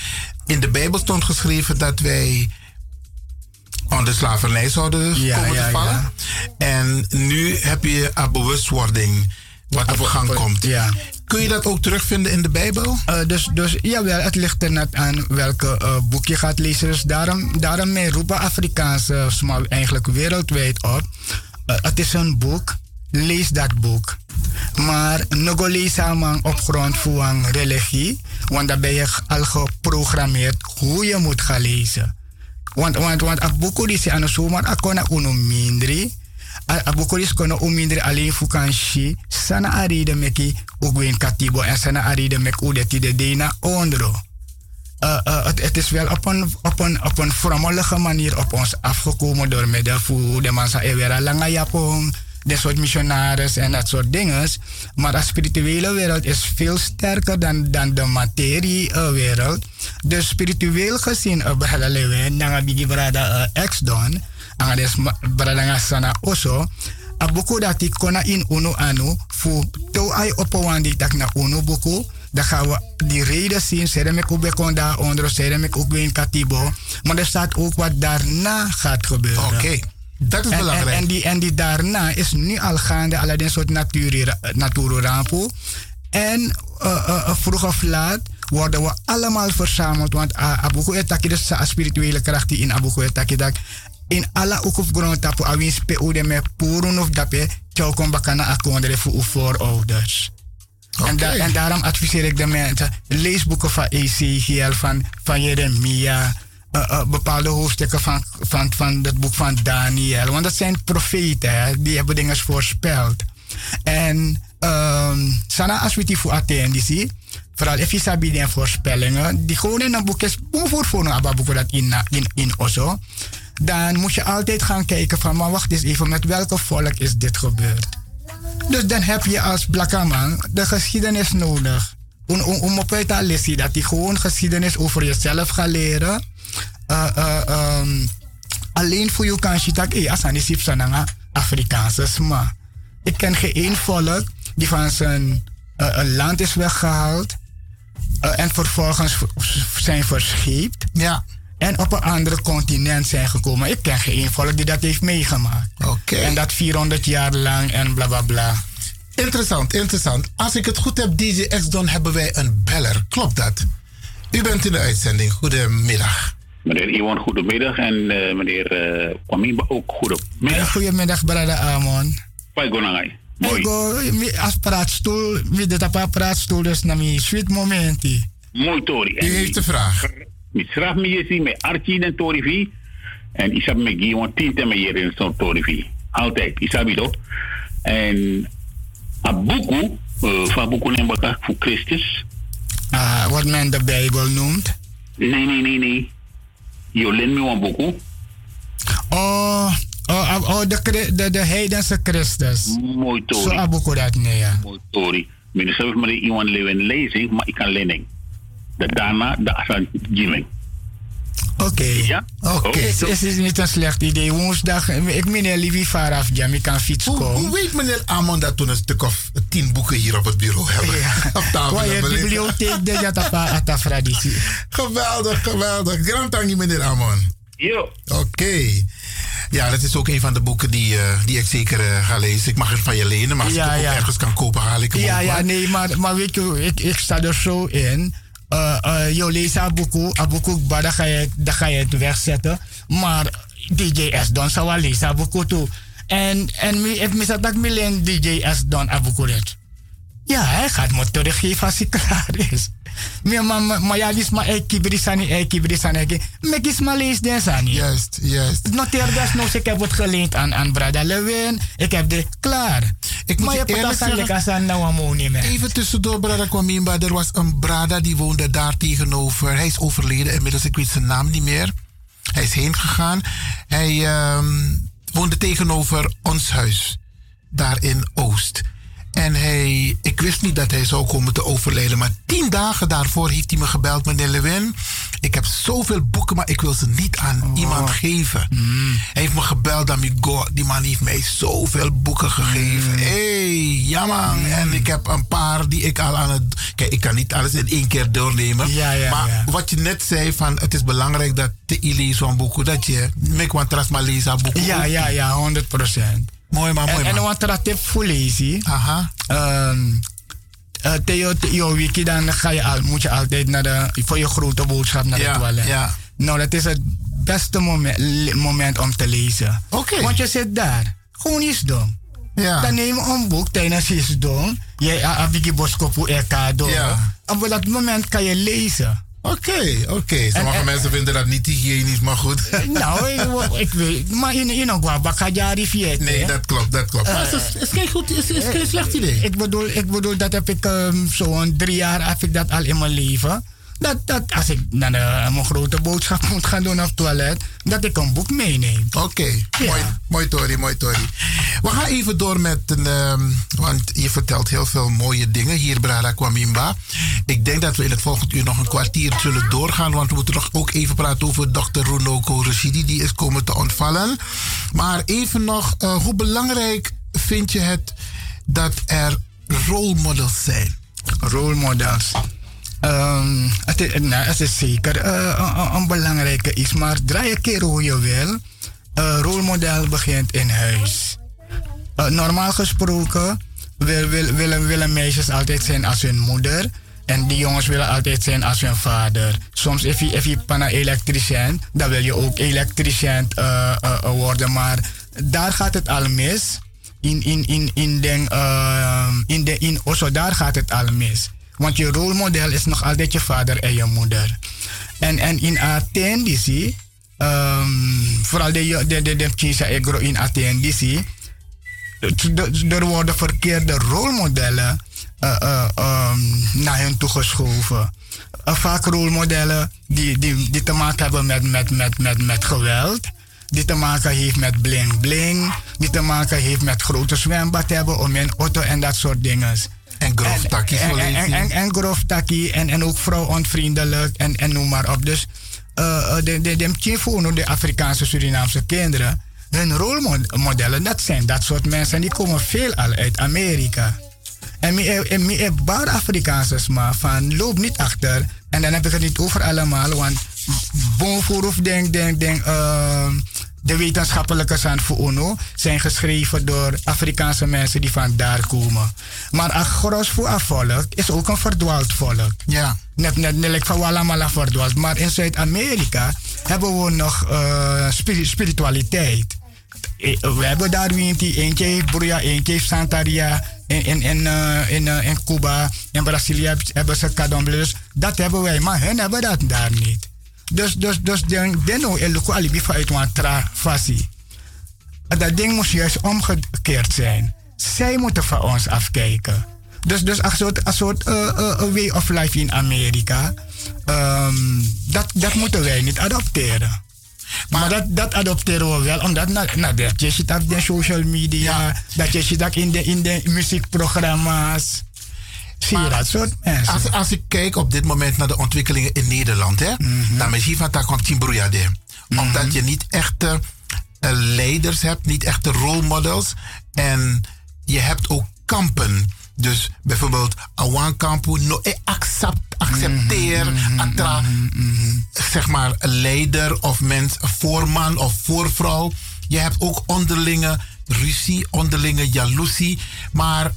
[SPEAKER 18] in de Bijbel stond geschreven dat wij onder slavernij zouden
[SPEAKER 9] Ja,
[SPEAKER 18] komen
[SPEAKER 9] ja,
[SPEAKER 18] te vallen.
[SPEAKER 9] ja.
[SPEAKER 18] En nu heb je een bewustwording wat op gang komt.
[SPEAKER 9] Ja.
[SPEAKER 18] Kun je dat ook terugvinden in de Bijbel?
[SPEAKER 9] Eh, dus, dus jawel, het ligt er net aan welke eh, boek je gaat lezen. Dus daarom, daarmee roepen Afrikaanse eh, maar eigenlijk wereldwijd op. Eh, het is een boek, lees dat boek. Maar nogo lees allemaal op grond van religie, want dan ben je al geprogrammeerd hoe je moet gaan lezen. Want, want, want a boek die ze aan de zomer, a kona uno mindri. A, a boek die ze kona uno mindri alleen voor kan shi. Sana a reden meki ugwin katibo en sana a reden mek ude ti de dena ondro. Eh, eh, het, het is wel op een, op, een, op een frommelige manier op ons afgekomen door middel van de mansa ewera langa japong, dit soort missionaris en dat soort dingen. Maar de spirituele wereld is veel sterker dan, dan de materie-wereld. Dus spiritueel gezien, eh, brada lewe, nanga bigi brada eh, ex don, anga des ma- brada nga sana oso, abuku dati kona in uno anu, fu to ai opo wandi tak na uno buku, dan gaan we die reden zien. Zedemik ook kon daaronder, Zedemik ook weer in Katibo. Maar er staat ook wat daarna gaat gebeuren.
[SPEAKER 18] Oké, dat is
[SPEAKER 9] En- en-
[SPEAKER 18] belangrijk.
[SPEAKER 9] En, die, en die daarna is nu al gaande, alleen een soort natuur- natuurrampo. En eh, eh, eh, vroeg of laat worden we allemaal verzameld. Want uh, Abuku Etaki, dus de spirituele kracht die in Abuku Etaki dat in alle ukuf grond tapu awins pe ude me purun of dape, tjou kon bakana akondere voor uw voorouders. En, da- en daarom adviseer ik de mensen, lees boeken van Ezekiel, van, van Jeremia, eh, eh, bepaalde hoofdstukken van, van, van het boek van Daniel. Want dat zijn profeten, hè, die hebben dingen voorspeld. En ehm sana als we die voor Athene zien, vooral if je sabi die voorspellingen, die gewoon in een boek is, voor voor een abba boek dat in, eh, in, in Oslo, dan moet je altijd gaan kijken van, maar wacht eens even, met welke volk is dit gebeurd? Dus dan heb je als blakke man de geschiedenis nodig. Om, om, om op uit te lezen dat je gewoon geschiedenis over jezelf gaat leren. Eh, eh, ehm, alleen voor je kan je dat eh, als aan die Afrikaanse sma. Ik ken geen één volk die van zijn eh, eh, land is weggehaald eh, en vervolgens v- v- zijn verscheept.
[SPEAKER 18] Ja.
[SPEAKER 9] En op een ander continent zijn gekomen. Ik ken geen één volk die dat heeft meegemaakt. En dat 400 jaar lang en bla bla bla.
[SPEAKER 18] Interessant, interessant. Als ik het goed heb, DJ X Don, hebben wij een beller. Klopt dat? U bent in de uitzending. Goedemiddag.
[SPEAKER 19] Meneer Iwan, goedemiddag. En eh, meneer eh Kwamimba ook goedemiddag.
[SPEAKER 9] Hey, goedemiddag, brada Amon.
[SPEAKER 19] Pai Gonangai.
[SPEAKER 9] Ik go, mi- als praatstoel, met de tapa praatstoel, dus naar mijn sweet momenti.
[SPEAKER 19] Mooi Tori.
[SPEAKER 9] U heeft de vraag.
[SPEAKER 19] Met straf me je zien, met Archie en Tori V. En ik heb me gewoon tien te meer in zo'n Tori V. Altijd, ik heb het ook. En Abuku, eh, van Abuku neem ik voor Christus.
[SPEAKER 9] Ah, wat men de Bijbel noemt.
[SPEAKER 19] Nee, nee, nee, nee. Jolin me een Abuku.
[SPEAKER 9] Oh, oh, oh, oh, de, Chri- de, de heidense Christus.
[SPEAKER 19] Mooi Tori.
[SPEAKER 9] Zo aboeko dat nee, ja.
[SPEAKER 19] Mooi Tori. Meneer zelf maar iemand leven lezing, maar ik kan lening. De daarna, de Asan Jimen.
[SPEAKER 9] Oké.
[SPEAKER 19] Ja? Oh.
[SPEAKER 9] Oké.
[SPEAKER 19] Oké.
[SPEAKER 9] Het is, is niet een slecht idee. Woensdag, eh, ik meneer Livi Faraf, ja, ik kan fiets komen.
[SPEAKER 18] Hoe weet meneer Amon dat toen een stuk of tien boeken hier op het bureau hebben? (laughs) Op tafel
[SPEAKER 9] Waar je
[SPEAKER 18] hebben liggen.
[SPEAKER 9] bibliotheek de Jatapa Atafradisi.
[SPEAKER 18] (laughs) Geweldig, geweldig. Grand tangi, meneer Amon.
[SPEAKER 20] Yo.
[SPEAKER 2] Oké. Ja, dat is ook een van de boeken die, eh, die ik zeker eh, ga lezen. Ik mag het van je lenen, maar als ik
[SPEAKER 9] Ja,
[SPEAKER 2] het ook
[SPEAKER 9] ja.
[SPEAKER 2] ergens kan kopen, haal ik hem
[SPEAKER 9] Ja,
[SPEAKER 2] ook
[SPEAKER 9] ja,
[SPEAKER 2] maar.
[SPEAKER 9] nee, maar, maar weet je, ik, ik sta er zo in. Eh eh yo lees Abuku, Abuku, bah, dan ga, je, dan ga je het wegzetten. Maar DJ S Don zou wel lezen Abuku toe. En, en mi- ik mis dat ik alleen DJ S Don Abuku red. Ja, hij gaat me teruggeven als hij (laughs) klaar is. Maar, maar, maar, maar ja, dus maar ik kibrisani, ik kibrisani, ik ik eh, is maar lees den sani.
[SPEAKER 2] Juist, juist.
[SPEAKER 9] Noteer desnoods, ik heb het geleend aan, aan Brada Lewin. Ik heb dit klaar.
[SPEAKER 2] Ik moet
[SPEAKER 9] maar
[SPEAKER 2] je
[SPEAKER 9] hebt het
[SPEAKER 2] eerlijk
[SPEAKER 9] als aan
[SPEAKER 2] zeggen-
[SPEAKER 9] lekker aan nou aan moe niet meer.
[SPEAKER 2] Even tussendoor, Brada Kwamimba. Er was een Brada die woonde daar tegenover. Hij is overleden inmiddels. Ik weet zijn naam niet meer. Hij is heen gegaan. Hij ehm, woonde tegenover ons huis. Daar in Oost. En hij, ik wist niet dat hij zou komen te overlijden. Maar tien dagen daarvoor heeft hij me gebeld, meneer Lewin. Ik heb zoveel boeken, maar ik wil ze niet aan
[SPEAKER 9] Oh.
[SPEAKER 2] iemand geven.
[SPEAKER 9] Mm.
[SPEAKER 2] Hij heeft me gebeld, amigo. Die man heeft mij zoveel boeken gegeven.
[SPEAKER 9] Mm.
[SPEAKER 2] Hé, hey, jammer. En ik heb een paar die ik al aan het... Kijk, ik kan niet alles in één keer doornemen. maar wat je net zei, van, het is belangrijk dat te leest van boeken. Dat je... Mek want tras maar lezen aan boeken.
[SPEAKER 9] Ja, ja, ja, 100 procent.
[SPEAKER 2] Mooi man, mooi
[SPEAKER 9] En, en
[SPEAKER 2] man.
[SPEAKER 9] wat dat tip Um, voor lezen.
[SPEAKER 2] Aha.
[SPEAKER 9] Theo, Theo Wiki, dan ga je al, moet je altijd naar de, voor je grote boodschap naar
[SPEAKER 2] Ja,
[SPEAKER 9] het toilet.
[SPEAKER 2] ja.
[SPEAKER 9] Nou, dat is het beste moment, le- moment om te lezen. Want je zit daar. Gewoon iets doen.
[SPEAKER 2] Ja.
[SPEAKER 9] Dan neem je een boek tijdens iets doen. Je abigi boskopu ekado.
[SPEAKER 2] Ja.
[SPEAKER 9] Op dat moment kan je lezen.
[SPEAKER 2] Oké, oké. Sommige
[SPEAKER 9] en-
[SPEAKER 2] mensen vinden dat niet hygiënisch, maar goed.
[SPEAKER 9] (laughs) Nou, ik, ik weet, maar in in een guapa ga je die vier.
[SPEAKER 2] Nee, dat klopt, dat klopt. Maar Eh, het is-
[SPEAKER 9] is geen goed, is,
[SPEAKER 2] is geen slecht idee.
[SPEAKER 9] Ik bedoel, ik bedoel dat heb ik ehm, zo'n drie jaar heb ik dat al in mijn leven. Dat, dat als ik naar de- mijn grote boodschap (laughs) moet gaan doen op het toilet, dat ik een boek meeneem.
[SPEAKER 2] Oké, mooi, mooi Tori, mooi Tori. We gaan even door met een, ehm, want je vertelt heel veel mooie dingen hier, Brada Kwamimba. Ik denk dat we in het volgend uur nog een kwartier zullen doorgaan, want we moeten nog ook even praten over dokter Runoko Rashidi, die is komen te ontvallen. Maar even nog, eh, hoe belangrijk vind je het dat er rolmodels zijn?
[SPEAKER 9] Rolmodels. Ehm, het, is, nou, het is zeker eh, een, een- een belangrijke iets, maar draai een keer hoe je wil. Eh rolmodel begint in huis. Eh, normaal gesproken wil- wil- willen, willen meisjes altijd zijn als hun moeder. En die jongens willen altijd zijn als hun vader. Soms, if je, if je panna elektricien, dan wil je ook elektricien eh, eh, eh, worden. Maar daar gaat het al mis. In, in, in, in, den, eh, in, de, in Oslo, daar gaat het al mis. Want je rolmodel is nog altijd je vader en je moeder. En, en in Athene, die zie, ehm, vooral de, jo- de, de, de Chinese Egro in Athene, die zie, de- er worden verkeerde rolmodellen eh, eh, ehm, naar hen toegeschoven. Eh, vaak rolmodellen die, die, die te maken hebben met, met, met, met, met geweld. Die te maken heeft met bling bling. Die te maken heeft met grote zwembad hebben om in auto en dat soort dingen.
[SPEAKER 2] En grof takkie
[SPEAKER 9] en,
[SPEAKER 2] voor
[SPEAKER 9] en, en,
[SPEAKER 2] lezen.
[SPEAKER 9] en, en grof takkie en, en ook vrouwonvriendelijk en, en noem maar op. Dus eh, eh, de, de, de, Mchifuno, de Afrikaanse Surinaamse kinderen, hun rolmodellen, dat zijn dat soort mensen. Die komen veelal uit Amerika. En mij heb baar Afrikaans maar van loop niet achter. En dan heb ik het niet over allemaal, want bon vooraf denk, denk, denk, ehm, de wetenschappelijke zijn voor UNO zijn geschreven door Afrikaanse mensen die van daar komen. Maar een gros voor een volk is ook een verdwaald volk.
[SPEAKER 2] Ja.
[SPEAKER 9] Net, net, net like van Wallamala verdwaald. Maar in Zuid-Amerika hebben we nog eh, spiri- spiritualiteit. Eh, we hebben daar Winti, eentje heeft Bruja, eentje heeft Santaria. In, in, in, eh, in, eh, in Cuba, in Brazilië heb- hebben ze Cadomble. Dus dat hebben wij, maar hen hebben dat daar niet. Dus, dus, dus, denk, denk nou, Eluku Alibi vanuit Wantra Fasi. Dat ding moest juist omgekeerd zijn. Zij moeten van ons afkijken. Dus, dus een soort, een soort eh, eh, eh, way of life in Amerika. Ehm, dat, dat moeten wij niet adopteren. Maar, dat, dat adopteren we wel, omdat na, na, dat je zit op de social media, dat je zit ook in de, in de muziekprogramma's. Zie je dat soort mensen?
[SPEAKER 2] Als, als ik kijk op dit moment naar de ontwikkelingen in Nederland, hè, dan is hier van daar komt Timbroejade. Omdat je niet echte eh, leiders hebt, niet echte rolmodels. En je hebt ook kampen. Dus bijvoorbeeld Awan Kampu no e accept, accepteer atra zeg maar leider of mens, voorman of voorvrouw. Je hebt ook onderlinge ruzie, onderlinge jaloezie. Maar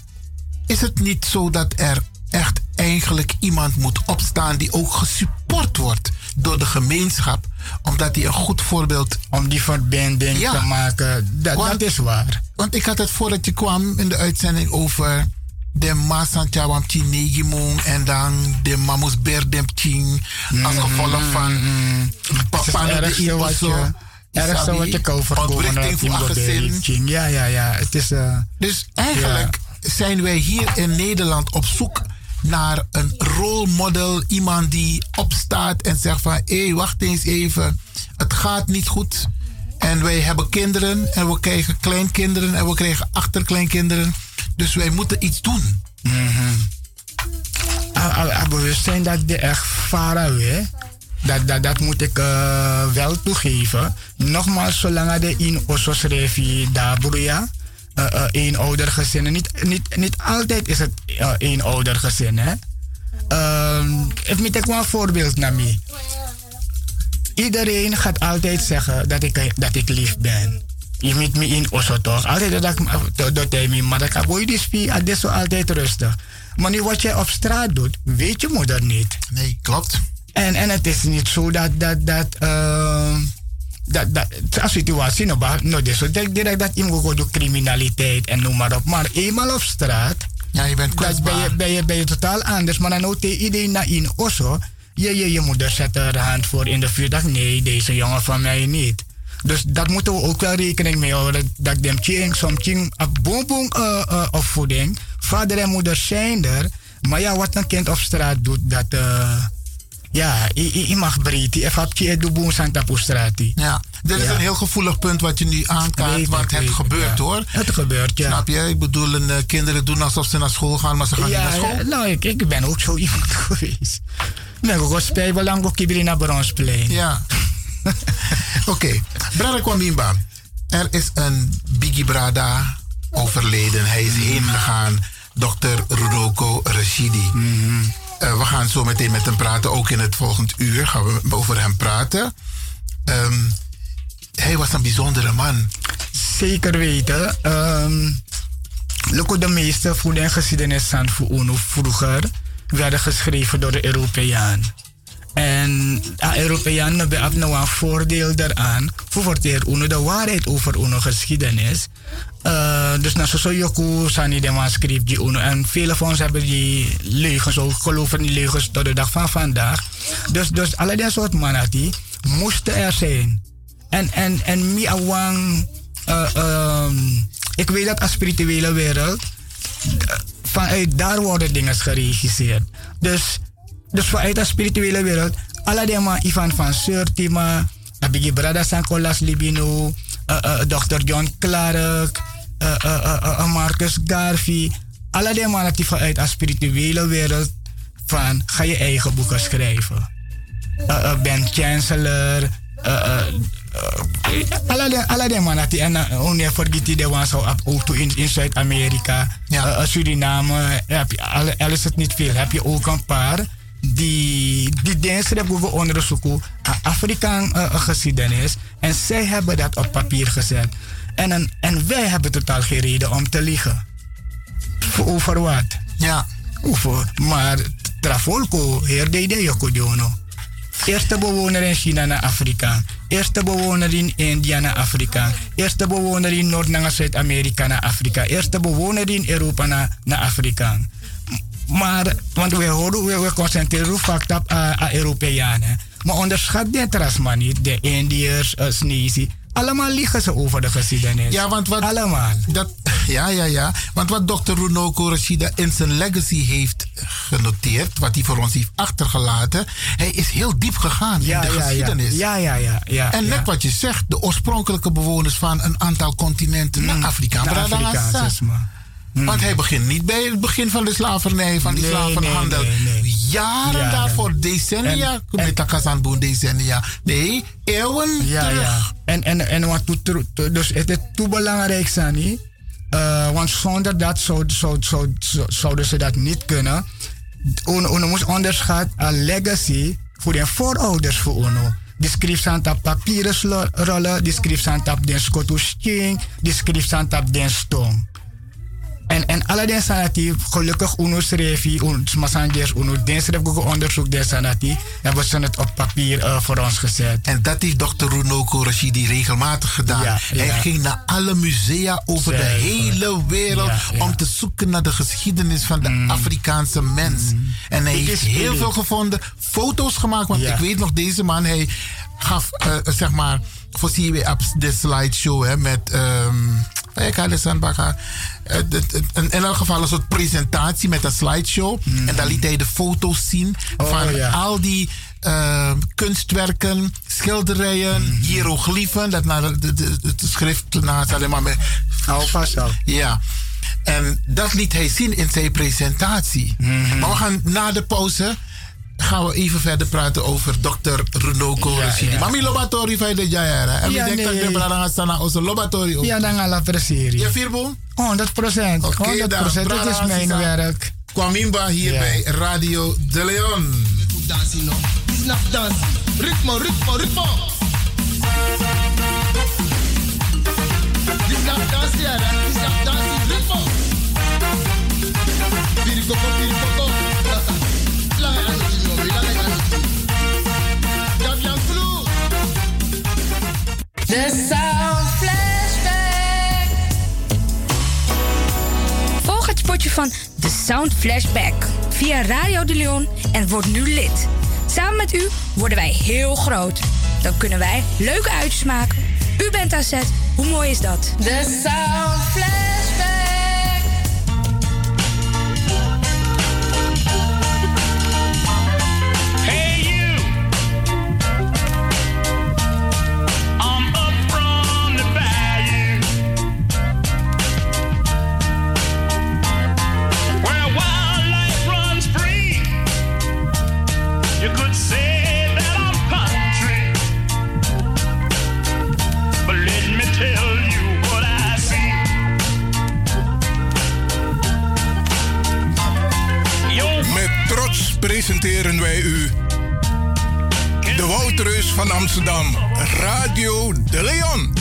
[SPEAKER 2] is het niet zo dat er echt eigenlijk iemand moet opstaan die ook gesupport wordt door de gemeenschap, omdat hij een goed voorbeeld
[SPEAKER 9] om die verbinding
[SPEAKER 2] Ja.
[SPEAKER 9] te maken. Dat,
[SPEAKER 2] Want-
[SPEAKER 9] dat is waar.
[SPEAKER 2] want ik had het voordat je kwam in de uitzending over de Masantjawam Chinegimung en dan de Mamus Berdempching als gevolg van Papa
[SPEAKER 9] Mhm,
[SPEAKER 2] de
[SPEAKER 9] Het is erg zo wat
[SPEAKER 2] Iwaso.
[SPEAKER 9] je- erg zo wat je kan overkomen.
[SPEAKER 2] Oprichting voor
[SPEAKER 9] dat iemand
[SPEAKER 2] gezin.
[SPEAKER 9] heeft zien. Ja, ja, ja. Het is... eh,
[SPEAKER 2] Dus eigenlijk zijn wij hier in Nederland op zoek naar een rolmodel. Iemand die opstaat en zegt van... hé, wacht eens even. Het gaat niet goed. En wij hebben kinderen en we krijgen kleinkinderen... en we krijgen achterkleinkinderen. Dus wij moeten iets doen.
[SPEAKER 9] Mhm. Ah, ah, ah, bewustzijn dat de echt varen we. Dat, dat, dat moet ik eh, wel toegeven. Nogmaals, zolang de in Osso Srevi Dabruja. een oudergezinnen. Niet, niet, niet altijd is het eh, een oudergezin. Hè? Ehm even met een voorbeeld naar mij. Iedereen gaat altijd zeggen dat ik, dat ik lief ben. Je moet me in Osso toch? Altijd dat ik dat- dat hij me, maar dat kan je dus bij, dat is zo altijd rustig. Maar nu wat jij op straat doet, weet je moeder niet.
[SPEAKER 2] Nee, klopt.
[SPEAKER 9] En, en het is niet zo dat, dat, dat, ehm, dat, dat, zo'n situatie nou, nog ba- nog is. zo direct direct dat iemand ook door criminaliteit en noem maar op. Maar eenmaal op straat,
[SPEAKER 2] ja, je bent
[SPEAKER 9] dat ben je, ben, je, ben je totaal anders. Maar dan ook tegen iedereen naar in Osso, je, je, je moeder zet er hand voor in de vuur. Dat nee, deze jongen van mij niet. Dus dat moeten we ook wel rekening mee houden. Dat ik denk, ching, soms ching, een bonbon eh, eh, opvoeding. Vader en moeder zijn er. Maar ja, wat een kind op straat doet, dat... eh, ja, i- i- i mag breed. Ik heb je de boom Santa Pustrati.
[SPEAKER 2] Ja, Dit is een heel gevoelig punt wat je nu aankaart,
[SPEAKER 9] Weet ik,
[SPEAKER 2] want het
[SPEAKER 9] weet ik,
[SPEAKER 2] gebeurt
[SPEAKER 9] ja.
[SPEAKER 2] hoor.
[SPEAKER 9] Het gebeurt, ja.
[SPEAKER 2] Snap je? Ik bedoel, en, eh, kinderen doen alsof ze naar school gaan, maar ze gaan
[SPEAKER 9] ja,
[SPEAKER 2] niet naar school.
[SPEAKER 9] ja, nou, ik, ik ben ook zo (laughs) iemand geweest. Ik ben ook spijt wel lang op Kibrina Bronsplein.
[SPEAKER 2] Ja. (laughs) Oké, Brada Kwambimba. Er is een Biggie Brada overleden. Hij is heengegaan. Dokter Rudoko Rashidi. Eh, we gaan zo meteen met hem praten. Ook in het volgend uur gaan we over hem praten. Ehm, hij was een bijzondere man.
[SPEAKER 9] Zeker weten. ehm Loco de meeste voeden en geschiedenis van voor UNO vroeger werden geschreven door de Europeaan. En eh, de Europeaan hebben nou een voordeel daaraan. Voor verteer UNO de waarheid over UNO geschiedenis. Eh, dus na zo'n joku zijn die de manuscript die UNO. En vele van ons hebben die leugens ook geloven, die leugens tot de dag van vandaag. Dus, dus allerlei soort mannen die moesten er zijn. En, en, en mi awang, eh, ehm, ik weet dat als spirituele wereld, eh, vanuit daar worden dingen geregisseerd. Dus, dus vanuit de spirituele wereld, Aladema Ivan van Surtima, Abigi Brada Sankolas Libino, eh, eh, Dr. John Clark, eh, eh, eh, eh, Marcus Garvey, Aladema dat die vanuit de spirituele wereld van ga je eigen boeken schrijven. Eh, eh, ben Chancellor, eh, eh, Alade, alade manati en uh, onye forgiti de wan zou op auto in, in Zuid-Amerika. Eh, eh, Suriname, eh, heb je, al, al is het niet veel, heb je ook een paar die, die dansen hebben we onderzoeken aan Afrikaan eh, eh, geschiedenis. En zij hebben dat op papier gezet. En, en, en wij hebben totaal geen reden om te liegen. Voor- Over wat?
[SPEAKER 2] Ja.
[SPEAKER 9] Over, maar Trafolco, heer Dede Yokodiono. Eerste bewoner in China naar Afrika. Eerste bewoner in India naar Afrika. Eerste bewoner in Noord- en Zuid-Amerika naar Afrika. Eerste bewoner in Europa naar, naar Afrika. M- Maar, want we, horen, we, we concentreren vaak op eh, eh, Europeanen. Maar onderschat de Trasman niet, de Indiërs, uh, Allemaal liegen ze over de geschiedenis.
[SPEAKER 2] Ja, want wat.
[SPEAKER 9] Allemaal.
[SPEAKER 2] Dat, ja, ja, ja. Want wat dokter Runoko Rashida in zijn legacy heeft genoteerd, wat hij voor ons heeft achtergelaten, hij is heel diep gegaan
[SPEAKER 9] Ja,
[SPEAKER 2] in de
[SPEAKER 9] ja, ja.
[SPEAKER 2] geschiedenis.
[SPEAKER 9] Ja, ja, ja, ja,
[SPEAKER 2] en
[SPEAKER 9] ja.
[SPEAKER 2] net wat je zegt, de oorspronkelijke bewoners van een aantal continenten naar Afrika.
[SPEAKER 9] Hmm. de
[SPEAKER 2] Brada
[SPEAKER 9] Afrikaans
[SPEAKER 2] Lassa.
[SPEAKER 9] is maar.
[SPEAKER 2] Want hij begint niet bij het begin van de slavernij, van die
[SPEAKER 9] Nee,
[SPEAKER 2] slavenhandel.
[SPEAKER 9] nee, nee, nee.
[SPEAKER 2] Jaren
[SPEAKER 9] Ja,
[SPEAKER 2] daarvoor, decennia, met Takasanboen, decennia. Nee, eeuwen
[SPEAKER 9] Ja,
[SPEAKER 2] terug.
[SPEAKER 9] ja. En, en, en wat doet er- dus het is te belangrijk, Sani. Uh, want zonder dat zou, zou, zou, zouden ze dat niet kunnen. Uno, uno moest onderschat een legacy voor de voorouders voor Uno. Die schrift aan tap papieren rollen, die schrift aan tap den skotusking, die schrift aan tap den stong. En, en alle sanati, gelukkig uno schreef, masanders uno denschref ook onderzoek den sanati, hebben ze het op papier uh, voor ons gezet.
[SPEAKER 2] En dat heeft dokter Runoko Rashidi regelmatig gedaan. Ja, ja. Hij ging naar alle musea over Zelf. de hele wereld ja, om te zoeken naar de geschiedenis van de mm. Afrikaanse mens. Mm. En hij heeft heel spirit. veel gevonden, foto's gemaakt, want ik weet nog, deze man, hij gaf, uh, zeg maar, voor CW Apps de slideshow hè, met... Um, ik had het in elk geval eh, een soort presentatie met een slideshow. Mm. En daar liet hij de foto's zien oh, van ja. al die uh, kunstwerken, schilderijen, mm. hieroglyphen. Dat nou, naar het schrift naast alleen maar met. Nou,
[SPEAKER 9] Hou vast al.
[SPEAKER 2] Ja. En dat liet hij zien in zijn presentatie. Mm. Maar we gaan na de pauze gaan we even verder praten over dokter Runoko ja, Rashidi. Ja. Mami lobatori van de Jaira. En ja, we denken dat de Brada staan naar onze lobatori.
[SPEAKER 9] Ook. Ja, dan gaan we presteren.
[SPEAKER 2] Ja, Firbo?
[SPEAKER 9] 100 procent. Okay, 100 procent, dat is mijn werk.
[SPEAKER 2] Kwamimba hier ja. bij Radio De Leon.
[SPEAKER 7] Dansen, no? Snap dansen. Ritmo, ritmo, ritmo. Die snap dansen, ja, die snap dansen, ritmo. Pirikoko, pirikoko.
[SPEAKER 21] The Sound Flashback.
[SPEAKER 1] Volg het spotje van The Sound Flashback via Radio de Leon en word nu lid. Samen met u worden wij heel groot. Dan kunnen wij leuke uitjes maken. U bent AZ, hoe mooi is dat?
[SPEAKER 21] The Sound Flashback.
[SPEAKER 22] Hey you. I'm up from the bayou. Where wildlife runs free. You could say that I'm country. But let me tell you what I see.
[SPEAKER 5] Met trots presenteren wij u de Wouterus van Amsterdam, Radio De Leon.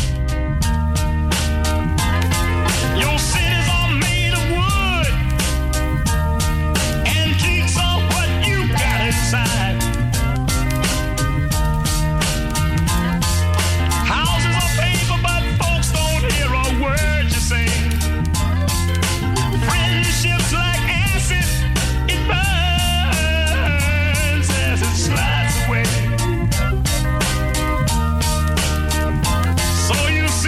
[SPEAKER 22] Your cities are made of wood. Antiques are what you got inside. Houses are paper, but folks don't hear a word you say. Friendships like acid, it burns as it slides away. So you see.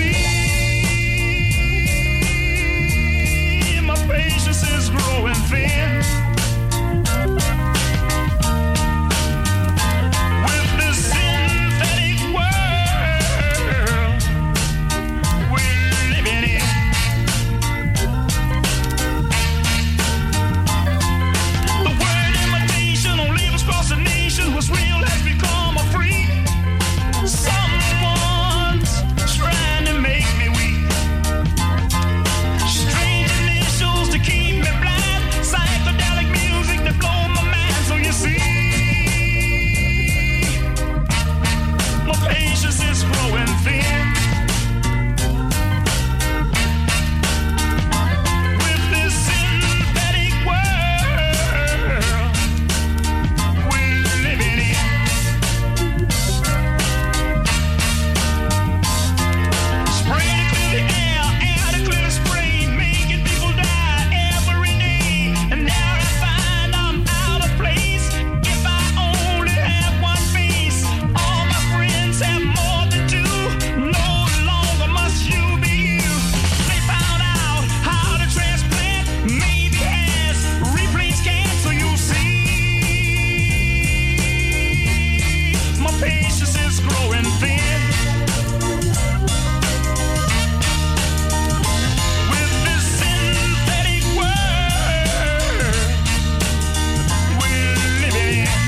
[SPEAKER 22] Mm-hmm.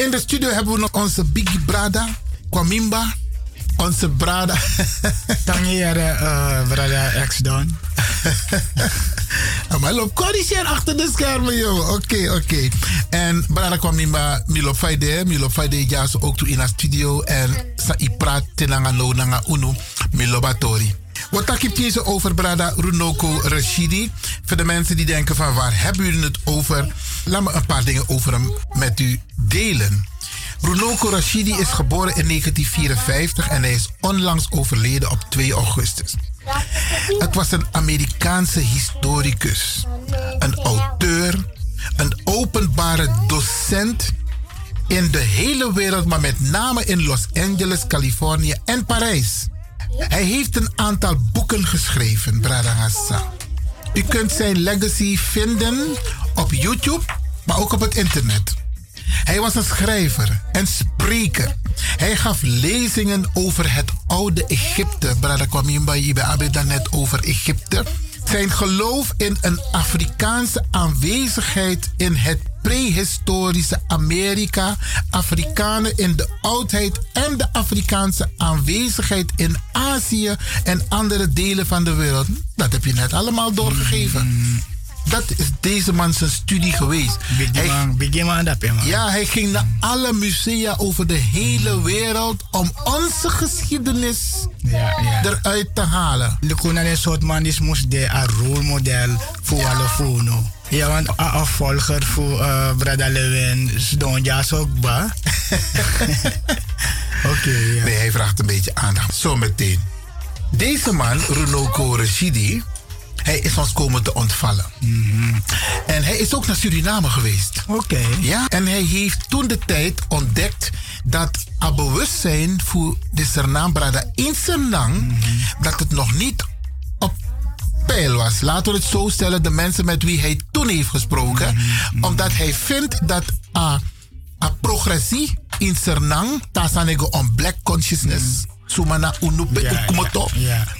[SPEAKER 2] in de studio hebben we nog onze Biggie Brada, Kwamimba. Onze Brada. (laughs)
[SPEAKER 9] Tangiere uh, Brada X Don.
[SPEAKER 2] Oh, maar loop corrigeer achter de schermen, jongen. Oké, oké. En Brada Kwamimba, Milo Faide. Milo Faide ja, zo ook toe in haar studio. En sa ipra tenanga no nanga unu, Milo Batori. Wat tak je deze over Brada Runoko Rashidi? Voor de mensen die denken van waar hebben jullie het over? Laat me een paar dingen over hem met u delen. Runoko Rashidi is geboren in 1954 en hij is onlangs overleden op 2 augustus. Het was een Amerikaanse historicus, een auteur, een openbare docent in de hele wereld, maar met name in Los Angeles, Californië en Parijs. Hij heeft een aantal boeken geschreven, Brada Hassa. U kunt zijn legacy vinden op YouTube, maar ook op het internet. Hij was een schrijver en spreker. Hij gaf lezingen over het oude Egypte. Brada Kwamimba, je hebben het net over Egypte. Zijn geloof in een Afrikaanse aanwezigheid in het prehistorische Amerika, Afrikanen in de oudheid en de Afrikaanse aanwezigheid in Azië en andere delen van de wereld. Dat heb je net allemaal doorgegeven. Dat is deze man zijn studie geweest. Hij- ja, hij ging naar alle musea over de hele wereld om onze geschiedenis eruit te halen.
[SPEAKER 9] De koning is een soort man die moest de een rolmodel voor alle fono. Ja, want eh, een afvolger voor eh Brada Lewin is Donja Sokba.
[SPEAKER 2] Oké. Nee, hij vraagt een beetje aandacht. Zometeen. Deze man, Runoko Rashidi, hij is ons komen te ontvallen. En hij is ook naar Suriname geweest. Oké. Ja, en hij heeft toen de tijd ontdekt dat het bewustzijn voor de Suriname Brada in Suriname, dat het nog niet pijl was. Laten we het zo stellen, de mensen met wie hij toen heeft gesproken. Omdat hij vindt dat a, a progressie in Sernang, Tasanego on black consciousness. Sumana Unupe Ukumoto.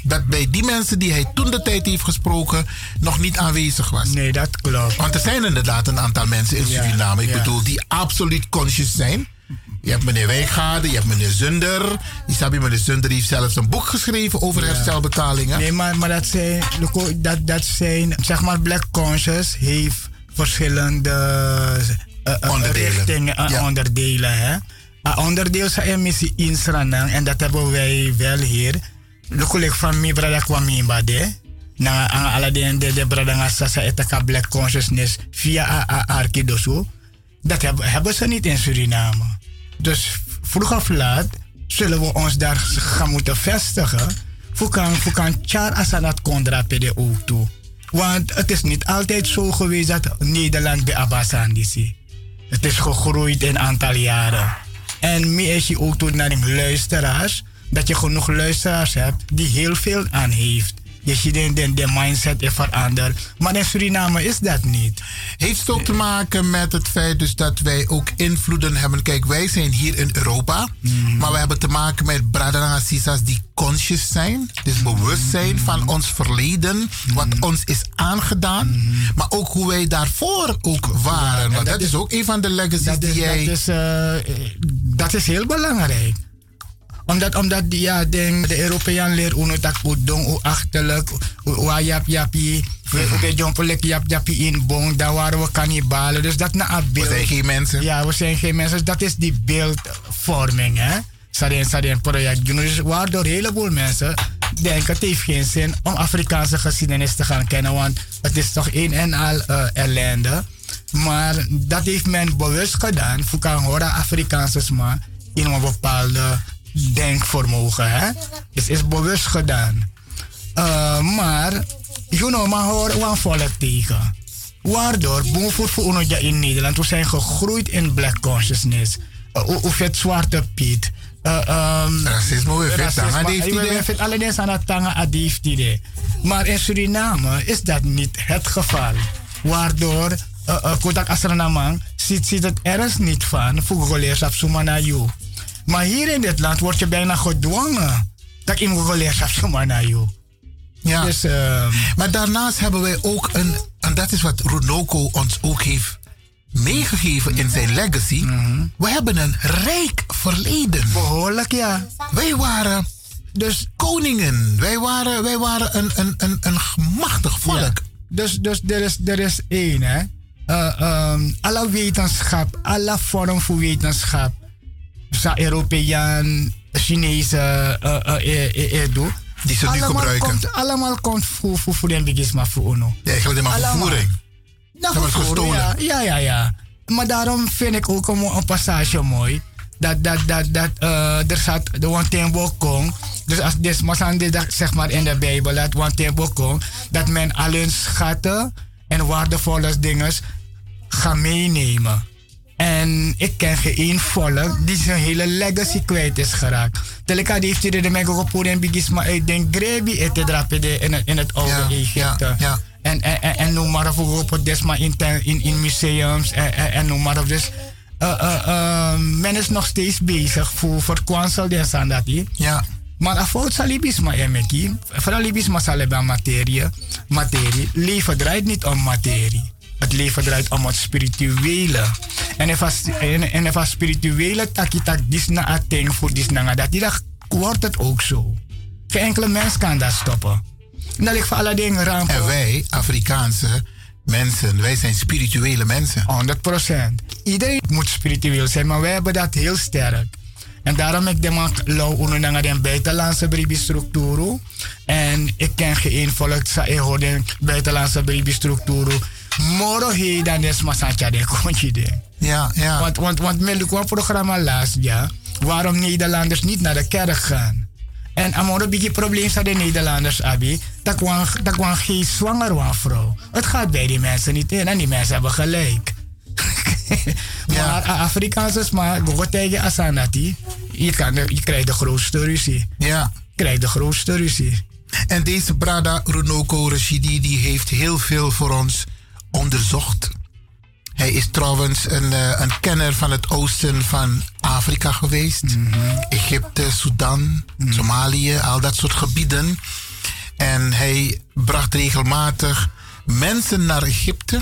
[SPEAKER 2] Dat bij die mensen die hij toen de tijd heeft gesproken nog niet aanwezig was. Nee, dat klopt. Want er zijn inderdaad een aantal mensen in
[SPEAKER 9] Ja,
[SPEAKER 2] Suriname, ik
[SPEAKER 9] ja.
[SPEAKER 2] bedoel, die absoluut conscious zijn. Je hebt meneer Wijngaarden, je hebt meneer Zunder. Isabi, meneer Zunder heeft zelfs een boek geschreven over herstelbetalingen.
[SPEAKER 9] Nee, maar, maar dat zijn, Loco, dat, dat zijn, zeg maar, Black Conscious heeft verschillende eh, eh,
[SPEAKER 2] Onderdelen.
[SPEAKER 9] richtingen en
[SPEAKER 2] Ja.
[SPEAKER 9] onderdelen. Hè? Een onderdeel is een missie in Sranang en dat hebben wij wel hier. Loco, like van mij, brada kwam in bade. Na aan Aladdin, de, de brada nga sasa etaka Black Consciousness via Arkidosu. Dat hebben, hebben ze niet in Suriname. Dus vroeg of laat zullen we ons daar gaan moeten vestigen. Voor kan, voor kan Char Asanat Kondra PD ook toe. Want het is niet altijd zo geweest dat Nederland bij Abbasan is. Het is gegroeid in een aantal jaren. En meer is je ook toe naar de luisteraars. Dat je genoeg luisteraars hebt die heel veel aan heeft. Je ziet de, de, de mindset is veranderd. Maar in Suriname is dat niet.
[SPEAKER 2] Heeft het ook te maken met het feit dus dat wij ook invloeden hebben? Kijk, wij zijn hier in Europa,
[SPEAKER 9] Mhm.
[SPEAKER 2] maar we hebben te maken met Bradana Sisas die conscious zijn.
[SPEAKER 9] Mhm.
[SPEAKER 2] Dus bewust zijn van ons verleden, wat ons is aangedaan,
[SPEAKER 9] Mhm.
[SPEAKER 2] maar ook hoe wij daarvoor ook waren. Want dat, is ook een van de legacies
[SPEAKER 9] dat
[SPEAKER 2] die
[SPEAKER 9] is,
[SPEAKER 2] jij...
[SPEAKER 9] Dat is, eh, eh, dat is heel belangrijk. Omdat, omdat die, ja, denk, de Europeaan leert hoe het ook doen, hoe achterlijk, hoe- hoe jap japie. We hebben jompelik jap japie in bon, daar waren we kannibalen. Dus dat na een beeld. We zijn
[SPEAKER 2] geen mensen.
[SPEAKER 9] Ja, we zijn geen mensen. Dus dat is die beeldvorming, hè. Sadien, sadien, project. doen. Dus waardoor een heleboel mensen denken, het heeft geen zin om Afrikaanse geschiedenis te gaan kennen. Want het is toch een en al eh, ellende. Maar dat heeft men bewust gedaan voor kan horen Afrikaanse maar in een bepaalde denkvermogen. Hè? Het is bewust gedaan. Eh, maar, you know, maar hoor, we vallen tegen. Waardoor, boven voor ons in Nederland, we zijn gegroeid in black consciousness. Eh, Hoe hoe het zwarte piet. Eh, ehm,
[SPEAKER 2] Racisme, we vet tangen, die heeft die idee.
[SPEAKER 9] het alleen aan het tangen, ah, die heeft die idee. Maar in Suriname is dat niet het geval. Waardoor eh, eh, Kotak Asranamang ziet, ziet het ergens niet van voor Goleerschap Sumanayu. Maar hier in dit land word je bijna gedwongen dat in Goleerschap Sumanayu.
[SPEAKER 2] Ja.
[SPEAKER 9] Dus, ehm,
[SPEAKER 2] maar daarnaast hebben wij ook een, en dat is wat Runoko ons ook heeft meegegeven in zijn legacy.
[SPEAKER 9] Mhm.
[SPEAKER 2] We hebben een rijk verleden. Behoorlijk, ja. Wij waren dus koningen. Wij waren, wij waren een, een, een, een machtig volk.
[SPEAKER 9] Dus, dus er, is, er is één, hè. Eh, ehm, alle wetenschap, alle vorm van wetenschap. Za Europeaan, Chinese, eh eh, eh, eh, doe.
[SPEAKER 2] Die ze nu
[SPEAKER 9] Allemaal
[SPEAKER 2] gebruiken.
[SPEAKER 9] Komt, allemaal komt voor, voor, voor de bigisma voor UNO.
[SPEAKER 2] Ja, eigenlijk maar
[SPEAKER 9] Allemaal.
[SPEAKER 2] vervoering. Dat
[SPEAKER 9] Nou,
[SPEAKER 2] wordt gestolen.
[SPEAKER 9] Ja, ja, ja, ja. Maar daarom vind ik ook een, mo- een passage mooi. Dat, dat, dat, dat eh, er staat de Wantembo Kong. Dus als dit maar staan dit, zeg maar in de Bijbel, dat Wantembo Kong, dat men al hun schatten en waardevolle dingen gaat meenemen. En ik ken geen één volk die zijn hele legacy kwijt is geraakt. Telika die heeft hier de megapoor en bigisma uit den grebi eten drapen de- in het, in het oude Egypte. En, en, en, en noem maar op, hoe op het is, maar in, ten- in, in museums en, en, en noem maar op. Dus eh, eh, eh, men is nog steeds bezig voor, voor kwansel en sandati.
[SPEAKER 2] Ja.
[SPEAKER 9] Maar afvoort zal libisma en meki. Vooral libisma zal hebben materie. Materie. Leven draait niet om materie. Het leven draait om het spirituele. En if as- en- en if as spirituele takitak disna ating voor disna dat, die dag wordt het ook zo. Geen enkele mens kan dat stoppen. En dat ligt voor Nou, alle dingen rampen.
[SPEAKER 2] En wij, Afrikaanse mensen, wij zijn spirituele mensen.
[SPEAKER 9] 100 Iedereen moet spiritueel zijn, maar wij hebben dat heel sterk. En daarom ik denk ik lau ununanga den buitenlandse bribistructuro. En ik ken geen volk sa ik hoor den buitenlandse bribistructuro. Moro he dan des masantja de kontje de.
[SPEAKER 2] Ja, ja.
[SPEAKER 9] Want, want, want met een programma laatst, ja. Waarom Nederlanders niet naar de kerk gaan? En amor een beetje probleem zijn de Nederlanders, Abi. Dat kwam, dat kwam geen zwanger was, vrouw. Het gaat bij die mensen niet in en die mensen hebben gelijk. maar a- Afrikaanse maar go tegen Asanati. Je, kan de- je krijgt de grootste ruzie.
[SPEAKER 2] Ja.
[SPEAKER 9] Krijgt de grootste ruzie.
[SPEAKER 2] En deze Brada Runoko Rashidi die heeft heel veel voor ons onderzocht. Hij is trouwens een, eh, een kenner van het oosten van Afrika geweest.
[SPEAKER 9] Mhm.
[SPEAKER 2] Egypte, Sudan, Somalië, al dat soort gebieden. En hij bracht regelmatig mensen naar Egypte,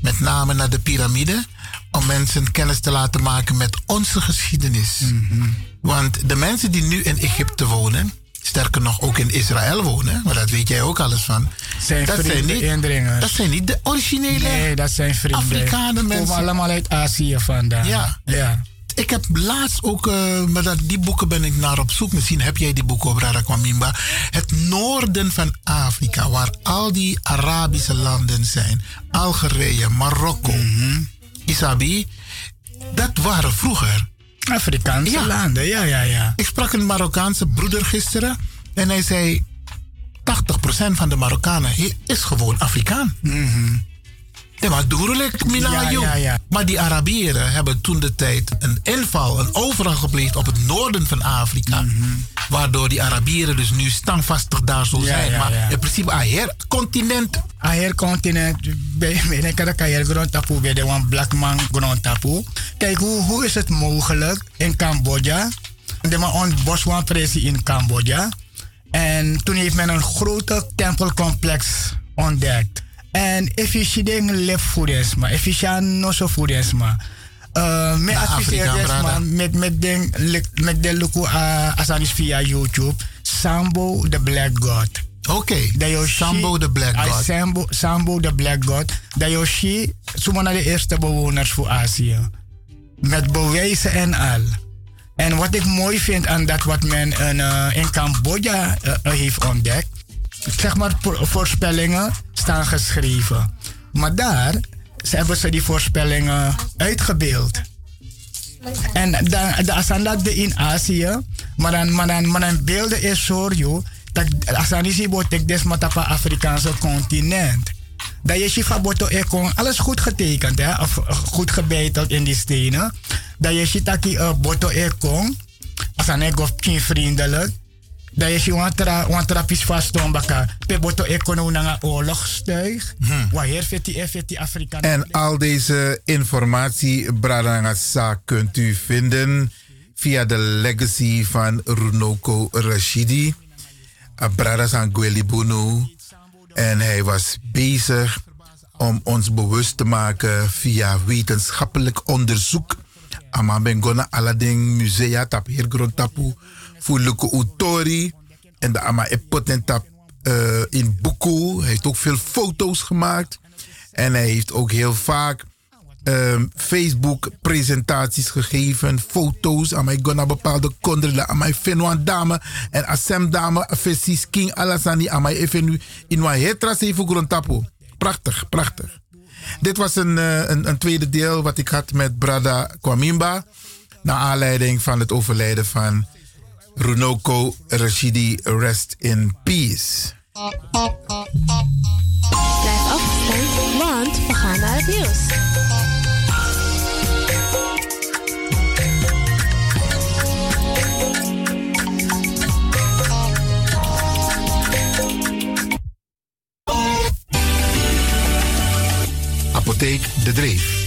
[SPEAKER 2] met name naar de piramide, om mensen kennis te laten maken met onze geschiedenis.
[SPEAKER 9] Mhm.
[SPEAKER 2] Want de mensen die nu in Egypte wonen, sterker nog ook in Israël wonen, maar dat weet jij ook alles van.
[SPEAKER 9] Zijn
[SPEAKER 2] dat, zijn
[SPEAKER 9] vrienden,
[SPEAKER 2] niet,
[SPEAKER 9] indringers.
[SPEAKER 2] dat zijn niet de originele
[SPEAKER 9] Nee, dat zijn vrienden.
[SPEAKER 2] Afrikanen
[SPEAKER 9] Komen
[SPEAKER 2] mensen.
[SPEAKER 9] allemaal uit Azië vandaan.
[SPEAKER 2] Ja.
[SPEAKER 9] ja.
[SPEAKER 2] Ik heb laatst ook, eh, maar dat, die boeken ben ik naar op zoek. Misschien heb jij die boeken op Rada Kwamimba. Het noorden van Afrika, waar al die Arabische landen zijn. Algerije, Marokko,
[SPEAKER 9] Mhm.
[SPEAKER 2] Isabi. Dat waren vroeger
[SPEAKER 9] Afrikaanse landen, ja, ja, ja.
[SPEAKER 2] Ik sprak een Marokkaanse broeder gisteren. En hij zei, 80% van de Marokkanen hi- is gewoon Afrikaan. Ja, maar doerlijk, Mina,
[SPEAKER 9] Mhm. Ja,
[SPEAKER 2] joh.
[SPEAKER 9] ja, ja.
[SPEAKER 2] Maar die Arabieren hebben toen de tijd een inval, een overval gepleegd op het noorden van Afrika.
[SPEAKER 23] Mhm.
[SPEAKER 2] Waardoor die Arabieren dus nu standvastig daar zo
[SPEAKER 9] Ja,
[SPEAKER 2] zijn.
[SPEAKER 9] ja,
[SPEAKER 2] maar
[SPEAKER 9] ja.
[SPEAKER 2] in principe, ah, her, continent.
[SPEAKER 9] Aher continent, bij mij kan ik aher grond tapu, bij de one black man grond tapu. Kijk, hoe, hoe is het mogelijk in Cambodja? De man ontbos one presi in Cambodja. En toen heeft men een grote tempelcomplex ontdekt. En efficiënt leef voedensma, efficiënt no so voedensma. Uh, met
[SPEAKER 2] Naar
[SPEAKER 9] adviseer
[SPEAKER 2] Afrika,
[SPEAKER 9] desma,
[SPEAKER 2] brada.
[SPEAKER 9] met, met, den, met de loco uh, asanis via YouTube. Sambo the Black God.
[SPEAKER 2] Oké. Sambo the Black God.
[SPEAKER 9] Sambo, Sambo the Black God. Dat Yoshi, zomaar naar de eerste bewoners voor Azië. Met bewijzen en al. En wat ik mooi vind aan dat wat men in, eh, in Cambodja eh, eh, heeft ontdekt. Zeg maar, vo- voorspellingen staan geschreven. Maar daar ze hebben ze die voorspellingen uitgebeeld. En dan, dan, als dan dat de in Azië, maar dan, maar dan, maar dan beelden is zo, joh, dat als dan is iemand ik des met op een Afrikaanse continent. Dat je ziet van boto ekon, alles goed getekend, hè, of eh, goed gebeiteld in die stenen. Dat je ziet dat je boto ekon, als dan ik of tien vriendelijk. Dat je ziet wantra, wantra pis vast om elkaar. Pe boto ekon hoe naar een oorlogstuig. Waar hier vindt die, eh, vindt die Afrikaanse.
[SPEAKER 23] En al deze informatie, Bradangasa, kunt u vinden via de legacy van Runoko Rashidi. Brada Sangweli Bunu. En hij was bezig
[SPEAKER 2] om ons bewust te maken via wetenschappelijk onderzoek. Ama bengona alading musea tap hergrond tapu voor Luku Utori. En de ama epotent tap eh, in Buku. Hij heeft ook veel foto's gemaakt. En hij heeft ook heel vaak ehm, Facebook presentaties gegeven, foto's. Ama ik gona bepaalde kondrela. Ama ik vind een dame en asem dame. Fessis king alasani. Ama ik vind nu in wat hetra sefu grond tapu. Prachtig, prachtig. Dit was een, eh, een, een tweede deel wat ik had met Brada Kwamimba. Naar aanleiding van het overlijden van Runoko Rashidi. Rest in peace.
[SPEAKER 4] Blijf afgestemd, want we gaan naar het nieuws.
[SPEAKER 2] Apotheek De Dreef.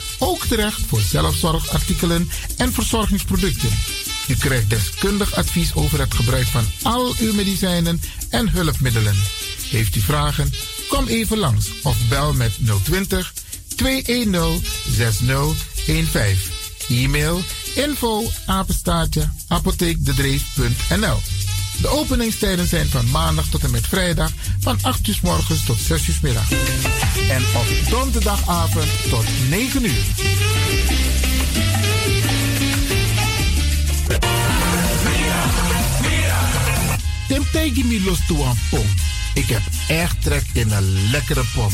[SPEAKER 2] ook terecht voor zelfzorgartikelen en verzorgingsproducten. U krijgt deskundig advies over het gebruik van al uw medicijnen en hulpmiddelen. Heeft u vragen? Kom even langs of bel met 020 210 6015. E-mail info apenstaartje apotheekdedreef.nl de openingstijden zijn van maandag tot en met vrijdag van 8 uur 's morgens tot 6 uur 's middag. En op donderdagavond tot 9 uur. Tim tegen me los toe aan pom. Ik heb echt trek in een lekkere pom.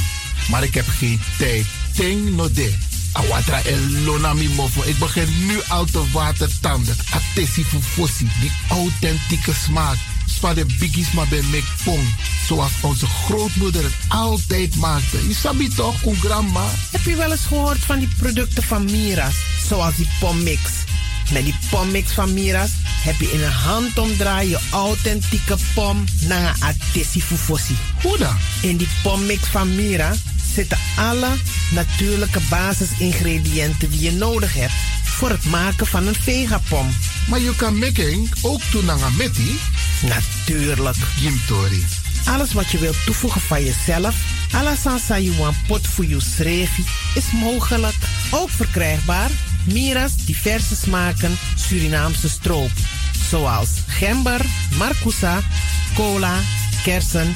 [SPEAKER 2] Maar ik heb geen tijd. Ting no de. Awatra en lona mi mofo. Ik begin nu al te watertanden. Atesi fufosi. Die authentieke smaak. Zwa de biggies maar bij mek pom. Zoals onze grootmoeder het altijd maakte. Je sabi toch, oe grandma?
[SPEAKER 15] Heb je wel eens gehoord van die producten van Mira's, zoals die pommix? Met die pommix van Mira's heb je in een handomdraai je authentieke pom naar Atissi Fufosi.
[SPEAKER 2] Hoe dan?
[SPEAKER 15] In die pommix van Mira zitten alle natuurlijke basisingrediënten die je nodig hebt voor het maken van een vegapom.
[SPEAKER 2] Maar je kan making ook doen naar metti?
[SPEAKER 15] Natuurlijk.
[SPEAKER 2] Gimtori.
[SPEAKER 15] Alles wat je wilt toevoegen van jezelf, Alasan Sayuan Pot voor Revi, is mogelijk. Ook verkrijgbaar Mira's diverse smaken Surinaamse stroop. Zoals gember, marcousa, cola, kersen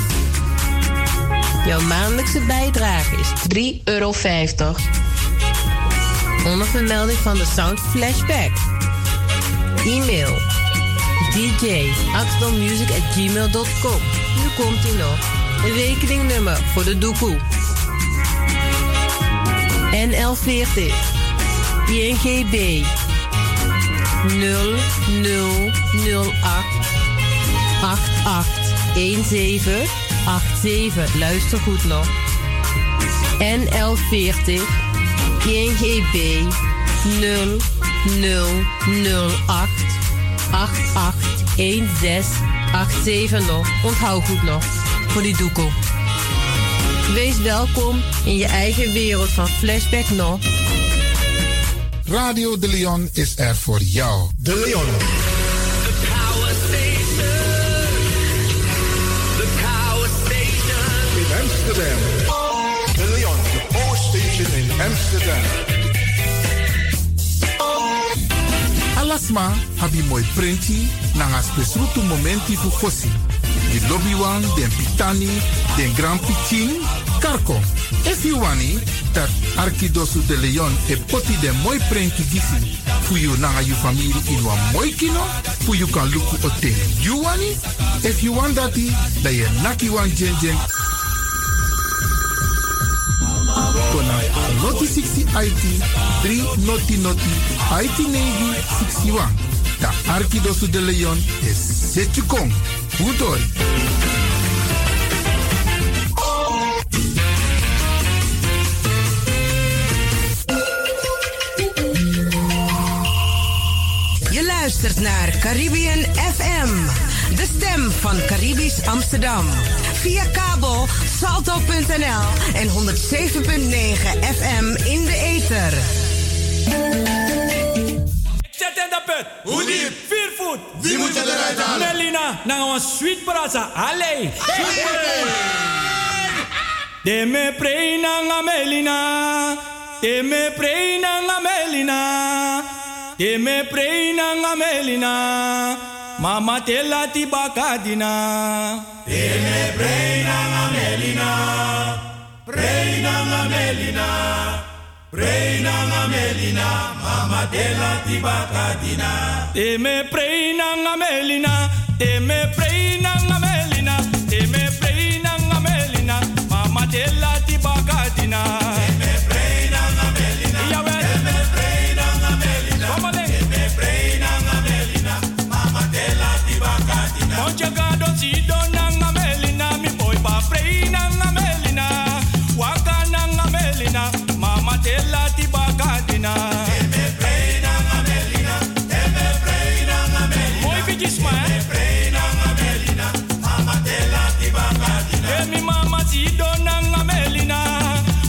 [SPEAKER 16] Jouw maandelijkse bijdrage is 3,50 euro. Onder vermelding van de Sound Flashback. E-mail dj.axelmusic.gmail.com Nu komt ie nog. Rekeningnummer voor de doekoe. NL40 INGB 0008 881787. Luister goed nog. NL40 INGB 0008 881687 nog. Onthoud goed nog. Voor die doekoe. Wees welkom in je eigen wereld van Flashback nog.
[SPEAKER 2] Radio De Leon is er voor jou.
[SPEAKER 24] De Leon.
[SPEAKER 7] The power station. The power station.
[SPEAKER 5] In Amsterdam. De Leon, the power station in Amsterdam.
[SPEAKER 2] Alasma habi moi prenti nanga spesrutu momenti fu fosi. Di lobby wan, den pitani, den grand pitin, karko. If you wani, dat Arkidosu de Leon e poti den moi prenti gisi. Fu you nanga you famiri in wan moi kino, fu you kan luku oten. You wani? If you want dati, da ye naki wan jen jen. Kona Noti 60 IT 3 Noti Noti IT Navy 61. Da Arkidosu de Leon is Setchukong. Udori.
[SPEAKER 17] Je luistert naar Caribbean FM. De stem van Caribisch Amsterdam. Via kabel salto.nl en 107.9 FM in de ether.
[SPEAKER 25] Zet in de put. Hoe diep? Vier voet. Wie moet je eruit halen? Nelina, dan gaan we sweet brasa. Allee. De me preina nga melina. De me preina nga melina. De me preina nga melina. Mama tela ti bakadina. De me preina nga melina. Preina nga melina. Preina nga melina. Mama tela ti bakadina. De me preina nga melina. De me preina nga melina. De me preina nga melina. Mama tela ti bakadina. De me preina nga melina. Jawel. De me preina nga melina. Kom maar De me preina nga melina. Mama tela ti bakadina. Mocha gado si dona nga melina. Mi boy pa preina nga melina. Wakana nga melina. Mama tela ti bakadina. De me preina nga melina. De me preina nga melina. Mooi bitjes man. De me preina nga melina. Mama tela ti bakadina. De mi mama si dona nga melina.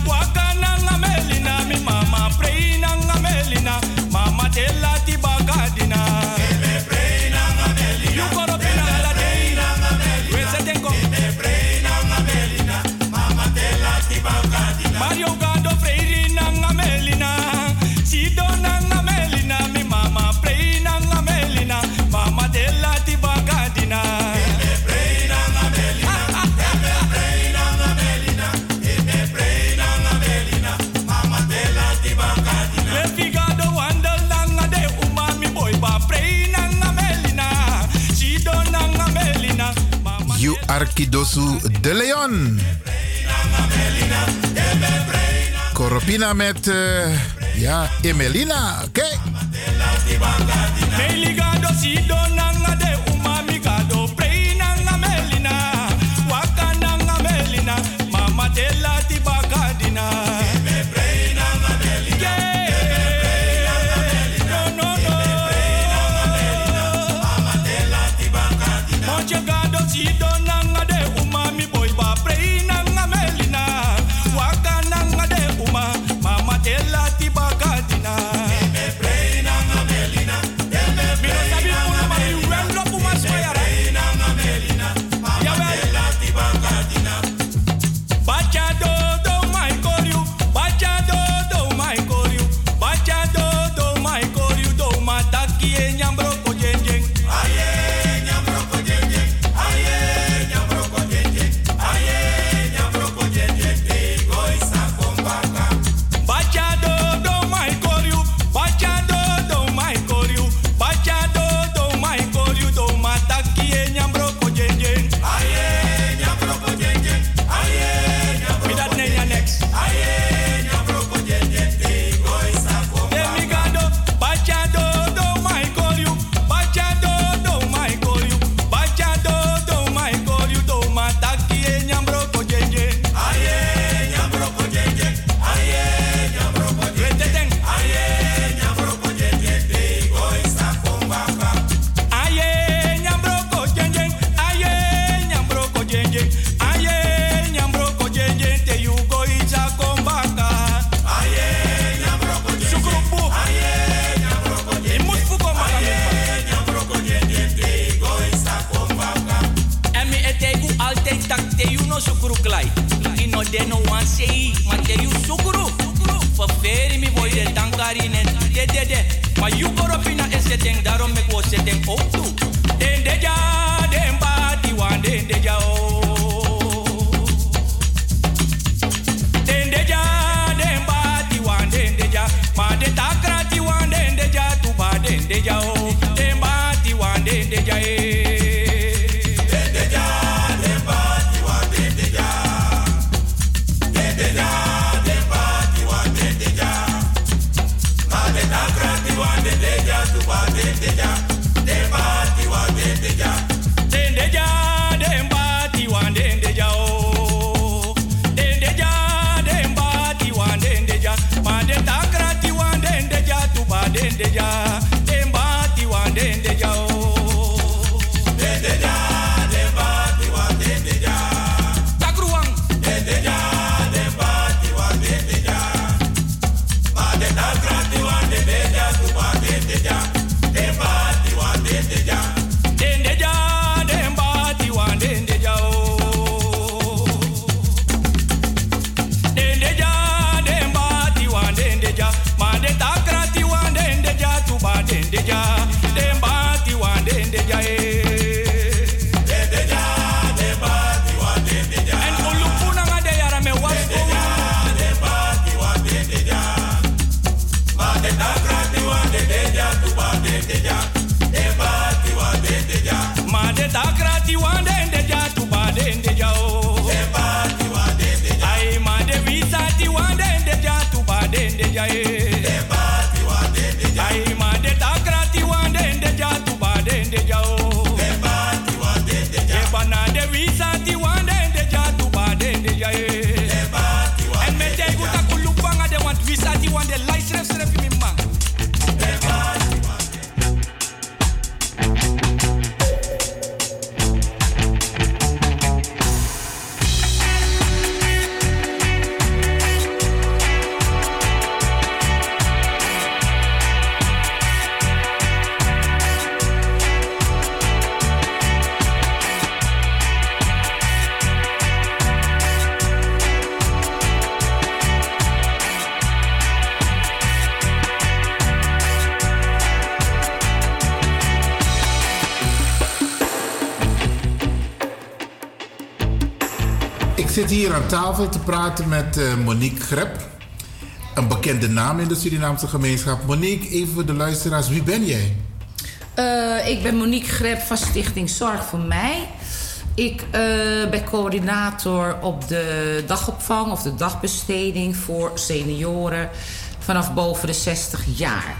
[SPEAKER 25] Wakana nga melina. Mi mama preina nga melina. Mama tela ti bakadina. De me preina nga melina. You go to pinala de. We se tengo. De me preina nga melina. Mama tela ti bakadina. Mario Gando preina nga melina. Sido nga melina. Mi mama preina nga melina. Mama tela ti bakadina. De me preina nga melina. De me preina nga melina. De me preina nga melina. Mama tela ti bakadina. Le figado wandel nga de umami boy ba preina nga melina. Sido nga melina.
[SPEAKER 2] You Arkidosu de Leon. Coropina met, eh, ja, Emelina. Oké.
[SPEAKER 25] Meligado si donanga de umami gado preinanga melina wakananga melina mama tela ti bakadina me preinanga melina me preinanga melina no no no preinanga melina mama tela ti bakadina moche gado si donanga de umami boy ba preinanga melina wakananga de uma mama tela ti bakadina me preinanga melina Bachado do eh, eh, e
[SPEAKER 26] de no one say man de you sukuru for fairy me boy de tankari ne de de de ma you goro pina ese thing darom me go se thing oh tu den de ja den ba di wan den de ja oh den de ja den ba di wan den de ja ma de takra di wan den de ja tu ba den de ja oh den ba di wan den de ja
[SPEAKER 25] e.
[SPEAKER 26] eh den de ja den ba di wan den de ja
[SPEAKER 25] oh. oh. eh. Ik zit hier aan tafel te praten met eh, Monique Grep. Een bekende naam in de Surinaamse gemeenschap. Monique, even voor de luisteraars, wie ben jij?
[SPEAKER 18] Eh, ik ben Monique Greb van Stichting Zorg voor Mij. Ik eh, ben coördinator op de dagopvang of de dagbesteding voor senioren vanaf boven de 60 jaar.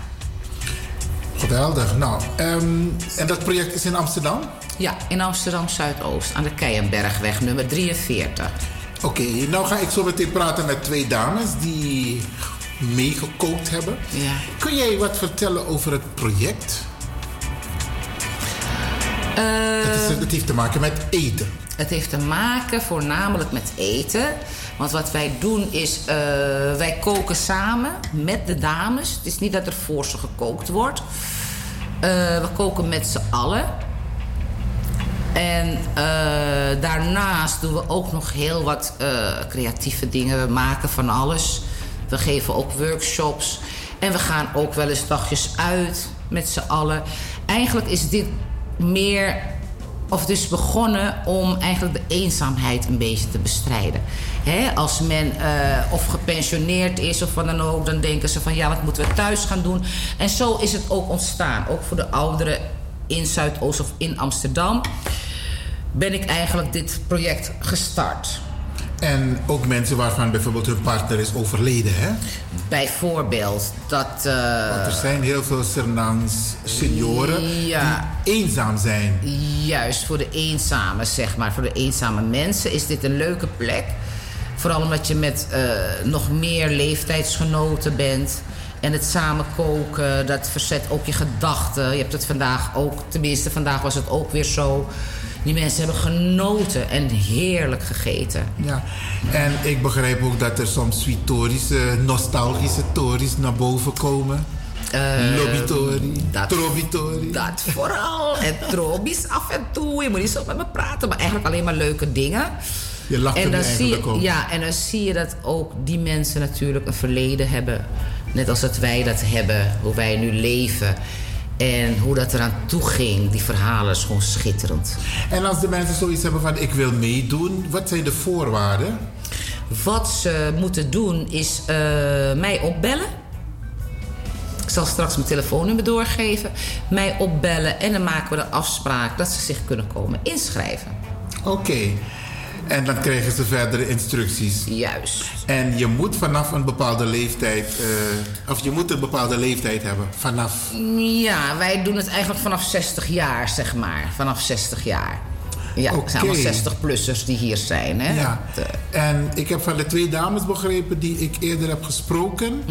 [SPEAKER 25] Geweldig. Nou, ehm, en dat project is in Amsterdam?
[SPEAKER 18] Ja, in Amsterdam Zuidoost aan de Keienbergweg nummer 43.
[SPEAKER 25] Oké, nou ga ik zo meteen praten met twee dames die meegekookt hebben. Kun jij wat vertellen over het project?
[SPEAKER 18] Eh,
[SPEAKER 25] Het, is, het heeft te maken met eten.
[SPEAKER 18] Het heeft te maken voornamelijk met eten. Want wat wij doen is, eh, wij koken samen met de dames. Het is niet dat er voor ze gekookt wordt. Eh, we koken met z'n allen. En eh, daarnaast doen we ook nog heel wat eh, creatieve dingen. We maken van alles. We geven ook workshops. En we gaan ook wel eens dagjes uit met z'n allen. Eigenlijk is dit meer of dus begonnen om eigenlijk de eenzaamheid een beetje te bestrijden. Hè, als men eh, of gepensioneerd is of wat dan ook, dan denken ze van ja, wat moeten we thuis gaan doen? En zo is het ook ontstaan. Ook voor de ouderen in Zuidoost of in Amsterdam ben ik eigenlijk dit project gestart.
[SPEAKER 25] En ook mensen waarvan bijvoorbeeld hun partner is overleden, hè?
[SPEAKER 18] Bijvoorbeeld dat... eh,
[SPEAKER 25] Want er zijn heel veel Surinaams senioren
[SPEAKER 18] Ja.
[SPEAKER 25] die eenzaam zijn.
[SPEAKER 18] Juist voor de eenzame, zeg maar. Voor de eenzame mensen is dit een leuke plek. Vooral omdat je met eh, nog meer leeftijdsgenoten bent. En het samen koken, dat verzet ook je gedachten. Je hebt het vandaag ook, tenminste vandaag was het ook weer zo. Die mensen hebben genoten en heerlijk gegeten.
[SPEAKER 25] Ja. En ik begrijp ook dat er soms
[SPEAKER 2] eh,
[SPEAKER 25] sweetorische, nostalgische tories naar boven komen.
[SPEAKER 18] Eh,
[SPEAKER 25] Lobbytori,
[SPEAKER 18] dat-
[SPEAKER 25] trobitori.
[SPEAKER 18] Dat vooral. En trobies af en toe. Je moet niet zo met me praten, maar eigenlijk alleen maar leuke dingen.
[SPEAKER 2] Je lacht
[SPEAKER 18] en
[SPEAKER 2] er
[SPEAKER 18] dan
[SPEAKER 2] nu
[SPEAKER 18] zie
[SPEAKER 2] eigenlijk
[SPEAKER 18] je,
[SPEAKER 2] om.
[SPEAKER 18] Ja, en dan zie je dat ook die mensen natuurlijk een verleden hebben. Net als dat wij dat hebben, hoe wij nu leven. En hoe dat eraan toe ging, die verhalen is gewoon schitterend.
[SPEAKER 2] En als de mensen zoiets hebben van ik wil meedoen, wat zijn de voorwaarden?
[SPEAKER 18] Wat ze moeten doen is eh, mij opbellen. Ik zal straks mijn telefoonnummer doorgeven. Mij opbellen en dan maken we de afspraak dat ze zich kunnen komen inschrijven.
[SPEAKER 2] Oké. En dan krijgen ze verdere instructies.
[SPEAKER 18] Juist.
[SPEAKER 2] En je moet vanaf een bepaalde leeftijd, eh, of je moet een bepaalde leeftijd hebben. Vanaf.
[SPEAKER 18] Ja, wij doen het eigenlijk vanaf 60 jaar, zeg maar. Vanaf 60 jaar. Ja, het zijn
[SPEAKER 2] Oké.
[SPEAKER 18] allemaal 60-plussers die hier zijn, hè? eh,
[SPEAKER 2] Ja. En ik heb van de twee dames begrepen die ik eerder heb gesproken,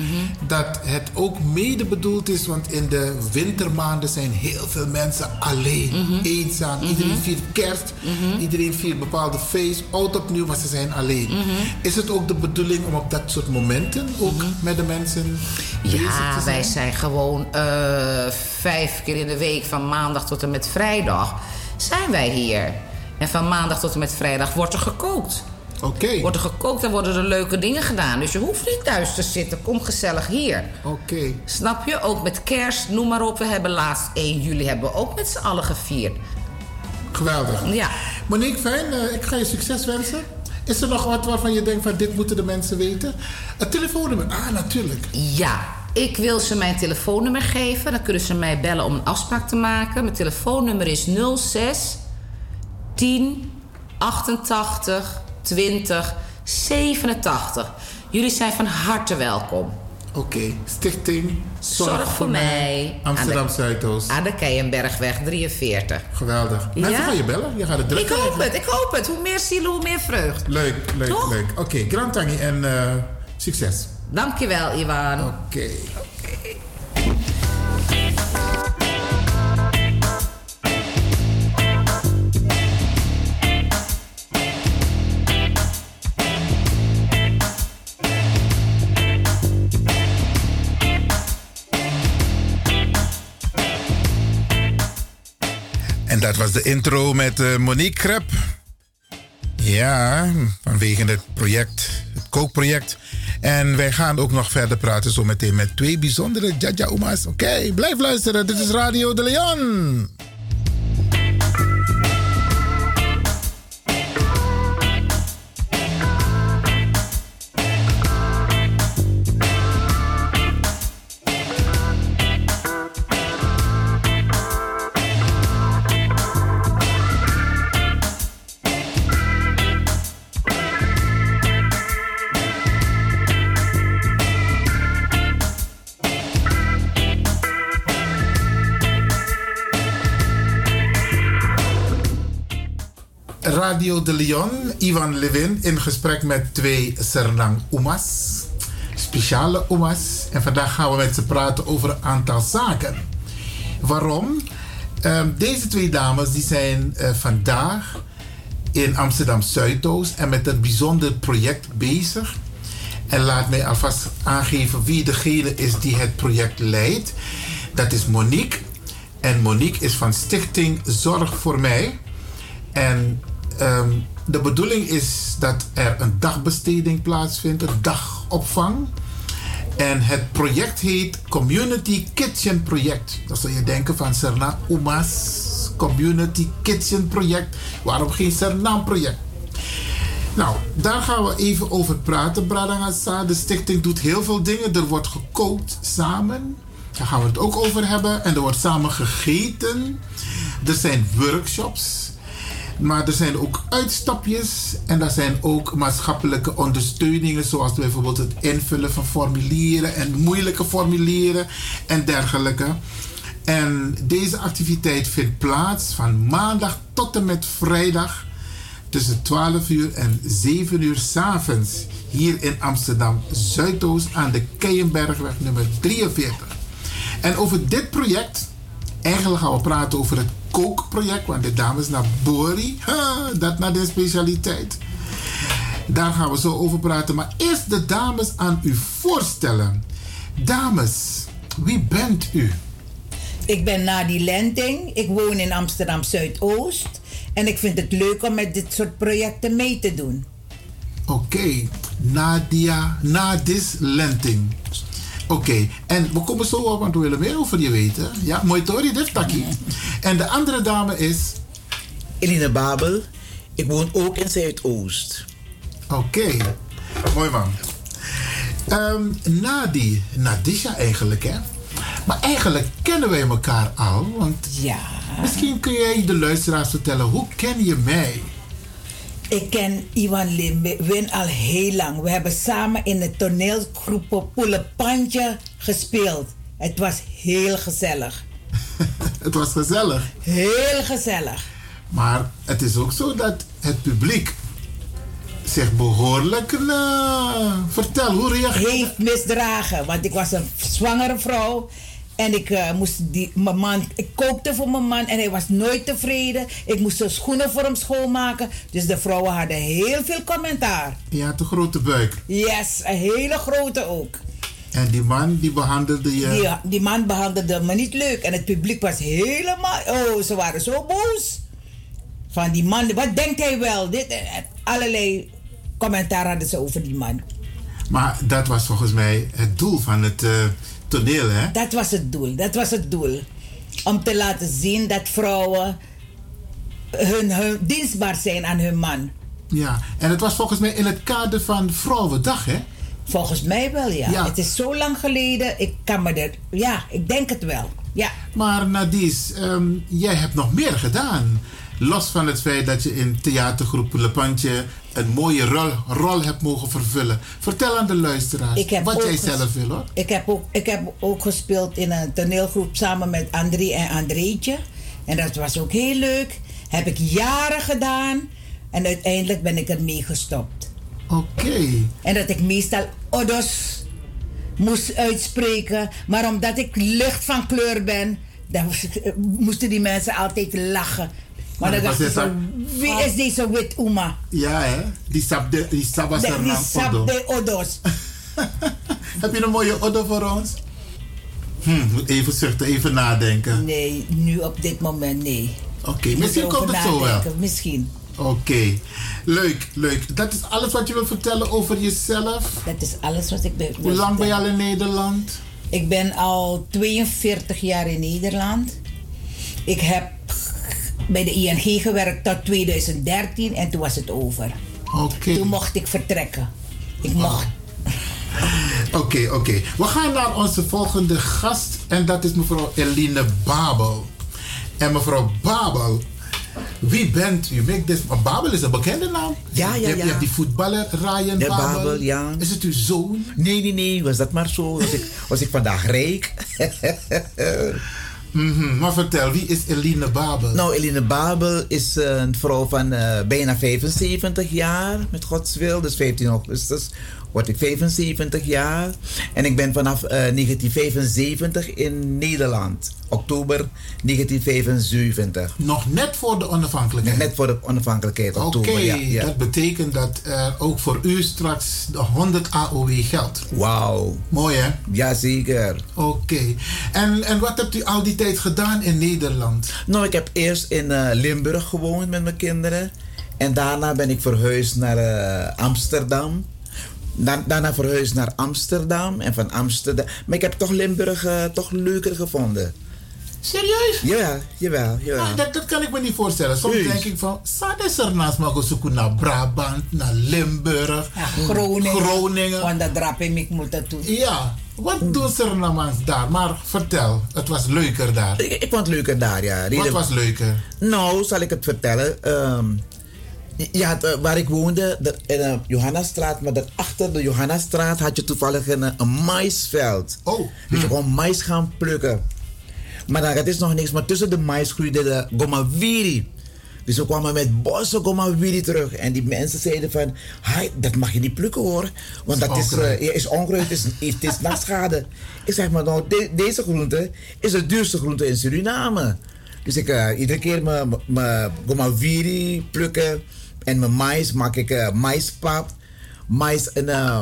[SPEAKER 2] dat het ook mede bedoeld is, want in de wintermaanden zijn heel veel mensen alleen, eenzaam. Iedereen viert kerst, iedereen viert bepaalde feest, oud opnieuw, maar ze zijn alleen. Is het ook de bedoeling om op dat soort momenten ook met de mensen bezig te
[SPEAKER 18] Ja,
[SPEAKER 2] zijn?
[SPEAKER 18] wij zijn gewoon eh, vijf keer in de week, van maandag tot en met vrijdag, zijn wij hier. En van maandag tot en met vrijdag wordt er gekookt.
[SPEAKER 2] Oké.
[SPEAKER 18] Wordt er gekookt en worden er leuke dingen gedaan. Dus je hoeft niet thuis te zitten. Kom gezellig hier.
[SPEAKER 2] Oké.
[SPEAKER 18] Snap je? Ook met kerst, noem maar op. We hebben laatst 1 juli hebben we ook met z'n allen gevierd.
[SPEAKER 2] Geweldig.
[SPEAKER 18] Ja.
[SPEAKER 2] Monique, fijn. eh, ik ga je succes wensen. Is er nog wat waarvan je denkt van dit moeten de mensen weten? Het telefoonnummer. Ah, natuurlijk.
[SPEAKER 18] Ja, ik wil ze mijn telefoonnummer geven. Dan kunnen ze mij bellen om een afspraak te maken. Mijn telefoonnummer is 06 10 88 20 87. Jullie zijn van harte welkom.
[SPEAKER 2] Oké, Stichting
[SPEAKER 18] Zorg, voor, mij.
[SPEAKER 2] Amsterdam Zuidoost.
[SPEAKER 18] Aan de Keienbergweg 43.
[SPEAKER 2] Geweldig. Mensen gaan je bellen. Je gaat het druk
[SPEAKER 18] Ik hoop het, ik hoop het. Hoe meer zielen, hoe meer vreugd.
[SPEAKER 2] Leuk, leuk,
[SPEAKER 18] Toch?
[SPEAKER 2] leuk. Oké, Grand Tangi en eh, succes.
[SPEAKER 18] Dankjewel, Iwan. Oké.
[SPEAKER 27] En dat was de intro met eh, Monique Krep. Ja, vanwege het project, het kookproject. En wij gaan ook nog verder praten zometeen met twee bijzondere Jaja Oma's. Oké, blijf luisteren. Dit is Radio de Leon.
[SPEAKER 2] Radio de Leon, Ivan Levin in gesprek met twee Sernang Oemas. Speciale Oemas. En vandaag gaan we met ze praten over een aantal zaken. Waarom? Ehm, deze twee dames die zijn eh, vandaag in Amsterdam Zuidoost en met een bijzonder project bezig. En laat mij alvast aangeven wie degene is die het project leidt. Dat is Monique. En Monique is van Stichting Zorg voor Mij. En ehm, de bedoeling is dat er een dagbesteding plaatsvindt, een dagopvang. En het project heet Community Kitchen Project. Dan zul je denken van Serna Uma's Community Kitchen Project. Waarom geen Sernaam project? Nou, daar gaan we even over praten, Bradangasa. De stichting doet heel veel dingen. Er wordt gekookt samen. Daar gaan we het ook over hebben. En er wordt samen gegeten. Er zijn workshops. Maar er zijn ook uitstapjes en er zijn ook maatschappelijke ondersteuningen, zoals bijvoorbeeld het invullen van formulieren en moeilijke formulieren en dergelijke. En deze activiteit vindt plaats van maandag tot en met vrijdag tussen 12 uur en 7 uur s'avonds hier in Amsterdam Zuidoost aan de Keienbergweg nummer 43. En over dit project, eigenlijk gaan we praten over het kookproject, want de dames naar Bori, ha, dat naar de specialiteit. Daar gaan we zo over praten, maar eerst de dames aan u voorstellen. Dames, wie bent u?
[SPEAKER 28] Ik ben Nadie Lenting. Ik woon in Amsterdam Zuidoost. En ik vind het leuk om met dit soort projecten mee te doen.
[SPEAKER 2] Oké, Nadia, Nadis Lenting. Oké, en we komen zo op, want we willen meer over je weten. Ja, mooi Tori, dit
[SPEAKER 29] (laughs)
[SPEAKER 2] takkie. En de andere dame is...
[SPEAKER 29] Eline Babel. Ik woon ook in Zuidoost.
[SPEAKER 2] Oké, mooi man. Ehm Nadi, Nadisha eigenlijk, hè? Maar eigenlijk kennen wij elkaar al, want...
[SPEAKER 28] Ja.
[SPEAKER 2] Misschien kun jij de luisteraars vertellen, hoe ken je mij?
[SPEAKER 28] Ik ken Iwan Lewin al heel lang. We hebben samen in de toneelgroep Poelepantje gespeeld. Het was heel gezellig.
[SPEAKER 2] Het was gezellig.
[SPEAKER 28] Heel gezellig.
[SPEAKER 2] Maar het is ook zo dat het publiek zich behoorlijk. eh, vertel, hoe reageert
[SPEAKER 28] Heeft misdragen, want ik was een zwangere vrouw. En ik eh, moest die, mijn man, ik kookte voor mijn man en hij was nooit tevreden. Ik moest zijn schoenen voor hem schoonmaken. Dus de vrouwen hadden heel veel commentaar.
[SPEAKER 2] Je had een grote buik.
[SPEAKER 28] Yes, een hele grote ook.
[SPEAKER 2] En die man die behandelde je.
[SPEAKER 28] Die, die man behandelde me niet leuk. En het publiek was helemaal. Oh, ze waren zo boos. Van die man, wat denkt hij wel? Dit, en- en allerlei commentaar hadden ze over die man.
[SPEAKER 2] Maar dat was volgens mij het doel van het eh, toneel, hè?
[SPEAKER 28] Dat was het doel. Dat was het doel. Om te laten zien dat vrouwen hun, hun dienstbaar zijn aan hun man.
[SPEAKER 2] Ja, en het was volgens mij in het kader van Vrouwendag, hè?
[SPEAKER 28] Volgens mij wel, ja.
[SPEAKER 2] Ja.
[SPEAKER 28] Het is zo lang geleden. Ik kan me dat. Ja, ik denk het wel. Ja.
[SPEAKER 2] Maar Nadies, ehm, jij hebt nog meer gedaan. Los van het feit dat je in theatergroep Lepantje een mooie rol, rol hebt mogen vervullen. Vertel aan de luisteraars
[SPEAKER 28] Ik heb
[SPEAKER 2] wat
[SPEAKER 28] ook
[SPEAKER 2] jij
[SPEAKER 28] ges-
[SPEAKER 2] zelf wil, hoor.
[SPEAKER 28] Ik heb, ook, ik heb ook gespeeld in een toneelgroep samen met André en Andreetje. En dat was ook heel leuk. Heb ik jaren gedaan. En uiteindelijk ben ik ermee gestopt.
[SPEAKER 2] Oké.
[SPEAKER 28] En dat ik meestal odos moest uitspreken. Maar omdat ik licht van kleur ben, dan moest- eh, moesten die mensen altijd lachen. Maar
[SPEAKER 2] Maar
[SPEAKER 28] dan
[SPEAKER 2] dat
[SPEAKER 28] dachten
[SPEAKER 2] was
[SPEAKER 28] ze,
[SPEAKER 2] net
[SPEAKER 28] wie is deze wit oma?
[SPEAKER 2] Ja, hè? Die, sab de, die sabas
[SPEAKER 28] Die
[SPEAKER 2] ernaam
[SPEAKER 28] sap
[SPEAKER 2] nou Odo.
[SPEAKER 28] de odos.
[SPEAKER 2] (laughs) Heb je een mooie Odo voor ons? Hm, moet even zuchten, even nadenken.
[SPEAKER 28] Nee, nu op dit moment nee.
[SPEAKER 2] Oké,
[SPEAKER 28] Moet
[SPEAKER 2] misschien
[SPEAKER 28] erover
[SPEAKER 2] komt het zo wel.
[SPEAKER 28] nadenken, Misschien.
[SPEAKER 2] Oké, leuk, leuk. Dat is alles wat je wilt vertellen over jezelf?
[SPEAKER 28] Dat is alles wat ik ben.
[SPEAKER 2] Hoe lang ben je al in Nederland?
[SPEAKER 28] Ik ben al 42 jaar in Nederland. Ik heb bij de ING gewerkt tot 2013 en toen was het over. Toen mocht ik vertrekken.
[SPEAKER 2] Ah,
[SPEAKER 28] Ik mocht.
[SPEAKER 2] Oké, oké. We gaan naar onze volgende gast en dat is mevrouw Eline Babel. En mevrouw Babel, wie bent u? Make this- maar Babel is een bekende naam.
[SPEAKER 29] Ja,
[SPEAKER 2] je
[SPEAKER 29] ja,
[SPEAKER 2] hebt,
[SPEAKER 29] ja.
[SPEAKER 2] Je hebt die voetballer Ryan
[SPEAKER 29] De
[SPEAKER 2] Babel.
[SPEAKER 29] Babel, ja.
[SPEAKER 2] Is het uw zoon?
[SPEAKER 29] Nee, nee, nee. Was dat maar zo? Was ik, was ik vandaag
[SPEAKER 2] (laughs)
[SPEAKER 29] rijk?
[SPEAKER 2] Mhm, maar vertel, wie is Eline Babel?
[SPEAKER 29] Nou, Eline Babel is een vrouw van eh, bijna 75 jaar, met Gods wil. Dus 15 augustus word ik 75 jaar. En ik ben vanaf eh, 1975 in Nederland. Oktober 1975.
[SPEAKER 2] Nog net voor de onafhankelijkheid?
[SPEAKER 29] Net voor de onafhankelijkheid,
[SPEAKER 2] Oké,
[SPEAKER 29] oktober, ja. ja.
[SPEAKER 2] dat betekent dat er ook voor u straks de 100 AOW geldt.
[SPEAKER 29] Wauw.
[SPEAKER 2] Mooi hè?
[SPEAKER 29] Jazeker.
[SPEAKER 2] Oké. En, en wat hebt u al die tijd gedaan in Nederland?
[SPEAKER 29] Nou, ik heb eerst in eh, Limburg gewoond met mijn kinderen. En daarna ben ik verhuisd naar eh, Amsterdam. Da- daarna verhuisd naar Amsterdam en van Amsterdam. Maar ik heb toch Limburg eh, toch leuker gevonden.
[SPEAKER 2] Serieus?
[SPEAKER 29] Ja, jawel, jawel.
[SPEAKER 2] Ah, dat, dat kan ik me niet voorstellen. Soms
[SPEAKER 29] Heus.
[SPEAKER 2] denk ik van, Sades ernaast maar gaan zoeken naar Brabant, naar Limburg,
[SPEAKER 28] Groningen.
[SPEAKER 2] Groningen.
[SPEAKER 28] Want dat drap ik moet dat doen.
[SPEAKER 2] Ja, wat doen ze er nou maar daar? Maar vertel, het was leuker daar.
[SPEAKER 29] Ik, ik vond het leuker daar, ja.
[SPEAKER 2] Wat was leuker?
[SPEAKER 29] Nou, zal ik het vertellen. Ehm, je- je had, eh, waar ik woonde, de, in de Johannastraat, maar daarachter de Johannastraat had je toevallig een, eh, een maisveld.
[SPEAKER 2] Oh.
[SPEAKER 29] Dus je kon mais gaan plukken. Maar dan, het is nog niks, maar tussen de mais groeide de gomawiri. Dus we kwamen met bossen gomawiri terug. En die mensen zeiden van, "Hai, dat mag je niet plukken hoor. Want
[SPEAKER 2] Is
[SPEAKER 29] dat is,
[SPEAKER 2] onkruid.
[SPEAKER 29] eh, ja, is onkruid, het is, het is nachtschade. Ik zeg maar, nou, de- deze groente is de duurste groente in Suriname. Dus ik eh, iedere keer mijn- mijn- mijn gomawiri plukken. En mijn mais maak ik eh, maispap, mais, en, eh,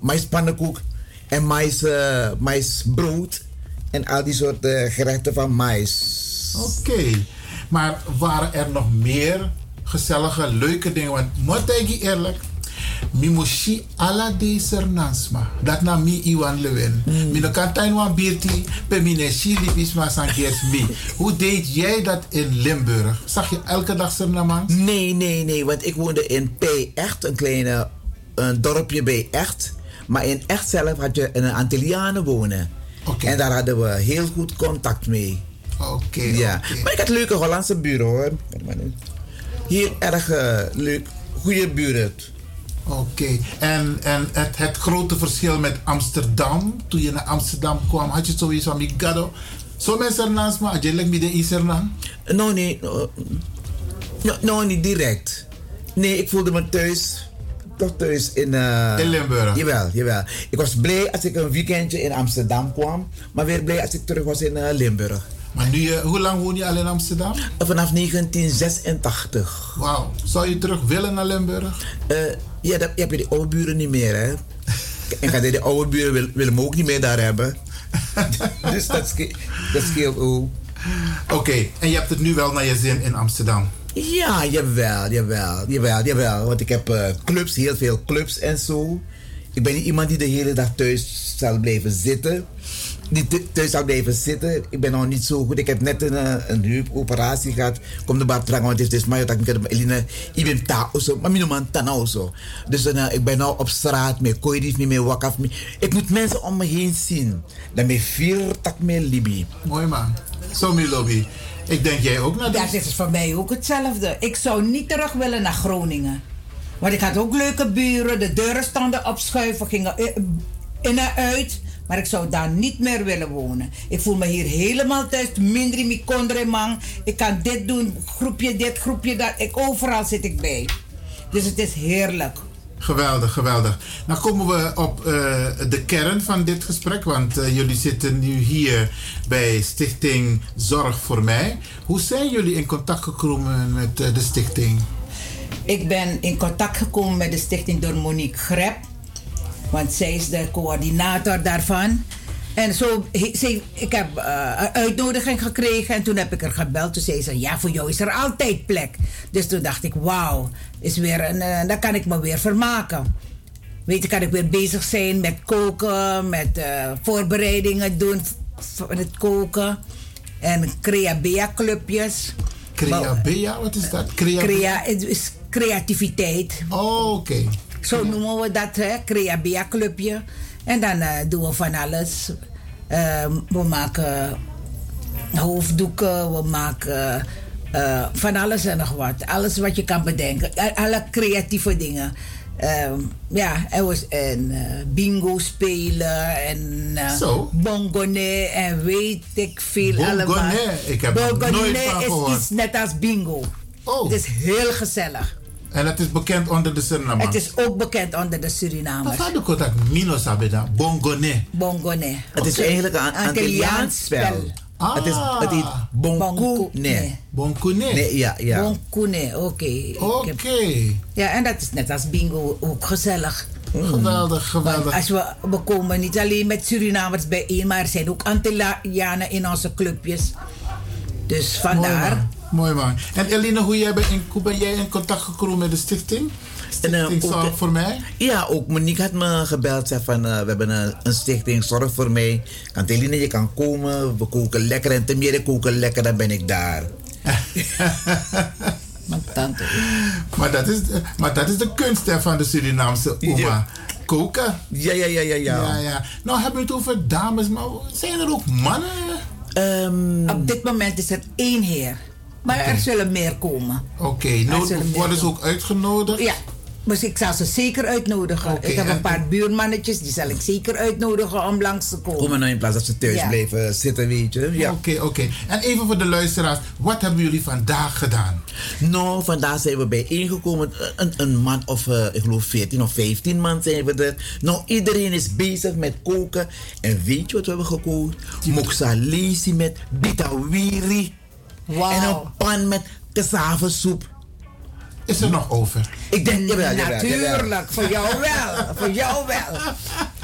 [SPEAKER 29] maispannenkoek en mais, eh, maisbrood. En al die soorten gerechten van mais.
[SPEAKER 2] Oké. Maar waren er nog meer gezellige, leuke dingen? Want moet ik eerlijk, Mimoshi ala deser nansma. Dat na mi iwan lewen. Mm. Mino kan tain wan birti, pe mine shi lipis ma san kies mi. Hoe deed jij dat in Limburg? Zag je elke dag Surinamans?
[SPEAKER 29] Nee, nee, nee. Want ik woonde in P. Echt, een kleine een dorpje bij Echt. Maar in Echt zelf had je een Antillianen wonen. En daar hadden we heel goed contact mee.
[SPEAKER 2] Oh, Oké.
[SPEAKER 29] ja.
[SPEAKER 2] oké.
[SPEAKER 29] Maar ik had leuke Hollandse buren hoor. Hier erg eh, leuk. Goede buren.
[SPEAKER 2] Oké. En, en het, het grote verschil met Amsterdam. Toen je naar Amsterdam kwam, had je zoiets van Migado. Zo mensen nansma, had je lek midden in Suriname?
[SPEAKER 29] Nou, nee. No, nou, niet direct. Nee, ik voelde me thuis. Toch thuis in... eh,
[SPEAKER 2] In Limburg.
[SPEAKER 29] Jawel, jawel. Ik was blij als ik een weekendje in Amsterdam kwam. Maar weer blij als ik terug was in eh, Limburg.
[SPEAKER 2] Maar nu, eh, hoe lang woon je al in Amsterdam?
[SPEAKER 29] Vanaf 1986.
[SPEAKER 2] Wauw. Zou je terug willen naar Limburg?
[SPEAKER 29] Eh, ja, dan heb je die oude buren niet meer, hè. En ga die oude buren wil, willen me ook niet meer daar hebben. (laughs) dus dat, sche- dat scheelt ook.
[SPEAKER 2] Oké, en je hebt het nu wel naar je zin in Amsterdam?
[SPEAKER 29] Ja, jawel, jawel, jawel, jawel. Want ik heb eh, clubs, heel veel clubs en zo. Ik ben niet iemand die de hele dag thuis zal blijven zitten. Die thu- thuis zal blijven zitten. Ik ben nog niet zo goed. Ik heb net een, eh, een heupoperatie gehad. Kom de bar trangen, want het is mij dat ik met Eline. Ik ben ta also, maar mijn man tana also. Dus eh, ik ben nou op straat, met kooidief, niet meer wakaf. mee- Ik moet mensen om me heen zien. Dan ben ik vier tak meer Libi.
[SPEAKER 2] Mooi man. Zo, Milobi. Ik denk jij ook naar
[SPEAKER 28] Daar zit het voor mij ook hetzelfde. Ik zou niet terug willen naar Groningen. Want ik had ook leuke buren. De deuren stonden opschuiven, gingen i- in en uit. Maar ik zou daar niet meer willen wonen. Ik voel me hier helemaal thuis. Minder mi kondre man. Ik kan dit doen, groepje dit, groepje dat. Ik, overal zit ik bij. Dus het is heerlijk.
[SPEAKER 2] Geweldig, geweldig. Nou komen we op eh, de kern van dit gesprek, want eh, jullie zitten nu hier bij Stichting Zorg voor Mij. Hoe zijn jullie in contact gekomen met eh, de stichting?
[SPEAKER 28] Ik ben in contact gekomen met de stichting door Monique Grep. Want zij is de coördinator daarvan. En zo, he- ze- ik heb eh, een uitnodiging gekregen en toen heb ik er gebeld. Toen zei ze, ja, voor jou is er altijd plek. Dus toen dacht ik, wauw, is weer een, eh, dan kan ik me weer vermaken. Weet je, kan ik weer bezig zijn met koken, met eh, voorbereidingen doen voor het koken. En Creabea clubjes.
[SPEAKER 2] Creabea, wat is dat? Crea-
[SPEAKER 28] Crea, het is creativiteit.
[SPEAKER 2] Oh, oké.
[SPEAKER 28] Zo noemen we dat, hè? Creabea clubje. En dan eh, doen we van alles. Eh, we maken hoofddoeken, we maken eh, van alles en nog wat. Alles wat je kan bedenken. A- Alle creatieve dingen. Ehm, ja, er was en eh, bingo spelen en eh,
[SPEAKER 2] Zo.
[SPEAKER 28] bongone en weet ik veel
[SPEAKER 2] Bongone,
[SPEAKER 28] allemaal.
[SPEAKER 2] ik heb nog
[SPEAKER 28] Bongone
[SPEAKER 2] nooit van
[SPEAKER 28] is
[SPEAKER 2] gehoord. Oh.
[SPEAKER 28] iets net als bingo. Het is heel gezellig.
[SPEAKER 2] En het is bekend onder de Suriname.
[SPEAKER 28] Het is ook bekend onder de Surinamers.
[SPEAKER 2] Wat had ik dat Mino Sabeda? Bongone.
[SPEAKER 28] Bongone.
[SPEAKER 29] Het is eigenlijk een Antilliaans spel.
[SPEAKER 28] Ah.
[SPEAKER 29] Het, is, het heet Bonkune.
[SPEAKER 2] Bonkune?
[SPEAKER 29] Nee, ja, ja.
[SPEAKER 28] Bonkune, oké.
[SPEAKER 2] Oké.
[SPEAKER 28] Ja, en dat is net als bingo ook gezellig.
[SPEAKER 29] Hmm.
[SPEAKER 2] Geweldig, geweldig.
[SPEAKER 28] Want als we, we komen niet alleen met Surinamers bijeen, maar er zijn ook Antillianen in onze clubjes. Dus vandaar.
[SPEAKER 2] Mooi man. En Eline, hoe, jij bent in, hoe ben jij in contact gekomen met de stichting? Stichting
[SPEAKER 29] ook-
[SPEAKER 2] Zorg voor Mij?
[SPEAKER 29] Ja, ook Monique had me gebeld. Zei van, eh, we hebben een, een stichting, zorg voor mij. Kanteline, je kan komen. We koken lekker. En te meer ik koken lekker, dan ben
[SPEAKER 2] (laughs)
[SPEAKER 29] ik daar.
[SPEAKER 2] Maar dat, is, maar dat is de kunst hè, van de Surinaamse oma.
[SPEAKER 29] Ja.
[SPEAKER 2] Koken.
[SPEAKER 29] Ja, ja, ja, ja, ja.
[SPEAKER 2] ja, Nou hebben we het over dames, maar zijn er ook mannen?
[SPEAKER 28] Op dit moment is er één heer. Maar
[SPEAKER 2] Oké.
[SPEAKER 28] er zullen meer komen.
[SPEAKER 2] Oké,
[SPEAKER 28] Er zullen
[SPEAKER 2] nou,
[SPEAKER 28] meer
[SPEAKER 2] worden ze
[SPEAKER 28] komen.
[SPEAKER 2] ook uitgenodigd?
[SPEAKER 28] Ja, dus ik zal ze zeker uitnodigen. ik heb een paar buurmannetjes, die zal ik zeker uitnodigen om langs te komen.
[SPEAKER 29] Kom maar nou in plaats dat ze thuis
[SPEAKER 28] Ja.
[SPEAKER 29] blijven zitten, weet je. Ja.
[SPEAKER 2] Oké, oké. En even voor de luisteraars. Wat hebben jullie vandaag gedaan?
[SPEAKER 29] Nou, vandaag zijn we bijeengekomen. Een, een man of, eh, ik geloof 14 of 15 man zijn we er. Nou, iedereen is bezig met koken. En weet je wat we hebben gekookt? Moksalesi met bitawiri. En een pan met cassavasoep.
[SPEAKER 2] Is er nog over?
[SPEAKER 29] Ik denk, jawel, jawel, jawel.
[SPEAKER 28] Natuurlijk, voor jou
[SPEAKER 29] (laughs)
[SPEAKER 28] wel. Voor jou wel.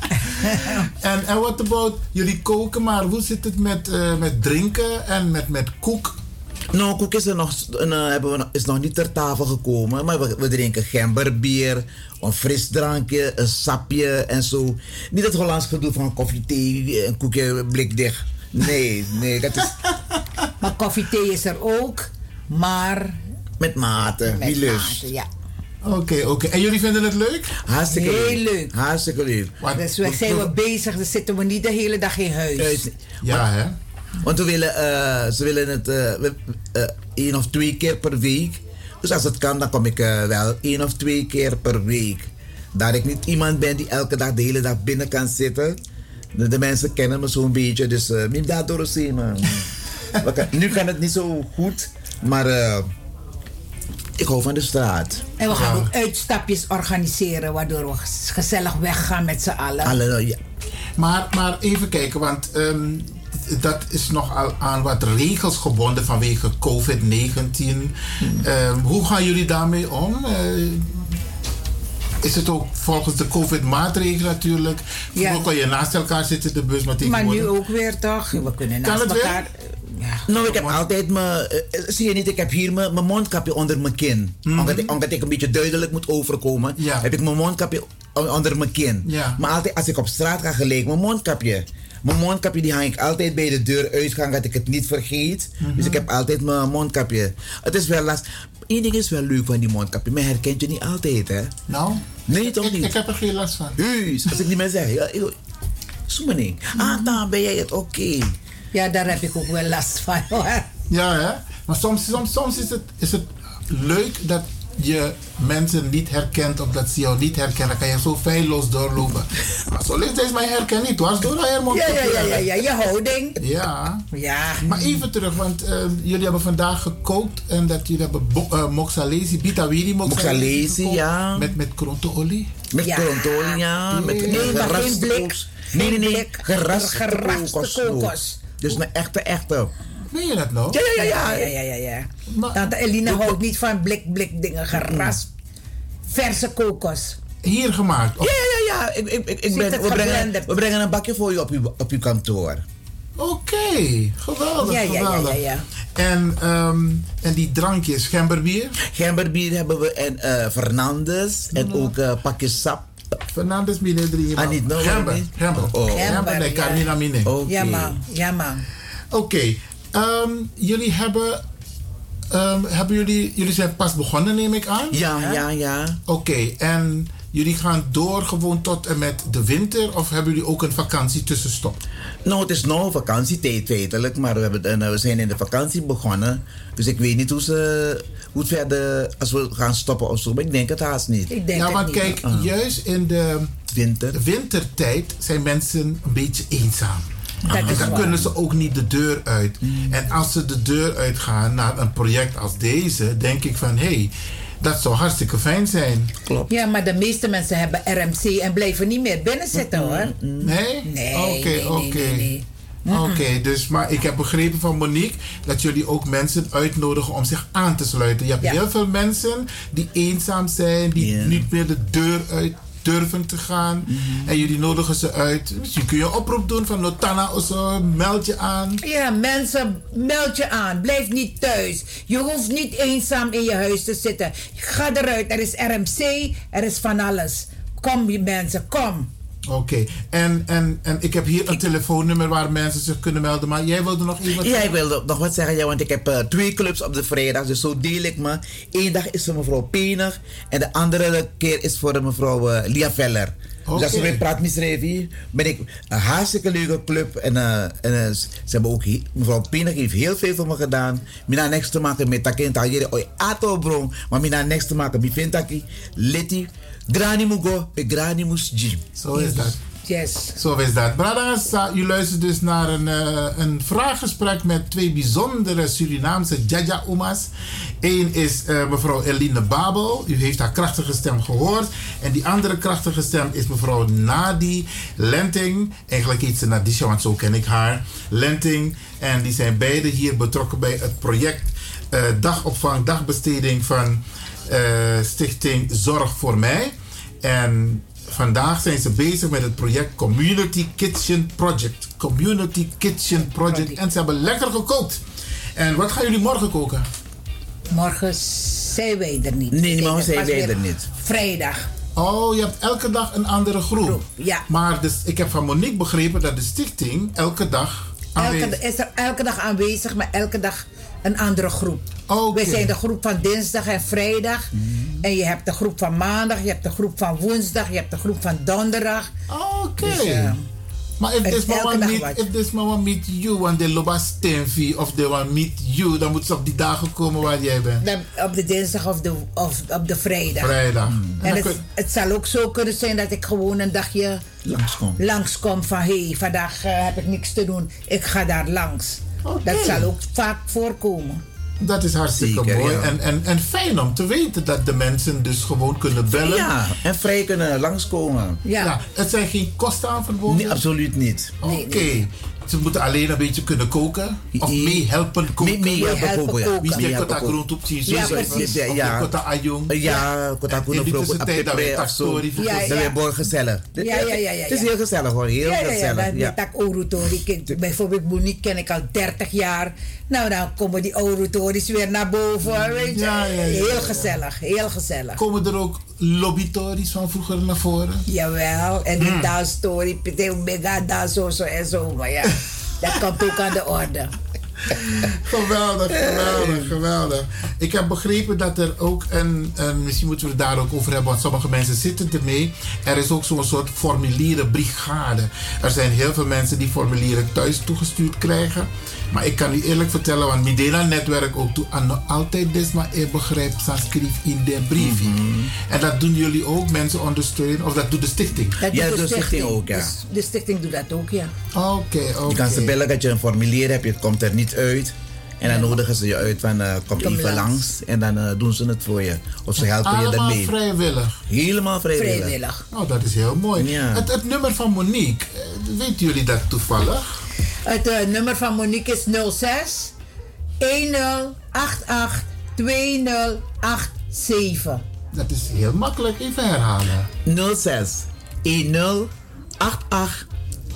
[SPEAKER 2] (laughs) En, en wat about jullie koken, maar hoe zit het met, eh, met drinken en met, met koek?
[SPEAKER 29] Nou, koek is, er nog, een, eh, hebben we, nog- is nog niet ter tafel gekomen. Maar we, we drinken gemberbier, een frisdrankje, een sapje en zo. Niet dat Hollands gedoe van koffie, thee, een koekje, blik dicht. Nee, nee, dat is...
[SPEAKER 28] (laughs) Maar koffie, thee is er ook, maar...
[SPEAKER 29] Met mate,
[SPEAKER 28] Met
[SPEAKER 29] wie lust.
[SPEAKER 28] mate, ja.
[SPEAKER 2] Oké, oké. En jullie vinden het leuk?
[SPEAKER 29] Hartstikke
[SPEAKER 28] Heel
[SPEAKER 29] leuk.
[SPEAKER 28] leuk.
[SPEAKER 29] Hartstikke leuk.
[SPEAKER 28] Dus we zijn we bezig, dan zitten we niet de hele dag in huis.
[SPEAKER 29] Juist. Want- Want we willen, eh, ze willen het eh, we- eh, één of twee keer per week. Dus als het kan, dan kom ik eh, wel één of twee keer per week. Dat ik niet iemand ben die elke dag de hele dag binnen kan zitten. De, de mensen kennen me zo'n beetje, dus eh niet daardoor zien man. We kan- nu kan het niet zo goed, maar eh, ik hou van de straat.
[SPEAKER 28] En we gaan
[SPEAKER 29] Ja.
[SPEAKER 28] ook uitstapjes organiseren, waardoor we ges- gezellig weggaan met z'n allen.
[SPEAKER 29] Alle, ja.
[SPEAKER 2] Maar, maar even kijken, want ehm, dat is nogal aan wat regels gebonden vanwege COVID-19.
[SPEAKER 28] Hmm.
[SPEAKER 2] Ehm, hoe gaan jullie daarmee om? Eh, is het ook volgens de COVID-maatregelen natuurlijk? Vroeger kon je naast elkaar zitten in de bus, maar
[SPEAKER 28] Maar
[SPEAKER 2] tegenwoordig...
[SPEAKER 28] nu ook weer toch? We kunnen
[SPEAKER 2] Kan
[SPEAKER 28] naast
[SPEAKER 2] het weer?
[SPEAKER 28] elkaar. eh,
[SPEAKER 29] Nou, ik heb altijd mijn. eh, eh, zie je niet, ik heb hier mijn, mijn mondkapje onder mijn kin.
[SPEAKER 2] Mhm.
[SPEAKER 29] Omdat, ik, omdat ik een beetje duidelijk moet overkomen, heb ik mijn mondkapje on- onder mijn kin.
[SPEAKER 2] Ja.
[SPEAKER 29] Maar altijd als ik op straat ga gelijk, mijn mondkapje. Mijn mondkapje die hang ik altijd bij de deuruitgang, dat ik het niet vergeet.
[SPEAKER 2] Mhm.
[SPEAKER 29] Dus ik heb altijd mijn mondkapje. Het is wel last. Eén ding is wel leuk van die mondkapje, maar herkent je niet altijd, hè?
[SPEAKER 2] Nou?
[SPEAKER 29] Nee, toch niet?
[SPEAKER 2] Ik heb er geen last van.
[SPEAKER 29] Heus, als ik niet meer zeg. Ja, ik- Zoem maar niet. Ah, dan ben jij het oké.
[SPEAKER 28] Ja, daar heb ik ook wel last van hoor.
[SPEAKER 2] Ja, hè? Maar soms, soms, soms is, het, is het leuk dat je mensen niet herkent of dat ze jou niet herkennen. Dan kan je zo feilloos doorlopen.
[SPEAKER 28] (laughs)
[SPEAKER 2] Maar zo ligt deze mij herken niet, was door haar mond.
[SPEAKER 28] Ja, ja, ja, ja, ja, (laughs) je houding.
[SPEAKER 2] Ja.
[SPEAKER 28] ja.
[SPEAKER 2] Maar even terug, want ehm, jullie hebben vandaag gekookt en dat jullie hebben bo- eh, moxalesi, bitawiri moxalesi.
[SPEAKER 29] Moxalesi,
[SPEAKER 2] gekookt.
[SPEAKER 29] ja.
[SPEAKER 2] Met, met krontolie.
[SPEAKER 29] Met ja. ja. Met
[SPEAKER 2] Nee, maar geen
[SPEAKER 29] geraste
[SPEAKER 2] blik.
[SPEAKER 29] koos. Nee, nee, nee.
[SPEAKER 2] blik.
[SPEAKER 29] Geraste,
[SPEAKER 2] Geraste
[SPEAKER 29] kokos.
[SPEAKER 2] kokos.
[SPEAKER 29] Dus een echte, echte.
[SPEAKER 2] Meen je dat nou?
[SPEAKER 29] Ja, ja, ja.
[SPEAKER 28] ja,
[SPEAKER 29] ja.
[SPEAKER 28] ja, ja, ja. Tante Elina houdt niet van blik-blik dingen, gerasp. Verse kokos.
[SPEAKER 2] Hier gemaakt?
[SPEAKER 29] Ja, ja, ja. Ik, ik, ik, ik
[SPEAKER 28] Zit
[SPEAKER 29] breng-
[SPEAKER 28] het
[SPEAKER 29] we,
[SPEAKER 28] geblenderd?
[SPEAKER 29] brengen, we brengen een bakje voor je op je, op je kantoor.
[SPEAKER 2] Oké, geweldig,
[SPEAKER 28] Ja, ja, ja,
[SPEAKER 2] geweldig.
[SPEAKER 28] ja, ja.
[SPEAKER 2] En, ehm, en die drankjes, gemberbier?
[SPEAKER 29] Gemberbier hebben we en eh Fernandes. En ook eh pakje sap.
[SPEAKER 2] Mm-hmm. Fernandes binnen drie
[SPEAKER 29] Ah, niet nou.
[SPEAKER 2] Gember,
[SPEAKER 29] niet?
[SPEAKER 2] gember.
[SPEAKER 29] Oh.
[SPEAKER 2] Gember, nee, Carmina Mine.
[SPEAKER 29] Oké.
[SPEAKER 28] Ja, man. Ja, man.
[SPEAKER 2] Oké, ehm, jullie hebben, ehm, hebben jullie, jullie zijn pas begonnen neem ik aan?
[SPEAKER 29] Ja, ja, ja.
[SPEAKER 2] Oké, en jullie gaan door gewoon tot en met de winter of hebben jullie ook een vakantie tussenstop?
[SPEAKER 29] Nou, het is nou vakantietijd feitelijk, maar we, hebben, en, eh, we zijn in de vakantie begonnen. Dus ik weet niet hoe, ze, hoe het verder, als we gaan stoppen of zo, maar ik denk het haast niet.
[SPEAKER 2] ja, Nou, want kijk,
[SPEAKER 29] Ah.
[SPEAKER 2] juist in de
[SPEAKER 29] Winter.
[SPEAKER 2] wintertijd zijn mensen een beetje eenzaam.
[SPEAKER 29] Dat
[SPEAKER 2] en
[SPEAKER 29] is
[SPEAKER 2] dan
[SPEAKER 29] waar.
[SPEAKER 2] kunnen ze ook niet de deur uit.
[SPEAKER 29] Mm.
[SPEAKER 2] En als ze de deur uitgaan naar een project als deze, denk ik van hé, hey, dat zou hartstikke fijn zijn.
[SPEAKER 29] Klopt.
[SPEAKER 28] Ja, maar de meeste mensen hebben RMC en blijven niet meer binnen zitten hoor.
[SPEAKER 2] Nee?
[SPEAKER 28] Nee.
[SPEAKER 2] Oké,
[SPEAKER 28] nee, nee, nee,
[SPEAKER 2] oké.
[SPEAKER 28] nee.
[SPEAKER 2] Oké, dus maar ik heb begrepen van Monique dat jullie ook mensen uitnodigen om zich aan te sluiten. Je hebt
[SPEAKER 28] Ja.
[SPEAKER 2] heel veel mensen die eenzaam zijn, die
[SPEAKER 29] Ja.
[SPEAKER 2] niet meer de deur uit durven te gaan.
[SPEAKER 28] Mhm.
[SPEAKER 2] En jullie nodigen ze uit. Misschien kun je een oproep doen van Notana of zo, meld je aan.
[SPEAKER 28] Ja, mensen, meld je aan. Blijf niet thuis. Je hoeft niet eenzaam in je huis te zitten. Ga eruit. Er is RMC, er is van alles. Kom, je mensen, kom.
[SPEAKER 2] Oké, en, en, en ik heb hier een telefoonnummer waar mensen zich kunnen melden, maar jij wilde nog iets?
[SPEAKER 29] Ja, ik wilde nog wat zeggen, ja, want ik heb eh, twee clubs op de vrijdag, dus zo deel ik me. Eén dag is voor mevrouw Penig en de andere keer is voor mevrouw eh, Lia Veller.
[SPEAKER 2] Oké.
[SPEAKER 29] Dus als we praat misreven, ben ik een hartstikke leuke club. En, eh, en eh, ze hebben ook, he- mevrouw Penig heeft heel veel voor me gedaan. Mina niks te maken met Takinta, jere oi ato bron. Maar mina niks te maken met Vintaki, Leti, Grani Mugo, Grani Mus Jim.
[SPEAKER 2] Zo is dat.
[SPEAKER 28] Yes.
[SPEAKER 2] Zo is dat. Brothers, uh, u luistert dus naar een, eh, een vraaggesprek met twee bijzondere Surinaamse Jaja Oema's. Eén is eh, mevrouw Eline Babel. U heeft haar krachtige stem gehoord. En die andere krachtige stem is mevrouw Nadi Lenting. Eigenlijk heet ze Nadisha, want zo ken ik haar. Lenting. En die zijn beide hier betrokken bij het project eh, dagopvang, dagbesteding van eh, Stichting Zorg voor Mij. En vandaag zijn ze bezig met het project Community Kitchen Project. Community Kitchen Project. En ze hebben lekker gekookt. En wat gaan jullie morgen koken?
[SPEAKER 28] Morgen zijn wij er niet.
[SPEAKER 11] Nee, morgen
[SPEAKER 28] Zeker,
[SPEAKER 11] zijn
[SPEAKER 28] pas
[SPEAKER 11] wij
[SPEAKER 28] weer
[SPEAKER 11] er niet.
[SPEAKER 28] Vrijdag.
[SPEAKER 2] Oh, je hebt elke dag een andere groep.
[SPEAKER 28] ja.
[SPEAKER 2] Maar dus, ik heb van Monique begrepen dat de stichting elke dag
[SPEAKER 28] Elke,
[SPEAKER 2] aanwezig
[SPEAKER 28] is er elke dag aanwezig, maar elke dag een andere groep. We zijn de groep van dinsdag en vrijdag.
[SPEAKER 2] Hmm.
[SPEAKER 28] En je hebt de groep van maandag, je hebt de groep van woensdag, je hebt de groep van donderdag.
[SPEAKER 2] Ah,
[SPEAKER 28] Dus, eh,
[SPEAKER 2] Oké. maar if this mama meet, if this mama meet you, want they loba stenfi of they want meet you, dan moeten ze op die dagen komen waar jij bent.
[SPEAKER 28] Op de dinsdag of, de, of op de vrijdag.
[SPEAKER 2] Vrijdag.
[SPEAKER 11] Mm.
[SPEAKER 28] En
[SPEAKER 2] dan
[SPEAKER 28] het,
[SPEAKER 2] kun-
[SPEAKER 28] het zal ook zo kunnen zijn dat ik gewoon een dagje
[SPEAKER 11] Langskom.
[SPEAKER 28] langskom van hé, hey, vandaag eh, heb ik niks te doen, ik ga daar langs. Dat zal ook vaak voorkomen.
[SPEAKER 2] Dat is hartstikke
[SPEAKER 11] Zeker,
[SPEAKER 2] mooi
[SPEAKER 11] ja.
[SPEAKER 2] en, en, en fijn om te weten dat de mensen dus gewoon kunnen bellen.
[SPEAKER 11] Ja, en vrij kunnen langskomen.
[SPEAKER 28] Ja.
[SPEAKER 2] het zijn geen kosten aan verbonden?
[SPEAKER 11] Nee, absoluut niet.
[SPEAKER 2] Oké. Ze moeten alleen een beetje kunnen koken. Of meehelpen
[SPEAKER 11] Mee-
[SPEAKER 2] koken.
[SPEAKER 11] meehelpen Meehelpen koken, ja. koken.
[SPEAKER 2] Wie zegt
[SPEAKER 11] Meehelpen
[SPEAKER 2] dat
[SPEAKER 11] koken.
[SPEAKER 2] groente op zien?
[SPEAKER 11] Ja,
[SPEAKER 2] Zo
[SPEAKER 11] precies.
[SPEAKER 2] even. Of
[SPEAKER 11] Ja.
[SPEAKER 2] die kota ayong.
[SPEAKER 11] Ja, kota
[SPEAKER 2] En in die
[SPEAKER 11] koenenbroek,
[SPEAKER 2] tussentijd dat we
[SPEAKER 11] of zo.
[SPEAKER 2] takstori
[SPEAKER 28] Ja,
[SPEAKER 11] Dat
[SPEAKER 28] ja.
[SPEAKER 11] weer mooi gezellig.
[SPEAKER 28] Ja, ja, ja, ja,
[SPEAKER 29] Dus
[SPEAKER 11] Het is
[SPEAKER 28] ja.
[SPEAKER 11] heel gezellig hoor, heel
[SPEAKER 28] ja, ja,
[SPEAKER 11] gezellig.
[SPEAKER 28] ja, dat-
[SPEAKER 11] ja.
[SPEAKER 28] dat Orutori. Ik- Bijvoorbeeld Monique ken ik al 30 jaar. Nou, dan komen die Orutoris weer naar boven. Weet je.
[SPEAKER 2] Mm. Ja, ja, ja, ja, ja.
[SPEAKER 28] heel gezellig, heel gezellig.
[SPEAKER 2] Komen er ook lobbytories van vroeger naar voren?
[SPEAKER 28] Jawel, en
[SPEAKER 2] Hmm.
[SPEAKER 28] die dansstory, Piteo Mega, dans zo, zo en zo. Maar ja, dat komt ook aan de orde.
[SPEAKER 2] Geweldig, geweldig, geweldig. Ik heb begrepen dat er ook een, een- misschien moeten we het daar ook over hebben, want sommige mensen zitten ermee. Er is ook zo'n soort formulierenbrigade. Er zijn heel veel mensen die formulieren thuis toegestuurd krijgen. Maar ik kan u eerlijk vertellen, want Midena Netwerk ook toe aan altijd des maar ik begrijp, staan schrijf in de brief. En dat doen jullie ook, mensen ondersteunen, of dat doet de stichting?
[SPEAKER 28] Dat doet Dus de stichting doet dat ook, ja.
[SPEAKER 2] Oké, oké.
[SPEAKER 11] Je kan ze bellen dat je een formulier hebt, je komt er niet uit. En dan
[SPEAKER 28] Ja.
[SPEAKER 11] nodigen ze je uit van eh, kom
[SPEAKER 28] Kom
[SPEAKER 11] even
[SPEAKER 28] langs.
[SPEAKER 11] langs en dan eh, doen ze het voor je. Of ze helpen je
[SPEAKER 2] Allemaal
[SPEAKER 11] ermee.
[SPEAKER 2] vrijwillig.
[SPEAKER 11] Helemaal vrijwillig.
[SPEAKER 28] Vrijwillig.
[SPEAKER 2] Oh, dat is heel mooi.
[SPEAKER 11] Ja.
[SPEAKER 2] Het, het nummer van Monique, eh, weten jullie dat toevallig?
[SPEAKER 28] Het eh, nummer van Monique is 06 1088 2087.
[SPEAKER 2] Dat is heel makkelijk, even herhalen.
[SPEAKER 11] 06 10 88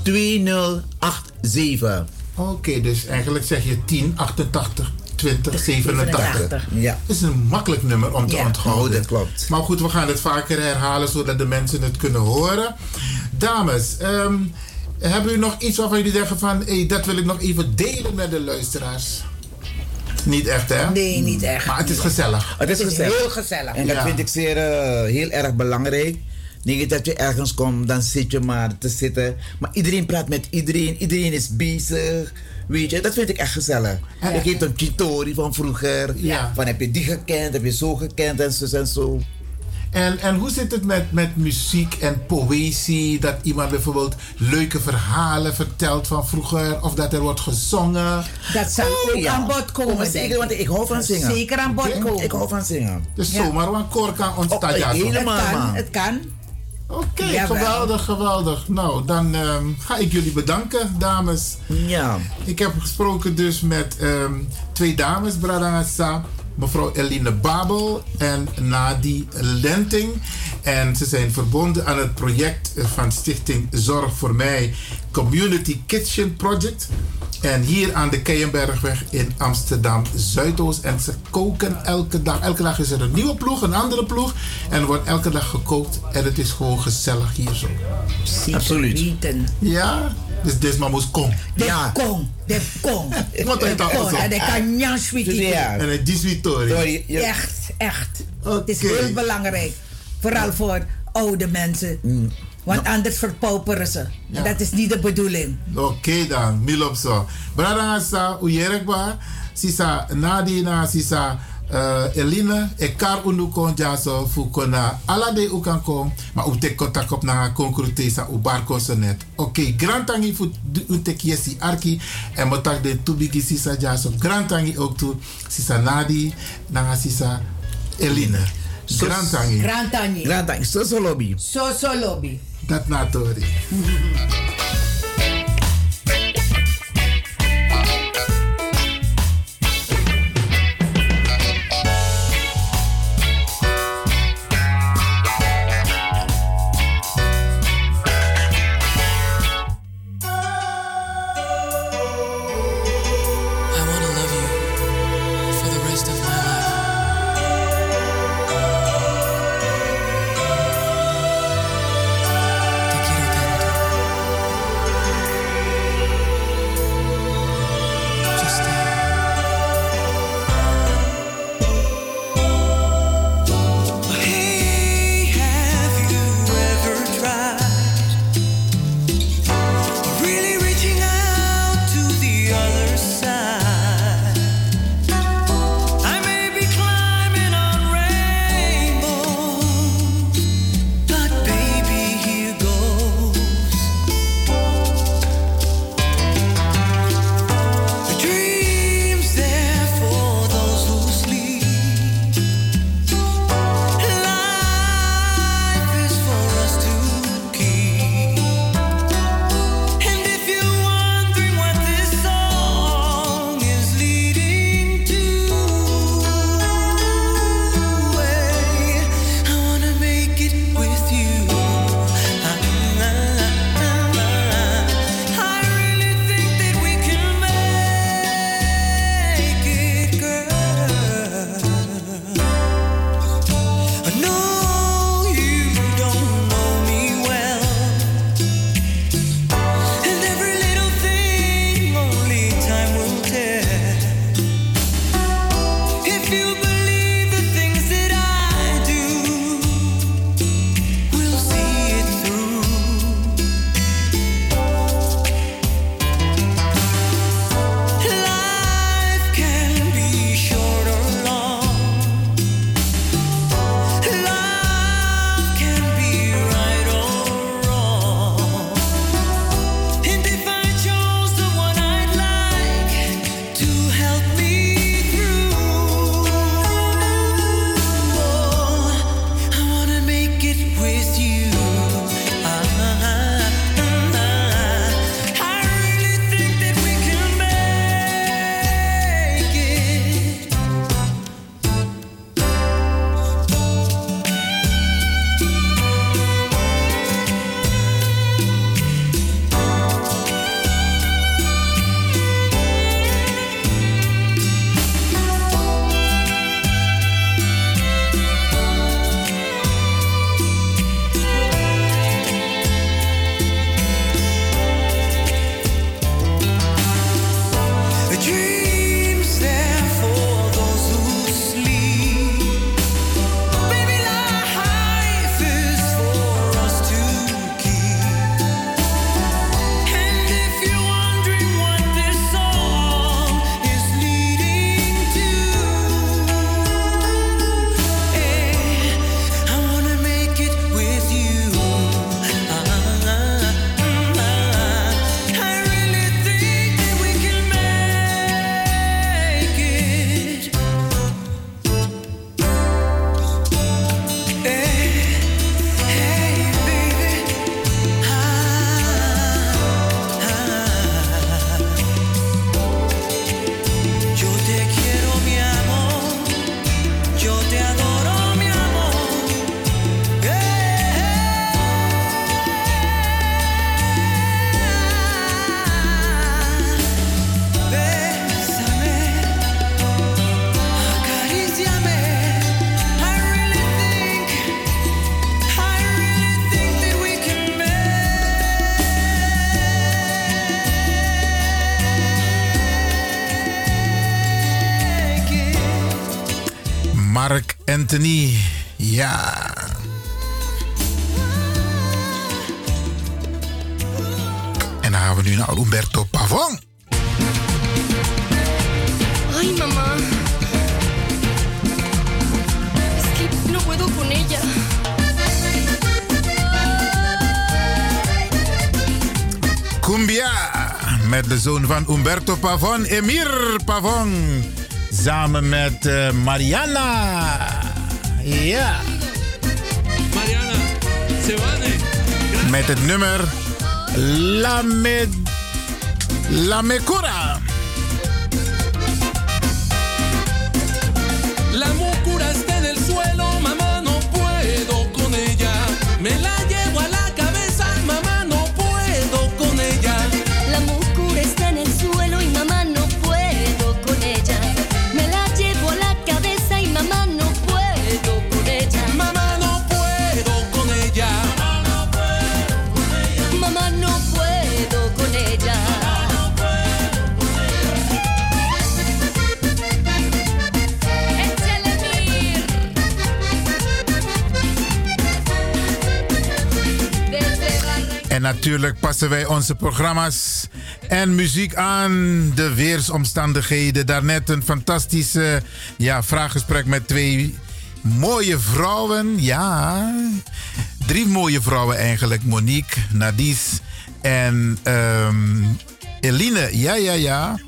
[SPEAKER 11] 2087.
[SPEAKER 2] Oké, dus eigenlijk zeg je 10 88 20 87.
[SPEAKER 11] Ja.
[SPEAKER 2] Dat is een makkelijk nummer om te
[SPEAKER 11] Ja.
[SPEAKER 2] onthouden.
[SPEAKER 11] Oh, dat klopt.
[SPEAKER 2] Maar goed, we gaan het vaker herhalen zodat de mensen het kunnen horen. Dames, ehm, hebben jullie nog iets waarvan jullie zeggen van hey, dat wil ik nog even delen met de luisteraars? Niet echt, hè? Hmm.
[SPEAKER 28] Nee, niet echt.
[SPEAKER 2] Maar het is gezellig.
[SPEAKER 11] Het is, gezellig.
[SPEAKER 28] heel gezellig.
[SPEAKER 11] En dat
[SPEAKER 2] Ja.
[SPEAKER 11] vind ik zeer, eh, heel erg belangrijk. Niet dat je ergens komt, dan zit je maar te zitten. Maar iedereen praat met iedereen. Iedereen is bezig. Weet je, dat vind ik echt gezellig.
[SPEAKER 2] Ja.
[SPEAKER 11] Ik heet een Chitori van vroeger.
[SPEAKER 2] Ja.
[SPEAKER 11] Van heb je die gekend, heb je zo gekend en zo en zo.
[SPEAKER 2] En, en hoe zit het met, met muziek en poëzie? Dat iemand bijvoorbeeld leuke verhalen vertelt van vroeger of dat er wordt gezongen.
[SPEAKER 28] Dat zal
[SPEAKER 11] Oh,
[SPEAKER 28] ook aan bod komen.
[SPEAKER 11] maar zeker,
[SPEAKER 28] denk
[SPEAKER 11] want ik hou van zingen.
[SPEAKER 28] Zeker aan bod
[SPEAKER 2] Oké.
[SPEAKER 28] komen.
[SPEAKER 11] Ik hou van zingen. Oh,
[SPEAKER 2] Dus
[SPEAKER 28] Ja.
[SPEAKER 2] zomaar een koor kan ontstaan. ja, zo.
[SPEAKER 28] het kan, het kan.
[SPEAKER 2] Oké,
[SPEAKER 28] Jawel.
[SPEAKER 2] geweldig, geweldig. Nou, dan ehm, ga ik jullie bedanken, dames.
[SPEAKER 11] Ja.
[SPEAKER 2] Ik heb gesproken dus met ehm, twee dames, Bradangasa, mevrouw Eline Babel en Nadi Lenting. En ze zijn verbonden aan het project van Stichting Zorg voor Mij Community Kitchen Project. En hier aan de Keienbergweg in Amsterdam Zuidoost. En ze koken elke dag. Elke dag is er een nieuwe ploeg, een andere ploeg. En er wordt elke dag gekookt. En het is gewoon gezellig hier zo.
[SPEAKER 11] Absoluut.
[SPEAKER 2] Ja, dus Desma moest komen. Ah.
[SPEAKER 28] De kong, de
[SPEAKER 2] (laughs)
[SPEAKER 28] kong.
[SPEAKER 2] Wat
[SPEAKER 28] De
[SPEAKER 2] heet dat?
[SPEAKER 28] kong, En de kan Jan
[SPEAKER 2] En het is weer Tori.
[SPEAKER 28] Echt, echt. Het is heel belangrijk. Vooral voor oude mensen. Want anders verpauperen ze. En dat is niet de bedoeling.
[SPEAKER 2] Oké dan, Milopso. Bradangasa, Uyerekba, Sisa Nadina, Sisa eh, Eline, Ekar Unukon Jaso, Fukona, Alade Ukankom, maar Ute contact op na Concrutesa, Ubarko Sonet. Oké, Grand Tangi voor de Utek Yesi Arki, en Motak de Tubigi Sisa Jaso, Grand Tangi ook toe, Sisa Nadi, Naga Sisa Eline. Grand Tangi.
[SPEAKER 28] Grand Tangi. Grand
[SPEAKER 11] Tangi, Soso Lobby.
[SPEAKER 28] Soso Lobby.
[SPEAKER 2] Dat na Tori.
[SPEAKER 30] I wanna love you.
[SPEAKER 31] Eh, Ah, Eh,
[SPEAKER 2] Mark Anthony. Ja. En dan gaan we nu naar Umberto Pavon.
[SPEAKER 30] Ay, mamá. Es que no puedo con ella.
[SPEAKER 2] Cumbia met de zoon van Umberto Pavon, Emir Pavon. Samen met eh, Mariana. Ja.
[SPEAKER 7] Mariana, Sebane.
[SPEAKER 2] Met het nummer La, Me... La Mecura.
[SPEAKER 7] La mucura está en el suelo, mamá, no puedo con ella. Me la llevo a la cabeza, mamá, no puedo con ella.
[SPEAKER 30] La mucura está en el suelo y mamá no puedo con ella. Me la llevo a la cabeza y mamá no puedo con ella.
[SPEAKER 7] Mamá no puedo con ella.
[SPEAKER 30] Mamá no puedo con ella. Échale, Mir. Desde Barranquilla.
[SPEAKER 2] En natuurlijk passen wij onze programma's en muziek aan de weersomstandigheden. Daarnet een fantastische ja, vraaggesprek met twee mooie vrouwen. Ja, drie mooie vrouwen eigenlijk. Monique, Nadies en ehm, Eline. Ja, ja, ja.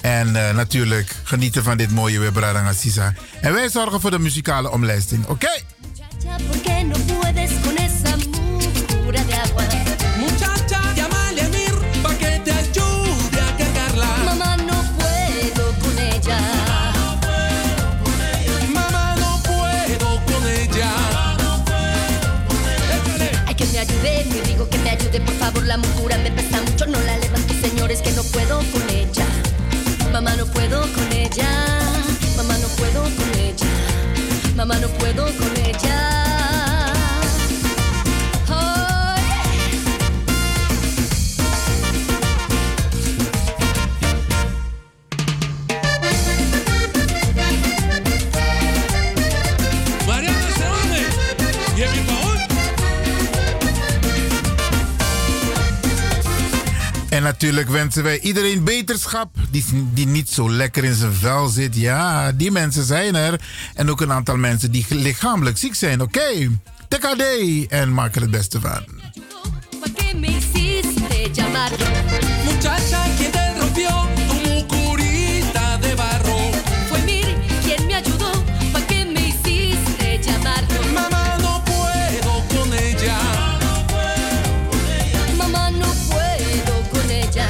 [SPEAKER 2] En eh, natuurlijk genieten van dit mooie weer, Brada Sisa. En wij zorgen voor de muzikale omlijsting, oké?
[SPEAKER 30] Ya, ¿Por qué no puedes con esa mucura de agua?
[SPEAKER 7] Muchacha, llámale a Mir pa' que te ayude a cargarla.
[SPEAKER 30] Mamá no puedo con ella.
[SPEAKER 7] Mamá no puedo con ella.
[SPEAKER 30] Ay, que me ayude, me digo que me ayude, por favor, la mucura me pesa mucho, no la levanto, señores, que no puedo con ella. Mamá no puedo con ella, mamá no puedo con ella, mamá no puedo con ella. Ay.
[SPEAKER 7] Mariana Sebane y Emil Paul.
[SPEAKER 2] En natuurlijk wensen wij iedereen beterschap die, die niet zo lekker in zijn vel zit. Ja, die mensen zijn er. En ook een aantal mensen die lichamelijk ziek zijn. Oké, TKD en maak er het beste van.
[SPEAKER 30] ¿Para qué me hiciste llamar?
[SPEAKER 7] Muchacha, ¿quién te rompió tu mucurita de barro?
[SPEAKER 30] Fue Mir quien me ayudó. ¿Para qué me hiciste llamar?
[SPEAKER 7] Mamá, no puedo con ella.
[SPEAKER 30] Mamá, no puedo con ella.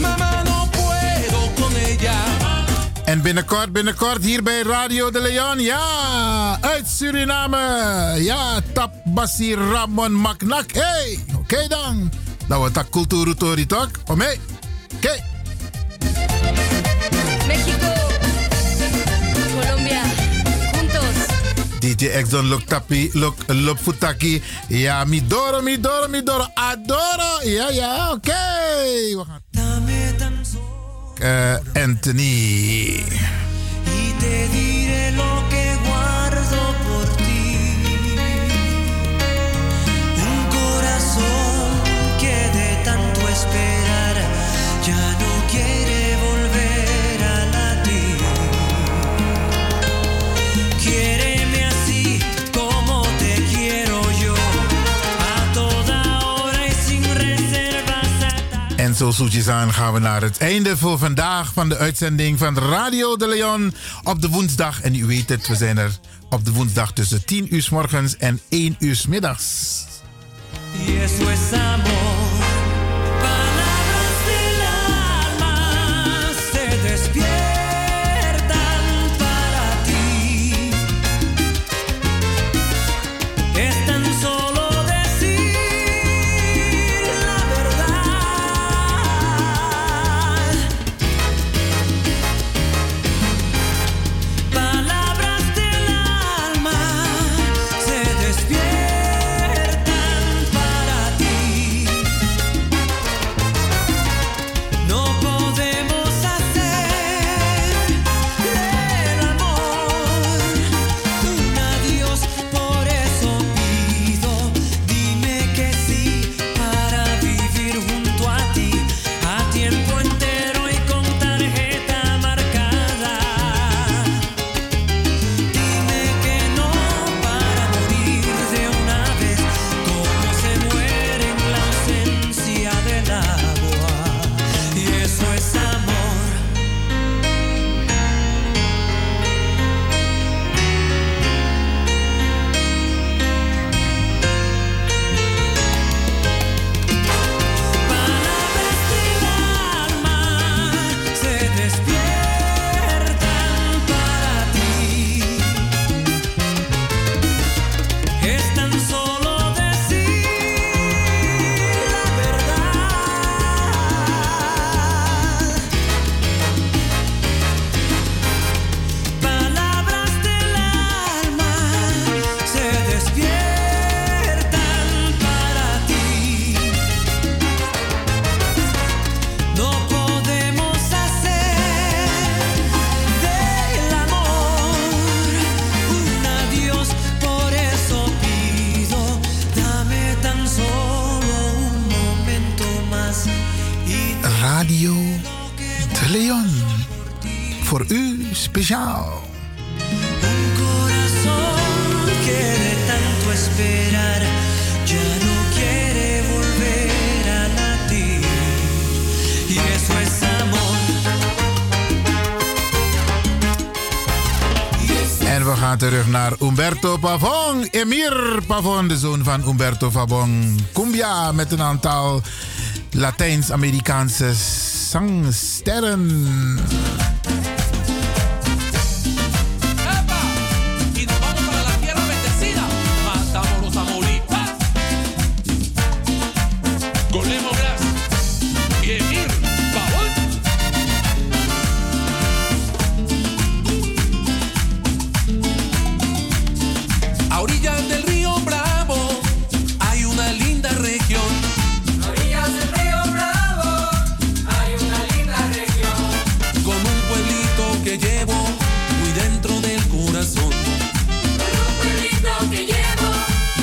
[SPEAKER 7] Mamá, no puedo con ella.
[SPEAKER 2] En binnenkort, binnenkort hier bij Radio de Leon. Ja, uit Suriname. Ja, Tabassi Ramon Maknak. Hey, oké dan. Nou, wat dat cultuur toch? Om mee. Oké.
[SPEAKER 30] México, Colombia, juntos.
[SPEAKER 2] DJ Exxon Lok Tapi, Lok Lop Futaki. Ja, Midoro, Midoro, Midoro. Adoro. Ja, ja, oké. We gaan. Eh, Anthony.
[SPEAKER 31] Y te diré lo que guardo por ti. Un corazón que de tanto esperar ya no quiere volver a latir. Quiéreme así como te quiero yo. A toda hora y sin reservas.
[SPEAKER 2] En zo zoetjes aan gaan we naar het einde voor vandaag van de uitzending van Radio de Leon op de woensdag. En u weet het, we zijn er op de woensdag tussen 10 uur s morgens en 1 uur s middags.
[SPEAKER 31] Y eso es amor. Palabras del alma se despiertan para ti. Es tan solo decir la verdad. Palabras del alma se despiertan para ti.
[SPEAKER 32] Radio De Leon. Voor u speciaal.
[SPEAKER 31] quiere tanto esperar, ya no quiere volver a latir. Y eso es amor.
[SPEAKER 2] En we gaan terug naar Umberto Pavon.
[SPEAKER 33] Emir Pavon, de zoon van Umberto Pavon.
[SPEAKER 2] Cumbia met een aantal Latijns-Amerikaanse zangsterren.
[SPEAKER 7] Y nos vamos para la tierra bendecida. Matamos los amoritas. Con Lemo Blas y Emir Pavón. A orillas del río Bravo hay una linda región. A orillas del río Bravo hay una linda región. Con un pueblito que llevo muy dentro del corazón. Con un pueblito que llevo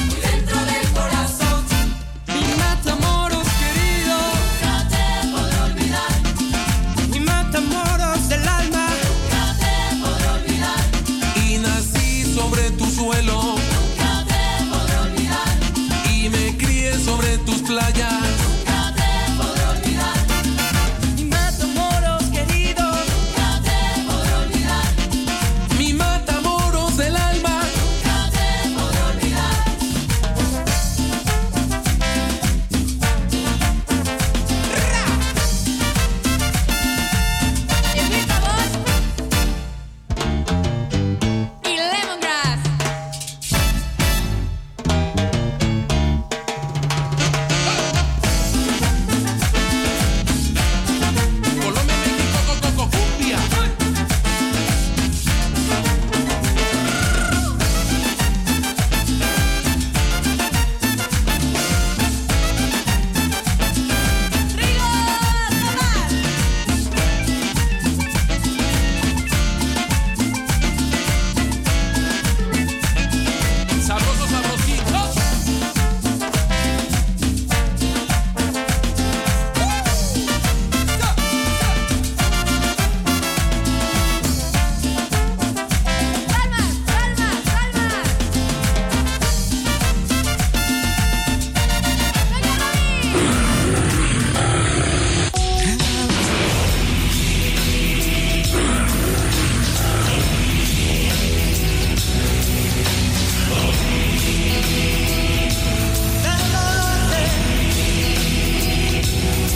[SPEAKER 7] muy dentro del corazón. Mi Matamoros querido, no te podré olvidar. Mi Matamoros del alma, nunca te podré olvidar. Y nací sobre tu suelo. Nunca te podré olvidar. Y me crié sobre tus playas. Nunca te podré olvidar. Mi Matamoros querido. Nunca te podré olvidar. Mi Matamoros del alma. Nunca te podré olvidar.
[SPEAKER 31] Y lemongrass.
[SPEAKER 7] Cumbia. Sabroso, sabrosito.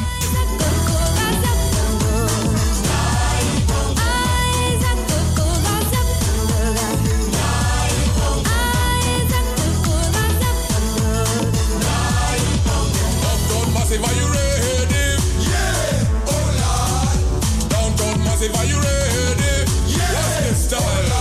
[SPEAKER 7] Downtown Massive, are you ready? Yeah, oh Lord. Downtown Massive, are you ready? Yeah, What's the style?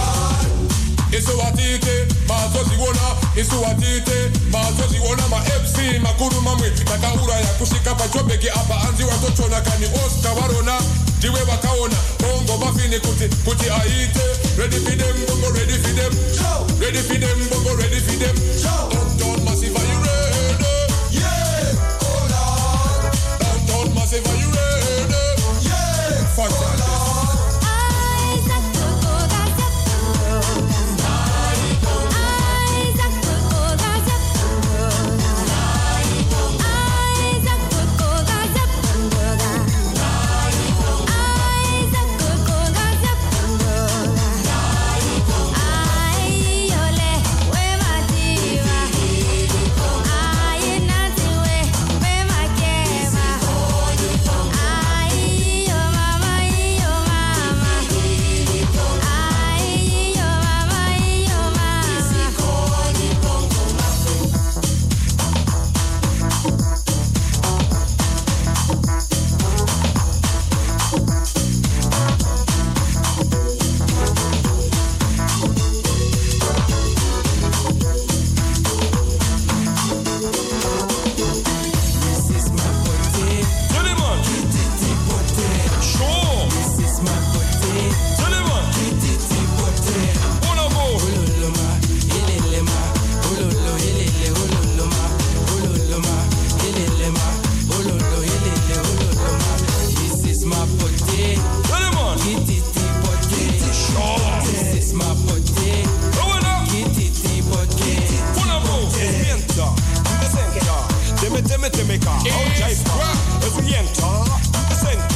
[SPEAKER 7] Isuwatite, mazoziona, isuwatite, mazoziona, ma FC, makuru mamwe, takahura ya kushika pachobeki apa anzi watochona kani Oscar varona, ndiwe vakaona, bongo mafini kuti, kuti aite, ready for them, bongo ready for them, ready for them, bongo ready for them, downtown massive, are you ready? Yeah, oh Lord, downtown massive, are you ready? Yeah, fuck like this.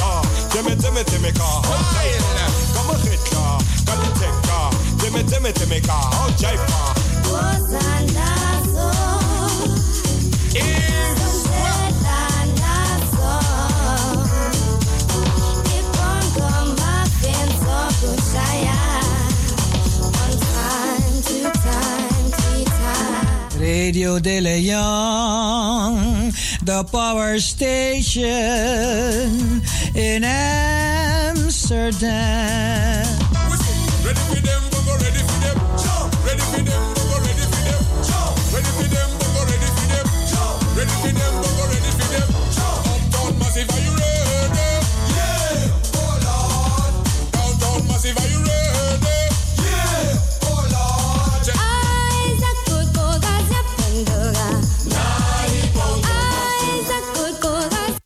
[SPEAKER 34] Timika, hot China, Oh, come on Hitka, Kaliteka, Timmy Timmy Timika, hot Jaipa.
[SPEAKER 7] Radio De Leon, the power station in
[SPEAKER 34] Oh,
[SPEAKER 7] Amsterdam.